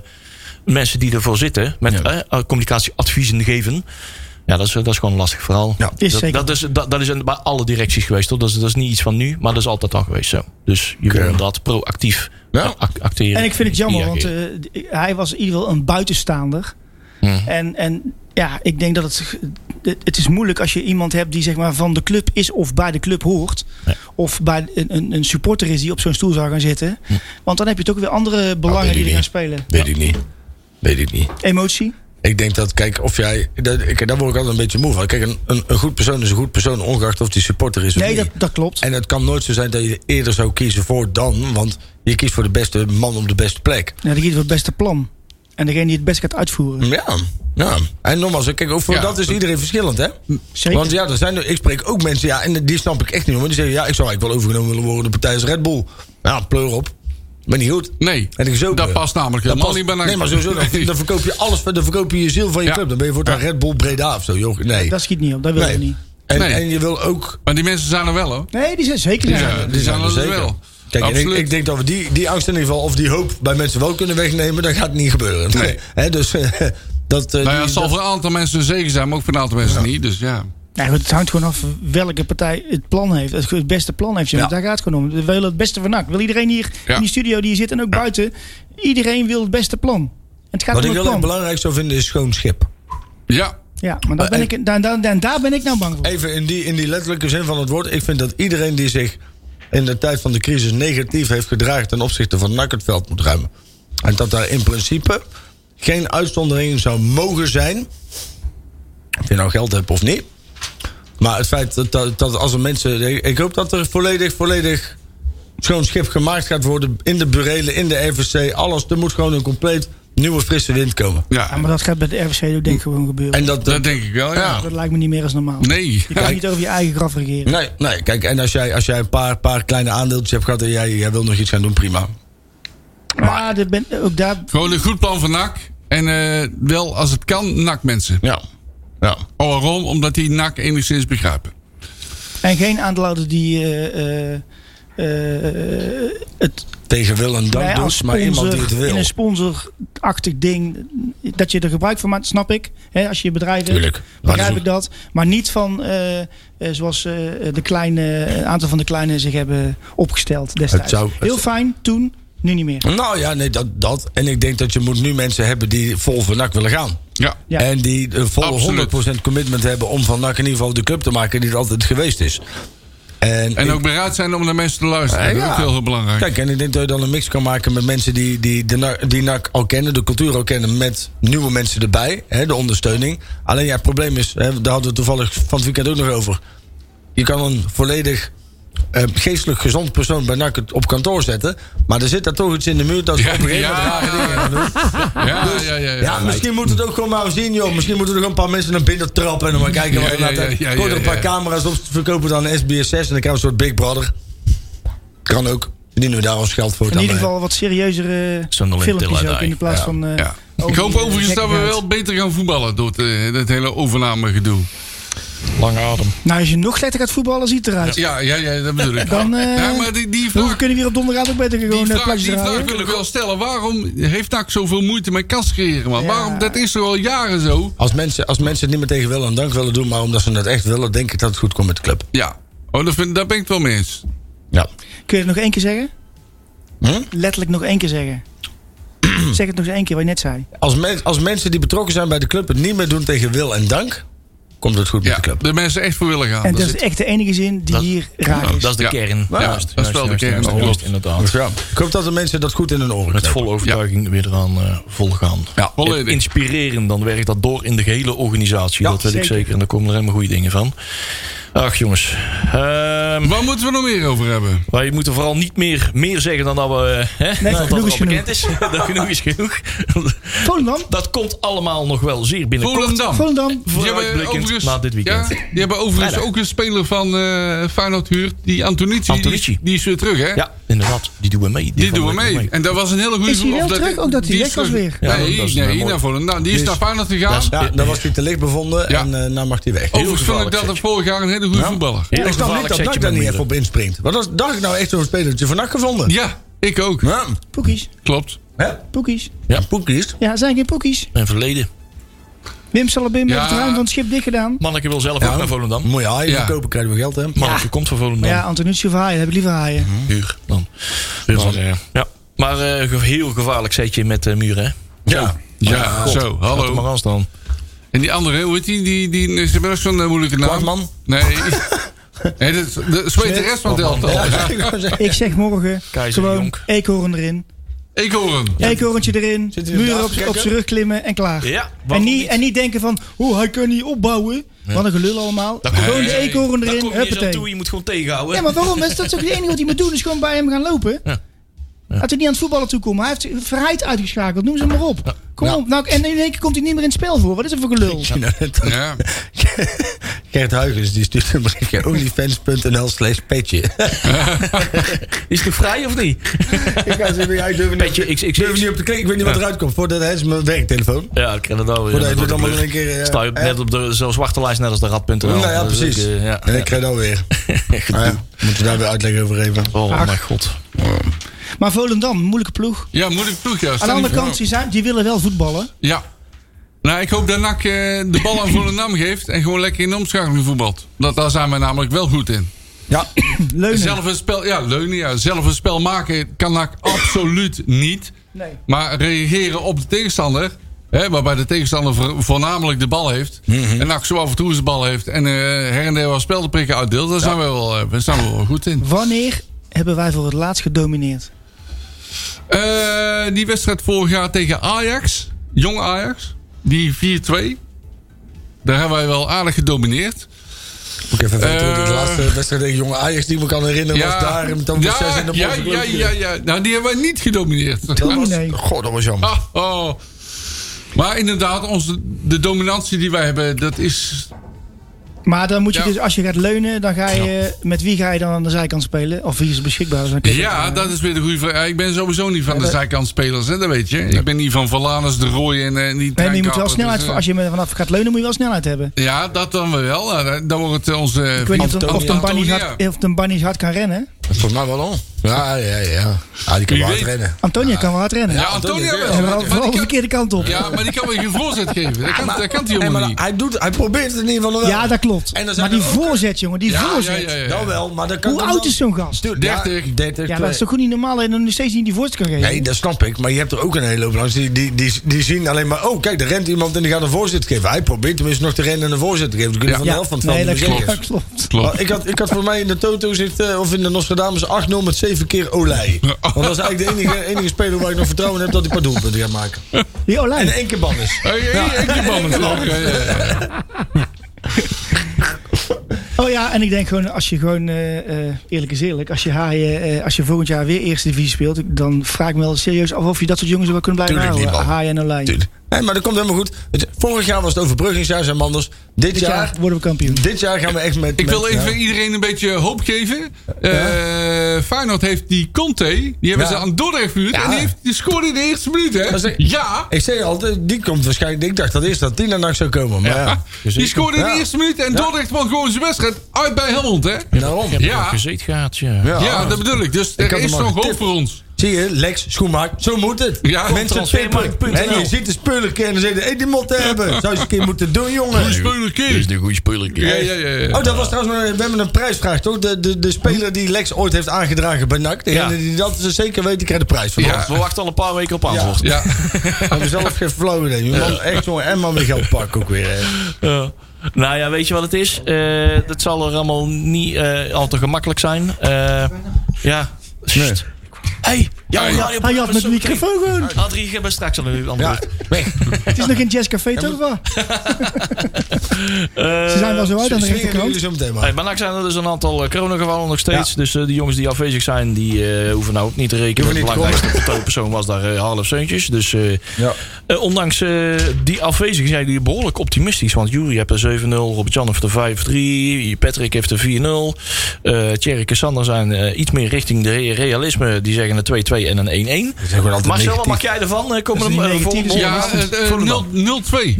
[SPEAKER 5] mensen die ervoor zitten. Met eh, communicatieadviezen geven. Ja, dat is, dat is gewoon een lastig verhaal.
[SPEAKER 2] Ja.
[SPEAKER 3] Is
[SPEAKER 5] dat,
[SPEAKER 3] zeker.
[SPEAKER 5] dat is, dat, dat is een- bij alle directies geweest. Hoor. Dat, is, dat is niet iets van nu, maar dat is altijd al geweest zo. Dus je wil inderdaad proactief
[SPEAKER 2] Ja.
[SPEAKER 5] ac- acteren.
[SPEAKER 3] En ik vind het jammer, want
[SPEAKER 5] reageren.
[SPEAKER 3] eh, d- hij was in ieder geval een buitenstaander.
[SPEAKER 5] Mhm.
[SPEAKER 3] En, en ja, ik denk dat het, het- het is moeilijk als je iemand hebt die zeg maar van de club is of bij de club hoort.
[SPEAKER 5] Ja.
[SPEAKER 3] Of bij een, een, een supporter is die op zo'n stoel zou gaan zitten. Want dan heb je toch weer andere
[SPEAKER 2] weet
[SPEAKER 3] belangen
[SPEAKER 2] ik
[SPEAKER 3] die er
[SPEAKER 2] niet.
[SPEAKER 3] gaan spelen.
[SPEAKER 2] Weet ik niet. Weet ik niet.
[SPEAKER 3] Emotie.
[SPEAKER 2] Ik denk dat, kijk, of jij... Dat, ik, daar word ik altijd een beetje moe van. Kijk, een, een, een goed persoon is een goed persoon, ongeacht of die supporter is of
[SPEAKER 3] Nee,
[SPEAKER 2] niet.
[SPEAKER 3] dat, dat klopt.
[SPEAKER 2] En het kan nooit zo zijn dat je eerder zou kiezen voor dan. Want je kiest voor de beste man op de beste plek.
[SPEAKER 3] Ja, dan geeft het beste plan. En degene die het best gaat uitvoeren.
[SPEAKER 2] Ja, ja. En nogmaals, kijk, ook voor
[SPEAKER 4] Ja,
[SPEAKER 2] dat is
[SPEAKER 4] dat-
[SPEAKER 2] iedereen verschillend, hè?
[SPEAKER 3] Zeker.
[SPEAKER 2] Want ja, er zijn, er- ik spreek ook mensen, ja, en die snap ik echt niet. hoor, Maar die zeggen, ja, ik zou eigenlijk wel overgenomen willen worden door de partij als Red Bull. Ja, pleur op. Maar niet goed.
[SPEAKER 4] Nee,
[SPEAKER 2] En ik zo
[SPEAKER 4] dat past namelijk helemaal
[SPEAKER 2] past-
[SPEAKER 4] niet bij NAC.
[SPEAKER 2] Nee, maar sowieso, dan,
[SPEAKER 4] Nee.
[SPEAKER 2] dan verkoop je alles, dan verkoop je je ziel van je
[SPEAKER 4] Ja.
[SPEAKER 2] club. Dan ben je voor de Red Bull Breda of zo, joh. Nee.
[SPEAKER 3] Dat schiet niet op, dat wil
[SPEAKER 2] nee.
[SPEAKER 3] je niet.
[SPEAKER 2] En,
[SPEAKER 4] Nee.
[SPEAKER 2] en je wil ook...
[SPEAKER 4] Maar die mensen zijn er wel hoor.
[SPEAKER 3] Nee, die zijn zeker.
[SPEAKER 4] Die
[SPEAKER 3] zijn
[SPEAKER 4] zijn,
[SPEAKER 3] er.
[SPEAKER 4] die zijn
[SPEAKER 2] er
[SPEAKER 4] er
[SPEAKER 2] zeker.
[SPEAKER 4] wel.
[SPEAKER 2] Kijk, en ik,
[SPEAKER 4] Absoluut.
[SPEAKER 2] ik denk dat we die, die angst in ieder geval, of die hoop bij mensen wel kunnen wegnemen, dat gaat niet gebeuren. Nee. Hè, dus eh, dat... eh,
[SPEAKER 4] nou ja,
[SPEAKER 2] die-
[SPEAKER 4] het zal
[SPEAKER 2] dat-
[SPEAKER 4] voor een aantal mensen een zegen zijn, maar ook voor een aantal mensen niet. Dus ja.
[SPEAKER 3] Nou, goed, het hangt gewoon af welke partij het plan heeft. Het- Het beste plan heeft. Ja.
[SPEAKER 2] Ja.
[SPEAKER 3] Daar gaat het gewoon om. We willen het beste van NAC. Wil iedereen hier
[SPEAKER 4] Ja.
[SPEAKER 3] in die studio die hier zit en ook buiten. Iedereen wil het beste plan. En het gaat
[SPEAKER 2] Wat
[SPEAKER 3] om
[SPEAKER 2] ik
[SPEAKER 3] het
[SPEAKER 2] wel
[SPEAKER 3] plan.
[SPEAKER 2] het belangrijk zou vinden is schoon schip.
[SPEAKER 4] Ja,
[SPEAKER 3] ja, maar daar
[SPEAKER 2] Maar
[SPEAKER 3] ben, ik, daar, daar, daar, daar ben ik nou bang voor.
[SPEAKER 2] Even in die, in die letterlijke zin van het woord. Ik vind dat iedereen die zich in de tijd van de crisis negatief heeft gedragen ten opzichte van NAC het veld moet ruimen. En dat daar in principe geen uitzondering zou mogen zijn. Of je nou geld hebt of niet. Maar het feit dat, dat, dat als er mensen. Ik hoop dat er volledig, volledig schoon schip gemaakt gaat worden in de burelen, in de RVC, alles. Er moet gewoon een compleet nieuwe frisse wind komen.
[SPEAKER 4] Ja,
[SPEAKER 3] maar dat gaat bij de RVC ook denk ik gewoon gebeuren.
[SPEAKER 2] En dat,
[SPEAKER 4] dat denk ik wel, ja.
[SPEAKER 3] dat lijkt me niet meer als normaal.
[SPEAKER 4] Nee.
[SPEAKER 3] Je kan niet over je eigen graf regeren.
[SPEAKER 2] Nee, nee, kijk, en als jij, als jij een paar, paar kleine aandeeltjes hebt gehad en jij, jij wil nog iets gaan doen, prima.
[SPEAKER 3] Maar dat ben, ook daar
[SPEAKER 4] Gewoon een goed plan van NAC. En eh, wel, als het kan, NAC mensen.
[SPEAKER 2] Ja. ja.
[SPEAKER 4] Oh, waarom? Omdat die NAC enigszins begrijpen.
[SPEAKER 3] En geen aandeelhouder die eh, eh, eh, het
[SPEAKER 2] Tegen wil en dank
[SPEAKER 3] bij
[SPEAKER 2] doet,
[SPEAKER 3] als
[SPEAKER 2] dus, maar iemand die
[SPEAKER 3] sponsor
[SPEAKER 2] het wil.
[SPEAKER 3] in een sponsorachtig ding dat je er gebruik van maakt, snap ik. Hè, als je je bedrijf hebt,
[SPEAKER 2] Tuurlijk. Maar dus- dat
[SPEAKER 3] begrijp
[SPEAKER 2] is
[SPEAKER 3] ik dat. Maar niet van eh, eh, zoals eh, de kleine, een aantal van de kleinen zich hebben opgesteld destijds.
[SPEAKER 2] Het zou- het
[SPEAKER 3] Heel
[SPEAKER 2] zou-
[SPEAKER 3] fijn toen, nu niet meer.
[SPEAKER 2] Nou ja, nee, dat, dat. En ik denk dat je moet nu mensen hebben die vol voor NAC willen gaan.
[SPEAKER 4] Ja.
[SPEAKER 3] Ja.
[SPEAKER 2] En die een volle
[SPEAKER 4] Absoluut.
[SPEAKER 2] 100% commitment hebben om van NAC in ieder geval de club te maken die het altijd geweest is. En,
[SPEAKER 4] En
[SPEAKER 2] ik-
[SPEAKER 4] ook bereid zijn om naar mensen te luisteren.
[SPEAKER 2] Eh,
[SPEAKER 4] dat is
[SPEAKER 2] ja.
[SPEAKER 4] ook heel, heel belangrijk.
[SPEAKER 2] Kijk, en ik denk dat je dan een mix kan maken met mensen die, die, de, NAC- die NAC al kennen, de cultuur al kennen, met nieuwe mensen erbij, hè, de ondersteuning. Alleen ja, het probleem is, hè, daar hadden we toevallig van het weekend ook nog over. Je kan een volledig eh, geestelijk gezond persoon bij NAC het op kantoor zetten, maar er zit daar toch iets in de muur dat ze
[SPEAKER 4] Ja,
[SPEAKER 2] op een gegeven moment
[SPEAKER 4] ja.
[SPEAKER 2] rare dingen gaan doen.
[SPEAKER 4] ja, ja, ja, ja,
[SPEAKER 2] Ja, misschien moet het ook gewoon maar zien, joh. Misschien moeten er gewoon een paar mensen naar binnen trappen en dan maar kijken wat
[SPEAKER 4] Ja,
[SPEAKER 2] er
[SPEAKER 4] ja,
[SPEAKER 2] laat uit.
[SPEAKER 4] ja, ja,
[SPEAKER 2] Gooi er een
[SPEAKER 4] ja,
[SPEAKER 2] paar
[SPEAKER 4] ja.
[SPEAKER 2] camera's op, verkopen dan een SBS6 en dan krijgen we een soort Big Brother. Kan ook. Verdienen we daar ons geld voor.
[SPEAKER 3] In
[SPEAKER 2] dan
[SPEAKER 3] ieder
[SPEAKER 2] bij.
[SPEAKER 3] geval wat serieuzere
[SPEAKER 5] Sunderland
[SPEAKER 3] filmpjes
[SPEAKER 5] till I
[SPEAKER 3] ook
[SPEAKER 5] die.
[SPEAKER 3] in de plaats
[SPEAKER 2] Ja.
[SPEAKER 3] van... eh,
[SPEAKER 4] Ja.
[SPEAKER 3] oh,
[SPEAKER 4] Ik hoop
[SPEAKER 3] die, eh,
[SPEAKER 4] overigens dat we
[SPEAKER 3] gekkigheid.
[SPEAKER 4] wel beter gaan voetballen door het, eh, dat hele overnamegedoe.
[SPEAKER 5] Lange adem.
[SPEAKER 3] Nou, als je nog slechter gaat voetballen, ziet het eruit.
[SPEAKER 4] Ja, ja, ja, dat bedoel ik.
[SPEAKER 3] Dan, eh,
[SPEAKER 4] ja, maar die, die
[SPEAKER 3] Hoe
[SPEAKER 4] vraag,
[SPEAKER 3] we kunnen weer op donderdag ook beter
[SPEAKER 4] die
[SPEAKER 3] gewoon eh,
[SPEAKER 4] vraag,
[SPEAKER 3] plakjes
[SPEAKER 4] die vraag
[SPEAKER 3] draaien.
[SPEAKER 4] wil ik wel stellen. Waarom heeft NAC zoveel moeite met kans creëren? Man?
[SPEAKER 3] Ja.
[SPEAKER 4] Waarom? Dat is er al jaren zo.
[SPEAKER 2] Als mensen, als mensen het niet meer tegen willen en dank willen doen, maar omdat ze het echt willen, denk ik dat het goed komt met de club.
[SPEAKER 4] Ja. Oh, dat, vind, daar ben ik het wel mee eens.
[SPEAKER 2] Ja.
[SPEAKER 3] Kun je het nog één keer zeggen?
[SPEAKER 2] Hm?
[SPEAKER 3] Letterlijk nog één keer zeggen. zeg het nog eens één keer wat je net zei.
[SPEAKER 2] Als, men- als mensen die betrokken zijn bij de club het niet meer doen tegen wil en dank, komt het goed met
[SPEAKER 4] Ja,
[SPEAKER 2] de club.
[SPEAKER 4] de mensen echt voor willen gaan.
[SPEAKER 3] en dus-
[SPEAKER 4] Dat
[SPEAKER 3] dat
[SPEAKER 4] is-
[SPEAKER 3] is echt de enige zin die
[SPEAKER 5] Dat-
[SPEAKER 3] hier raak
[SPEAKER 5] Nou,
[SPEAKER 3] is.
[SPEAKER 5] dat is de
[SPEAKER 4] Ja.
[SPEAKER 5] kern.
[SPEAKER 4] Ja,
[SPEAKER 5] Juist,
[SPEAKER 4] dat is wel
[SPEAKER 5] juist,
[SPEAKER 4] de kern.
[SPEAKER 5] juist,
[SPEAKER 4] Dat
[SPEAKER 5] juist,
[SPEAKER 4] klopt.
[SPEAKER 5] Inderdaad.
[SPEAKER 2] Ja. Ik hoop dat de mensen dat goed in hun oren
[SPEAKER 5] Met
[SPEAKER 2] krijgen.
[SPEAKER 5] volle overtuiging weer eraan eh volgaan.
[SPEAKER 4] Ja, volledig.
[SPEAKER 5] Het Inspireren, dan werkt dat door in de gehele organisatie.
[SPEAKER 2] Ja,
[SPEAKER 5] dat weet ik
[SPEAKER 3] zeker.
[SPEAKER 5] zeker. En daar komen er helemaal goede dingen van. Ach jongens. Ehm
[SPEAKER 4] Waar moeten we nog meer over hebben?
[SPEAKER 5] wij moeten vooral niet meer, meer zeggen dan dat we. eh, Hè,
[SPEAKER 3] Nee,
[SPEAKER 5] dat dat
[SPEAKER 3] genoeg
[SPEAKER 5] er
[SPEAKER 3] is
[SPEAKER 5] al bekend is. dat genoeg is genoeg.
[SPEAKER 3] Volendam.
[SPEAKER 5] dat komt allemaal nog wel zeer binnenkort.
[SPEAKER 4] Volendam.
[SPEAKER 3] Volendam.
[SPEAKER 4] Die hebben
[SPEAKER 5] Vooruitblikkend
[SPEAKER 4] overigens,
[SPEAKER 5] na dit weekend.
[SPEAKER 4] Ja, die hebben overigens ook een speler van eh Feyenoord huurt. Die Antonici.
[SPEAKER 5] Antonucci.
[SPEAKER 4] Die, die is weer terug, hè?
[SPEAKER 5] Ja, inderdaad. Die doen we mee.
[SPEAKER 4] Die
[SPEAKER 5] gaan
[SPEAKER 4] doen we mee. En dat was een hele goede...
[SPEAKER 3] Is hij wel
[SPEAKER 4] of
[SPEAKER 3] terug? Ook dat hij
[SPEAKER 4] die
[SPEAKER 3] weg
[SPEAKER 4] is
[SPEAKER 3] was
[SPEAKER 4] terug.
[SPEAKER 3] weer?
[SPEAKER 5] Ja,
[SPEAKER 4] nee,
[SPEAKER 5] dat is
[SPEAKER 4] nee,
[SPEAKER 5] mooi.
[SPEAKER 4] naar Volendam. Die is
[SPEAKER 2] Die
[SPEAKER 4] naar
[SPEAKER 2] is-
[SPEAKER 4] Feyenoord gegaan.
[SPEAKER 2] Ja, dan was hij te licht bevonden
[SPEAKER 4] Ja. Oh,
[SPEAKER 2] en eh nou mag hij weg.
[SPEAKER 4] Overigens vond ik
[SPEAKER 5] gevaarlijk,
[SPEAKER 4] dat
[SPEAKER 5] zeg.
[SPEAKER 4] er vorig jaar een hele goede voetballer.
[SPEAKER 5] Heel
[SPEAKER 2] ik snap niet
[SPEAKER 5] gevaarlijk
[SPEAKER 2] dat
[SPEAKER 5] zetje
[SPEAKER 2] Dak daar
[SPEAKER 5] met
[SPEAKER 2] niet
[SPEAKER 5] moeder.
[SPEAKER 2] even op inspringt. Want dat, dat ik nou echt zo'n spelertje van Dak gevonden.
[SPEAKER 4] Ja, ik ook.
[SPEAKER 2] Ja.
[SPEAKER 3] Poekies.
[SPEAKER 4] Klopt.
[SPEAKER 2] Hè?
[SPEAKER 3] Poekies.
[SPEAKER 2] Ja, Poekies.
[SPEAKER 3] Ja, zijn geen poekies.
[SPEAKER 5] En verleden.
[SPEAKER 3] Wim Salabim heeft het
[SPEAKER 4] Ja.
[SPEAKER 3] ruim van het schip dicht gedaan.
[SPEAKER 5] Manneke wil zelf
[SPEAKER 2] Ja.
[SPEAKER 5] ook naar Volendam.
[SPEAKER 2] Mooi haaien
[SPEAKER 4] Ja.
[SPEAKER 2] verkopen, krijgen we geld hè.
[SPEAKER 5] Manneke komt van Volendam.
[SPEAKER 3] Maar ja, Antonucci of haaien. Heb ik liever haaien.
[SPEAKER 5] Huur dan. Maar, eh, ja. maar eh, ge- heel gevaarlijk setje met eh, muren, hè?
[SPEAKER 2] Ja.
[SPEAKER 4] Ja, zo.
[SPEAKER 5] Laat hem
[SPEAKER 4] Hallo.
[SPEAKER 5] maar aan staan.
[SPEAKER 4] En die andere, hoe heet die? die, die ze hebben ook zo'n eh, moeilijke naam.
[SPEAKER 2] Kwakman?
[SPEAKER 4] Nee. nee, dat is de zweteres van Delta.
[SPEAKER 3] Ik zeg morgen
[SPEAKER 5] Keizer
[SPEAKER 3] gewoon
[SPEAKER 5] Jonk.
[SPEAKER 3] eekhoorn erin.
[SPEAKER 4] Ik hoor hem.
[SPEAKER 3] Eekhoorntje erin.
[SPEAKER 2] Zit hij
[SPEAKER 3] Muren
[SPEAKER 2] ernaast
[SPEAKER 3] op,
[SPEAKER 2] te
[SPEAKER 3] op
[SPEAKER 2] kijken?
[SPEAKER 3] zijn rug klimmen en klaar.
[SPEAKER 5] Ja,
[SPEAKER 3] En
[SPEAKER 5] waarom
[SPEAKER 3] niet, en niet denken van, oh, hij kan niet opbouwen. Wat een gelul allemaal.
[SPEAKER 5] Daar
[SPEAKER 3] Gewoon
[SPEAKER 5] kom
[SPEAKER 3] die
[SPEAKER 5] je-
[SPEAKER 3] eekhoorn
[SPEAKER 5] daar
[SPEAKER 3] erin.
[SPEAKER 5] kom je niet eens aan toe,
[SPEAKER 3] Huppatee.
[SPEAKER 5] je moet gewoon tegenhouden.
[SPEAKER 3] Ja, maar waarom? Dat is, dat is ook het enige wat hij moet doen. Is gewoon bij hem gaan lopen.
[SPEAKER 5] Ja.
[SPEAKER 3] Laat hij niet aan het voetballen toekomen. Hij heeft vrijheid uitgeschakeld. Noem ze maar op. Kom op. Nou, en in één keer komt hij niet meer in het spel voor. Wat is dat voor gelul?
[SPEAKER 4] Ja.
[SPEAKER 2] Gert Huygens die stuurt een berichtje onlyfans.nl slash petje.
[SPEAKER 5] Is het vrij of niet?
[SPEAKER 2] ik ga ze weer uit durven
[SPEAKER 5] Petje
[SPEAKER 2] niet-
[SPEAKER 5] XX.
[SPEAKER 2] durf niet op te klikken. Ik weet niet wat eruit komt. Voordat hij is mijn werktelefoon.
[SPEAKER 5] Ja, ik ken het alweer.
[SPEAKER 2] Voordat je
[SPEAKER 5] Dat
[SPEAKER 2] het allemaal in
[SPEAKER 5] wordt
[SPEAKER 2] één keer... eh,
[SPEAKER 5] Sta je
[SPEAKER 2] eh,
[SPEAKER 5] net op de zo'n zwarte lijst, net als de rad.nl.
[SPEAKER 2] Nou ja,
[SPEAKER 5] Dat is ook,
[SPEAKER 2] precies.
[SPEAKER 5] eh, ja.
[SPEAKER 2] En ik krijg dat weer. Nou ja, Moeten we daar weer uitleg over geven.
[SPEAKER 5] Oh, mijn god.
[SPEAKER 3] Maar Volendam, moeilijke ploeg.
[SPEAKER 4] ja, moet ik ploeg, ja. Stel
[SPEAKER 3] Aan de
[SPEAKER 4] die
[SPEAKER 3] andere
[SPEAKER 4] voor.
[SPEAKER 3] kant, die, zijn, die willen wel voetballen.
[SPEAKER 4] Ja. Nou, ik hoop dat NAC eh, de bal aan Volendam geeft en gewoon lekker in de omschakeling voetbalt. Dat, daar zijn we namelijk wel goed in.
[SPEAKER 2] Ja.
[SPEAKER 3] Leunen.
[SPEAKER 4] Zelf een spel, ja, leunen, ja. Zelf een spel maken kan NAC absoluut niet.
[SPEAKER 3] Nee.
[SPEAKER 4] Maar reageren op de tegenstander, hè, waarbij de tegenstander vo- voornamelijk de bal heeft. En NAC zo af en toe eens de bal heeft en eh, her en der wat spel te prikken uitdeelt. Daar zijn, we wel, eh, daar zijn we wel goed in.
[SPEAKER 3] Wanneer hebben wij voor het laatst gedomineerd?
[SPEAKER 4] Eh, die wedstrijd vorig jaar tegen Ajax. Jong Ajax. Die 4-2. Daar hebben wij wel aardig gedomineerd.
[SPEAKER 2] ik even weten hoe de
[SPEAKER 4] Eh.
[SPEAKER 2] laatste wedstrijd tegen jonge Ajax die ik me kan herinneren was daar. Met dan
[SPEAKER 4] ja,
[SPEAKER 2] zes in de
[SPEAKER 4] ja,
[SPEAKER 2] Bosse
[SPEAKER 4] ja,
[SPEAKER 2] Club.
[SPEAKER 4] ja, ja. Nou, die hebben wij niet gedomineerd.
[SPEAKER 2] Dat was,
[SPEAKER 3] Nee.
[SPEAKER 2] God, dat was jammer.
[SPEAKER 4] Ah, oh. Maar inderdaad, onze, de dominantie die wij hebben, dat is...
[SPEAKER 3] Maar dan moet je
[SPEAKER 4] Ja.
[SPEAKER 3] dus, als je gaat leunen, dan ga je, met wie ga je dan aan de zijkant spelen? Of wie is beschikbaar? Dus dan kun je-
[SPEAKER 4] Ja, dat is weer de goede vraag. Ja, Ik ben sowieso niet van de zijkant spelers, hè, dat weet je. Ik ben niet van Valanus, De Rooij en eh, die
[SPEAKER 3] Nee, maar je moet wel
[SPEAKER 4] treinkaper,
[SPEAKER 3] snelheid,
[SPEAKER 4] dus,
[SPEAKER 3] voor-
[SPEAKER 4] eh,
[SPEAKER 3] als je er vanaf gaat leunen, moet je wel snelheid hebben.
[SPEAKER 4] Ja, dat dan wel. Nou, dan- Dan wordt het onze...
[SPEAKER 3] Ik weet niet of de- of de
[SPEAKER 4] Antonia.
[SPEAKER 3] Bunnies hard- of de Bunnies hard kan rennen.
[SPEAKER 2] Volgens mij wel al. Ja, ja, ja. Ah, die kan
[SPEAKER 4] Oh. Wie
[SPEAKER 2] wel hard
[SPEAKER 4] weet.
[SPEAKER 2] rennen.
[SPEAKER 3] Antonia kan wel hard rennen.
[SPEAKER 4] Ja,
[SPEAKER 3] en
[SPEAKER 4] Antonia
[SPEAKER 2] Antonia
[SPEAKER 4] wel.
[SPEAKER 2] wel.
[SPEAKER 4] maar
[SPEAKER 3] wel
[SPEAKER 4] die
[SPEAKER 3] vooral de
[SPEAKER 4] kan-
[SPEAKER 3] verkeerde kant op.
[SPEAKER 4] Ja, maar die kan wel geen voorzet geven. Dat kan, dat kan die
[SPEAKER 2] Hey,
[SPEAKER 4] jongen
[SPEAKER 2] Ah, maar
[SPEAKER 4] niet.
[SPEAKER 2] hij, doet, hij probeert het in ieder geval nog wel.
[SPEAKER 3] Ja, dat klopt.
[SPEAKER 2] En dan zijn
[SPEAKER 3] Maar die
[SPEAKER 2] er ook-
[SPEAKER 3] voorzet, jongen, die
[SPEAKER 4] Ja, ja,
[SPEAKER 3] voorzet.
[SPEAKER 4] ja, ja.
[SPEAKER 2] Dat wel, maar dat kan
[SPEAKER 3] Hoe
[SPEAKER 2] dan
[SPEAKER 3] oud
[SPEAKER 2] wel-
[SPEAKER 3] is zo'n gast?
[SPEAKER 2] Dude,
[SPEAKER 4] 30.
[SPEAKER 2] Ja, 30
[SPEAKER 3] Ja, dat is toch goed niet normaal en dan nog steeds niet die voorzet kan geven?
[SPEAKER 2] Nee, dat snap ik. Maar je hebt er ook een hele hoop langs. Die, die, die, die zien alleen maar... Oh, kijk, er rent iemand en die gaat een voorzet geven. Hij probeert tenminste nog te rennen en een voorzet te geven. Dan kun je
[SPEAKER 4] Ja.
[SPEAKER 2] van de
[SPEAKER 3] ja.
[SPEAKER 2] helft van het
[SPEAKER 3] nee,
[SPEAKER 2] veld niet
[SPEAKER 3] dat
[SPEAKER 2] meer
[SPEAKER 3] klopt.
[SPEAKER 2] zeggen.
[SPEAKER 3] Dat klopt.
[SPEAKER 4] Klopt.
[SPEAKER 2] Maar Ik had, ik had voor mij in de Toto zit, eh, of in de Nostradamus 8-0 met 7 keer Olij. Want dat is eigenlijk de enige, enige speler waar ik nog vertrouwen in heb dat hij een paar doelpunten gaat maken.
[SPEAKER 3] Die Olij.
[SPEAKER 2] En één keer ban is.
[SPEAKER 4] Hey, hey, hey, die ballen ook, ja, ja, ja.
[SPEAKER 3] Oh ja, en ik denk gewoon, als je gewoon, eh, eh, eerlijk is eerlijk, als je, haaien, eh, als je volgend jaar weer eerste divisie speelt, dan vraag ik me wel serieus af of je dat soort jongens wel kunnen blijven
[SPEAKER 2] Tuurlijk niet,
[SPEAKER 3] houden.
[SPEAKER 2] man.
[SPEAKER 3] haaien en Olij. Dit,
[SPEAKER 2] Tuurlijk. Nee, maar dat komt helemaal goed. Het- vorig jaar was het overbruggingsjaar, zijn anders. Dit,
[SPEAKER 3] jaar,
[SPEAKER 2] jaar,
[SPEAKER 3] worden we kampioen.
[SPEAKER 2] dit jaar gaan we echt met...
[SPEAKER 4] Ik wil
[SPEAKER 2] met-
[SPEAKER 4] even
[SPEAKER 2] ja.
[SPEAKER 4] iedereen een beetje hoop geven. Eh Feyenoord heeft die Conte, die hebben
[SPEAKER 2] Ja.
[SPEAKER 4] ze aan Dordrecht gehuurd.
[SPEAKER 2] Ja.
[SPEAKER 4] En die, heeft, die scoorde in de eerste minuut, hè?
[SPEAKER 2] Dat is-
[SPEAKER 4] ja!
[SPEAKER 2] Ik zei altijd, die komt waarschijnlijk... Ik dacht dat eerst dat Tina nacht zou komen, maar ja. Dus
[SPEAKER 4] Ah, Die
[SPEAKER 2] ik-
[SPEAKER 4] scoorde in de
[SPEAKER 2] ja.
[SPEAKER 4] eerste minuut en Dordrecht won gewoon zijn wedstrijd uit bij Helmond, hè?
[SPEAKER 2] Daarom.
[SPEAKER 5] Ik heb
[SPEAKER 4] Ja.
[SPEAKER 5] ja. gezeten gehad, ja.
[SPEAKER 2] Ja.
[SPEAKER 4] Ja, dat bedoel ik. Dus er
[SPEAKER 2] had
[SPEAKER 4] is
[SPEAKER 2] hem al
[SPEAKER 4] nog hoop
[SPEAKER 2] getipt.
[SPEAKER 4] voor ons.
[SPEAKER 2] Zie je, Lex, Schoenmaak, zo moet het.
[SPEAKER 4] Ja.
[SPEAKER 2] Mensen
[SPEAKER 5] Transfermarkt.nl.
[SPEAKER 2] tippen. En je ziet de spullen kennen en zeggen, hey, die mot hebben. Zou je eens een keer moeten doen, jongen.
[SPEAKER 4] Speulen keer.
[SPEAKER 5] een goede speler.
[SPEAKER 4] Ja, ja, ja. ja.
[SPEAKER 2] Oh, dat was trouwens, maar we hebben een prijsvraag, toch? De, de, de speler die Lex ooit heeft aangedragen bij NAC. Degene
[SPEAKER 5] Ja.
[SPEAKER 2] die dat ze zeker weet, die krijgt de prijs van
[SPEAKER 4] Ja.
[SPEAKER 2] ons.
[SPEAKER 5] We wachten al een paar weken op antwoord.
[SPEAKER 4] Ja.
[SPEAKER 2] We hebben zelf geen flauw idee. Je man, echt jongen, en man weer geld pakken ook weer. hè.
[SPEAKER 5] Ja. Nou ja, weet je wat het is? Eh, dat zal er allemaal niet eh, al te gemakkelijk zijn. Eh, ja. Sst. Hey, ja,
[SPEAKER 4] Hey.
[SPEAKER 5] ja, ja,
[SPEAKER 3] Hij had met de microfoon gewoon.
[SPEAKER 5] Adrie, ik heb straks al een
[SPEAKER 2] Ja,
[SPEAKER 5] antwoord.
[SPEAKER 2] weg.
[SPEAKER 3] Het is nog in jazzcafé toch of wat?
[SPEAKER 5] Eh,
[SPEAKER 3] Ze zijn wel zo uit aan de
[SPEAKER 2] Slingeren jullie
[SPEAKER 3] rechterkant.
[SPEAKER 2] zo meteen
[SPEAKER 5] Hey,
[SPEAKER 2] maar.
[SPEAKER 5] maar nou zijn er dus een aantal eh, coronagevallen nog steeds. Dus eh, die jongens die afwezig zijn, die eh, hoeven nou ook niet te rekenen.
[SPEAKER 2] Die
[SPEAKER 5] De
[SPEAKER 2] hoeven niet te
[SPEAKER 5] belangrijkste persoon was daar eh Harlef Seuntjes. Dus eh,
[SPEAKER 2] Ja.
[SPEAKER 5] eh, ondanks eh, die afwezig zijn jullie behoorlijk optimistisch. Want Jury heeft er 7-0, Robert-Jan heeft er 5-3, Patrick heeft er 4-0. Eh Thierry en Sander zijn eh, iets meer richting de re- realisme. Die zeggen een 2-2 en een 1-1.
[SPEAKER 2] zijn gewoon
[SPEAKER 5] Marcel, wat
[SPEAKER 2] altijd negatief.
[SPEAKER 5] mag jij ervan? Eh, Komen
[SPEAKER 3] Dat is
[SPEAKER 5] hem,
[SPEAKER 3] niet
[SPEAKER 5] eh,
[SPEAKER 3] negatief,
[SPEAKER 5] volgende-
[SPEAKER 4] Ja,
[SPEAKER 5] volgende-
[SPEAKER 4] eh, eh,
[SPEAKER 5] volgende-
[SPEAKER 4] 0-2.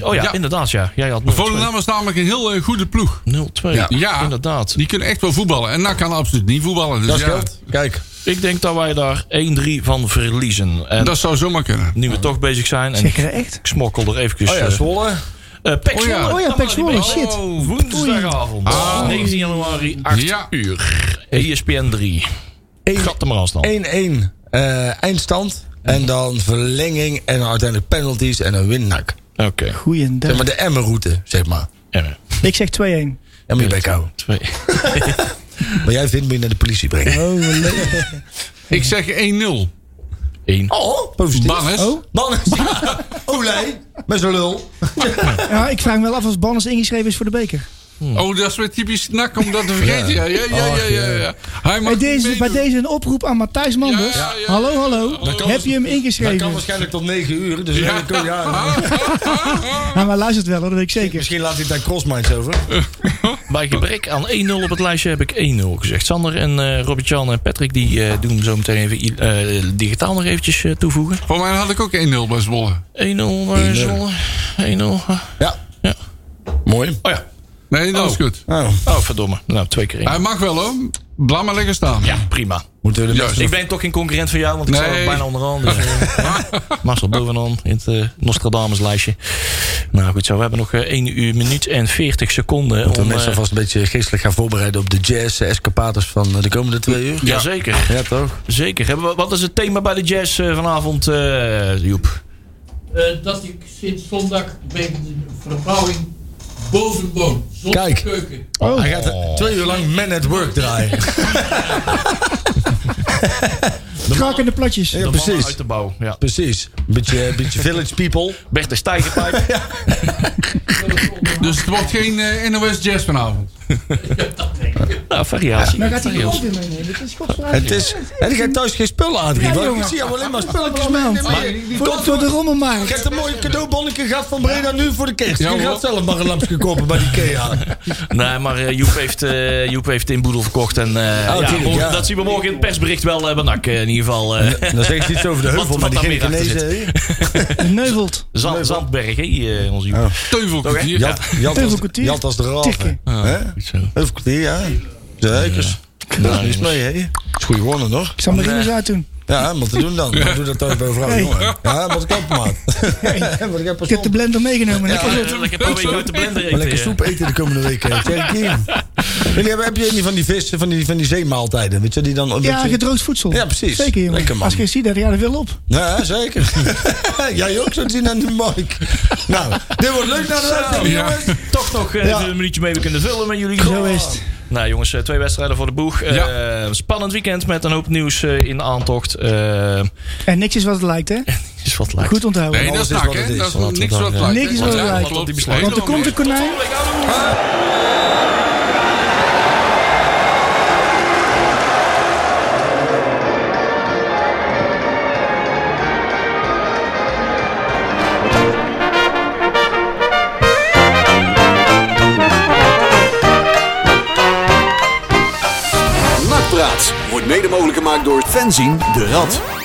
[SPEAKER 5] 0-2. Oh ja,
[SPEAKER 4] Ja.
[SPEAKER 5] inderdaad ja. Jij had 0-2.
[SPEAKER 2] nou-
[SPEAKER 4] Volendam is namelijk een heel eh, goede ploeg.
[SPEAKER 5] 0-2,
[SPEAKER 4] Ja.
[SPEAKER 5] inderdaad.
[SPEAKER 4] Die kunnen echt wel voetballen. En NAC kan absoluut niet voetballen. Dus
[SPEAKER 2] Dat
[SPEAKER 4] ja,
[SPEAKER 2] scheelt. Kijk.
[SPEAKER 5] Ik denk dat wij daar 1-3 van verliezen. En
[SPEAKER 4] dat zou zomaar kunnen.
[SPEAKER 5] nu we toch bezig zijn. En
[SPEAKER 3] Zeg je
[SPEAKER 5] ik
[SPEAKER 3] dat echt?
[SPEAKER 5] smokkel er eventjes...
[SPEAKER 2] Oh ja,
[SPEAKER 5] eh,
[SPEAKER 2] Zwolle.
[SPEAKER 5] eh, Pek
[SPEAKER 4] Oh ja.
[SPEAKER 5] Zwolle.
[SPEAKER 3] Oh ja,
[SPEAKER 5] Kan
[SPEAKER 3] Pek
[SPEAKER 5] wel
[SPEAKER 3] Zwolle,
[SPEAKER 5] niet
[SPEAKER 3] shit.
[SPEAKER 5] meer. Oh, woensdagavond.
[SPEAKER 4] Ah.
[SPEAKER 5] 19 januari, E 8
[SPEAKER 4] Ja.
[SPEAKER 5] uur. ESPN 3. Gat er maar aan staan.
[SPEAKER 2] 1-1 eh, eindstand. En dan verlenging en dan uiteindelijk penalties en een winnak.
[SPEAKER 5] Oké.
[SPEAKER 2] Zeg
[SPEAKER 3] Goeiedag.
[SPEAKER 2] maar de Emmen-route, zeg maar.
[SPEAKER 5] En,
[SPEAKER 3] Ik zeg 2-1.
[SPEAKER 2] En moet je bek houden.
[SPEAKER 5] Twee.
[SPEAKER 2] Maar jij vindt me naar de politie brengen.
[SPEAKER 3] Oh, wat leuk.
[SPEAKER 4] Ik zeg 1-0.
[SPEAKER 5] 1.
[SPEAKER 2] Oh, positief.
[SPEAKER 4] Bannes.
[SPEAKER 2] Bannes. Ja. Olij. Met zo'n lul.
[SPEAKER 3] Ja, ik vraag me wel af of Banners ingeschreven is voor de beker.
[SPEAKER 4] Oh, dat is weer typisch nak om dat te vergeten. Ja, ja, ja, ja.
[SPEAKER 2] Ach,
[SPEAKER 4] ja,
[SPEAKER 2] ja.
[SPEAKER 4] ja. Hij mag
[SPEAKER 3] Bij deze,
[SPEAKER 4] niet
[SPEAKER 3] bij
[SPEAKER 4] meedoen.
[SPEAKER 3] deze een oproep aan Matthijs Manders.
[SPEAKER 4] Ja, ja, ja.
[SPEAKER 3] Hallo, hallo.
[SPEAKER 2] kan
[SPEAKER 3] Heb je hem
[SPEAKER 2] Dat kan
[SPEAKER 3] ingeschreven?
[SPEAKER 2] waarschijnlijk tot 9 uur. Dus
[SPEAKER 4] Ja.
[SPEAKER 2] dan kun je- ja.
[SPEAKER 3] Ja, Nou, maar luistert wel, hoor, dat weet ik zeker.
[SPEAKER 2] Misschien laat hij daar crossminds over.
[SPEAKER 5] Bij gebrek aan 1-0 op het lijstje heb ik 1-0 gezegd. Sander en eh Robert-Jan en Patrick die eh, doen zo meteen even i- eh, digitaal nog eventjes eh, toevoegen. 1-0
[SPEAKER 4] Voor mij had ik ook 1-0 bij Zwolle.
[SPEAKER 5] eh, Zwolle. 1-0.
[SPEAKER 2] Ja.
[SPEAKER 5] Ja.
[SPEAKER 2] Mooi.
[SPEAKER 5] Oh ja.
[SPEAKER 4] Nee, dat is goed.
[SPEAKER 2] Nou,
[SPEAKER 5] Oh, verdomme. Nou, twee keer
[SPEAKER 2] Ah.
[SPEAKER 5] één.
[SPEAKER 4] Hij mag wel hoor. Blad maar lekker staan.
[SPEAKER 5] Ja, prima.
[SPEAKER 2] moeten we de
[SPEAKER 4] Juist.
[SPEAKER 2] mensen...
[SPEAKER 5] Ik ben toch geen concurrent van jou, want ik sta
[SPEAKER 4] Nee.
[SPEAKER 5] er bijna onderaan. Dus, eh, Marcel bovenaan in het eh, Nostradamus lijstje. Nou goed, zo, we hebben nog eh, 1 uur minuut en 40 seconden.
[SPEAKER 2] Dat
[SPEAKER 5] om,
[SPEAKER 2] mensen
[SPEAKER 5] eh,
[SPEAKER 2] vast een beetje geestelijk gaan voorbereiden op de jazz eh, escapades van eh, de komende twee uur.
[SPEAKER 5] Jazeker,
[SPEAKER 2] Ja, toch?
[SPEAKER 5] zeker. Hebben we- Wat is het thema bij de jazz eh, vanavond, eh, Joep?
[SPEAKER 7] Eh, dat ik sinds zondag bij de verbouwing boven woon. Zonder
[SPEAKER 2] Kijk.
[SPEAKER 7] keuken.
[SPEAKER 2] Hij gaat eh, twee uur lang Man at Work draaien.
[SPEAKER 3] Krakende platjes.
[SPEAKER 2] Ja,
[SPEAKER 5] de mannen
[SPEAKER 2] precies.
[SPEAKER 5] uit de bouw. Ja.
[SPEAKER 2] Precies. Een beetje, een beetje village people.
[SPEAKER 5] Bert de Stijgerpijp.
[SPEAKER 4] Dus het wordt geen eh, NOS Jazz vanavond.
[SPEAKER 5] Nou, variatie.
[SPEAKER 3] Dan gaat hij
[SPEAKER 5] Variatie.
[SPEAKER 3] gewoon weer meenemen. Het is godsvrijdag.
[SPEAKER 2] Het is, en ik heb thuis geen spullen aan,
[SPEAKER 3] Ja,
[SPEAKER 2] want Ik
[SPEAKER 3] jongen.
[SPEAKER 2] zie jou alleen maar spulletjes
[SPEAKER 3] Allemaal.
[SPEAKER 2] meenemen.
[SPEAKER 3] Voor, voor de
[SPEAKER 2] Ik
[SPEAKER 3] rommelmarkt.
[SPEAKER 2] heb een mooie cadeaubonnetje gehad van Breda nu voor de kerst.
[SPEAKER 4] Ja,
[SPEAKER 2] Je
[SPEAKER 4] hoor.
[SPEAKER 2] gaat zelf maar een lampje kopen bij die IKEA.
[SPEAKER 5] Nee, maar eh, Joep, heeft, eh, Joep heeft in Boedel verkocht. En, eh, ja,
[SPEAKER 2] tuurlijk,
[SPEAKER 5] morgen-
[SPEAKER 2] ja.
[SPEAKER 5] Dat zien we morgen in het persbericht wel eh, bij NAC. eh, in ieder geval eh,
[SPEAKER 2] Dan zeg ik iets over de heuvel,
[SPEAKER 5] Wat-
[SPEAKER 2] maar
[SPEAKER 5] wat
[SPEAKER 2] die
[SPEAKER 5] daar meer achter
[SPEAKER 2] Genezen.
[SPEAKER 3] Neuvelt.
[SPEAKER 5] Zand, Zandberg, hè, eh, onze Joep.
[SPEAKER 2] Ja.
[SPEAKER 4] Teuvelkwartier.
[SPEAKER 2] Jat, Jat, als,
[SPEAKER 3] Heuvelkwartier.
[SPEAKER 2] Jat als de raaf.
[SPEAKER 3] Tikken.
[SPEAKER 2] hè? Heuvelkwartier, ja. Zeker. Daar is niks mee, hè. Het is goed gewonnen, nog.
[SPEAKER 3] Ik zal mijn ringers uitdoen.
[SPEAKER 2] Ja, wat te doen dan? Maar Doe dat thuis bij een vrouw,
[SPEAKER 3] Nee.
[SPEAKER 2] jongen. Ja, wat ik ook maat. Wat ik heb
[SPEAKER 3] Ik heb de
[SPEAKER 2] persoon.
[SPEAKER 3] blender meegenomen.
[SPEAKER 5] Ik
[SPEAKER 3] Lekker zo.
[SPEAKER 5] heb een beetje uit eh. de blender
[SPEAKER 2] Maar
[SPEAKER 5] eten.
[SPEAKER 2] lekker soep eten de komende week. hè. Check in. Jullie hebben, heb je niet van die vissen, van die, van die zeemaaltijden? Weet je, die dan...
[SPEAKER 3] Ja,
[SPEAKER 2] weet je-
[SPEAKER 3] gedroogd voedsel.
[SPEAKER 2] Ja, precies.
[SPEAKER 3] Zeker, jongen.
[SPEAKER 2] Lekker, man.
[SPEAKER 3] Als je ziet dat, ja, dat wil op.
[SPEAKER 2] Ja, zeker. Jij ook zo'n zin aan de mic. Nou, dit wordt leuk naar de uitzending,
[SPEAKER 4] Ja.
[SPEAKER 2] jongens.
[SPEAKER 5] Toch nog eh,
[SPEAKER 2] Ja.
[SPEAKER 5] een minuutje mee we kunnen vullen met jullie.
[SPEAKER 3] Zo is het.
[SPEAKER 5] Nou jongens, eh, twee wedstrijden voor de boeg. Eh, spannend weekend met een hoop nieuws eh, in de aantocht. Eh,
[SPEAKER 3] En niks is wat het lijkt, hè?
[SPEAKER 5] is wat lijkt.
[SPEAKER 3] Goed onthouden.
[SPEAKER 4] Nee, dat
[SPEAKER 2] Alles
[SPEAKER 4] is
[SPEAKER 2] is
[SPEAKER 4] nak,
[SPEAKER 2] wat het
[SPEAKER 4] hè?
[SPEAKER 2] is.
[SPEAKER 4] Dat is
[SPEAKER 2] Laten we
[SPEAKER 4] niks
[SPEAKER 2] dat,
[SPEAKER 4] wat
[SPEAKER 2] ja.
[SPEAKER 4] lijkt.
[SPEAKER 3] Niks
[SPEAKER 4] hè?
[SPEAKER 3] wat
[SPEAKER 4] Ja,
[SPEAKER 3] lijkt.
[SPEAKER 4] klopt, die
[SPEAKER 5] Want er
[SPEAKER 3] Want er
[SPEAKER 4] besluiten
[SPEAKER 3] komt een
[SPEAKER 4] wel
[SPEAKER 3] konijn.
[SPEAKER 1] Nakpraat wordt mede mogelijk gemaakt door Fenzin de Rad.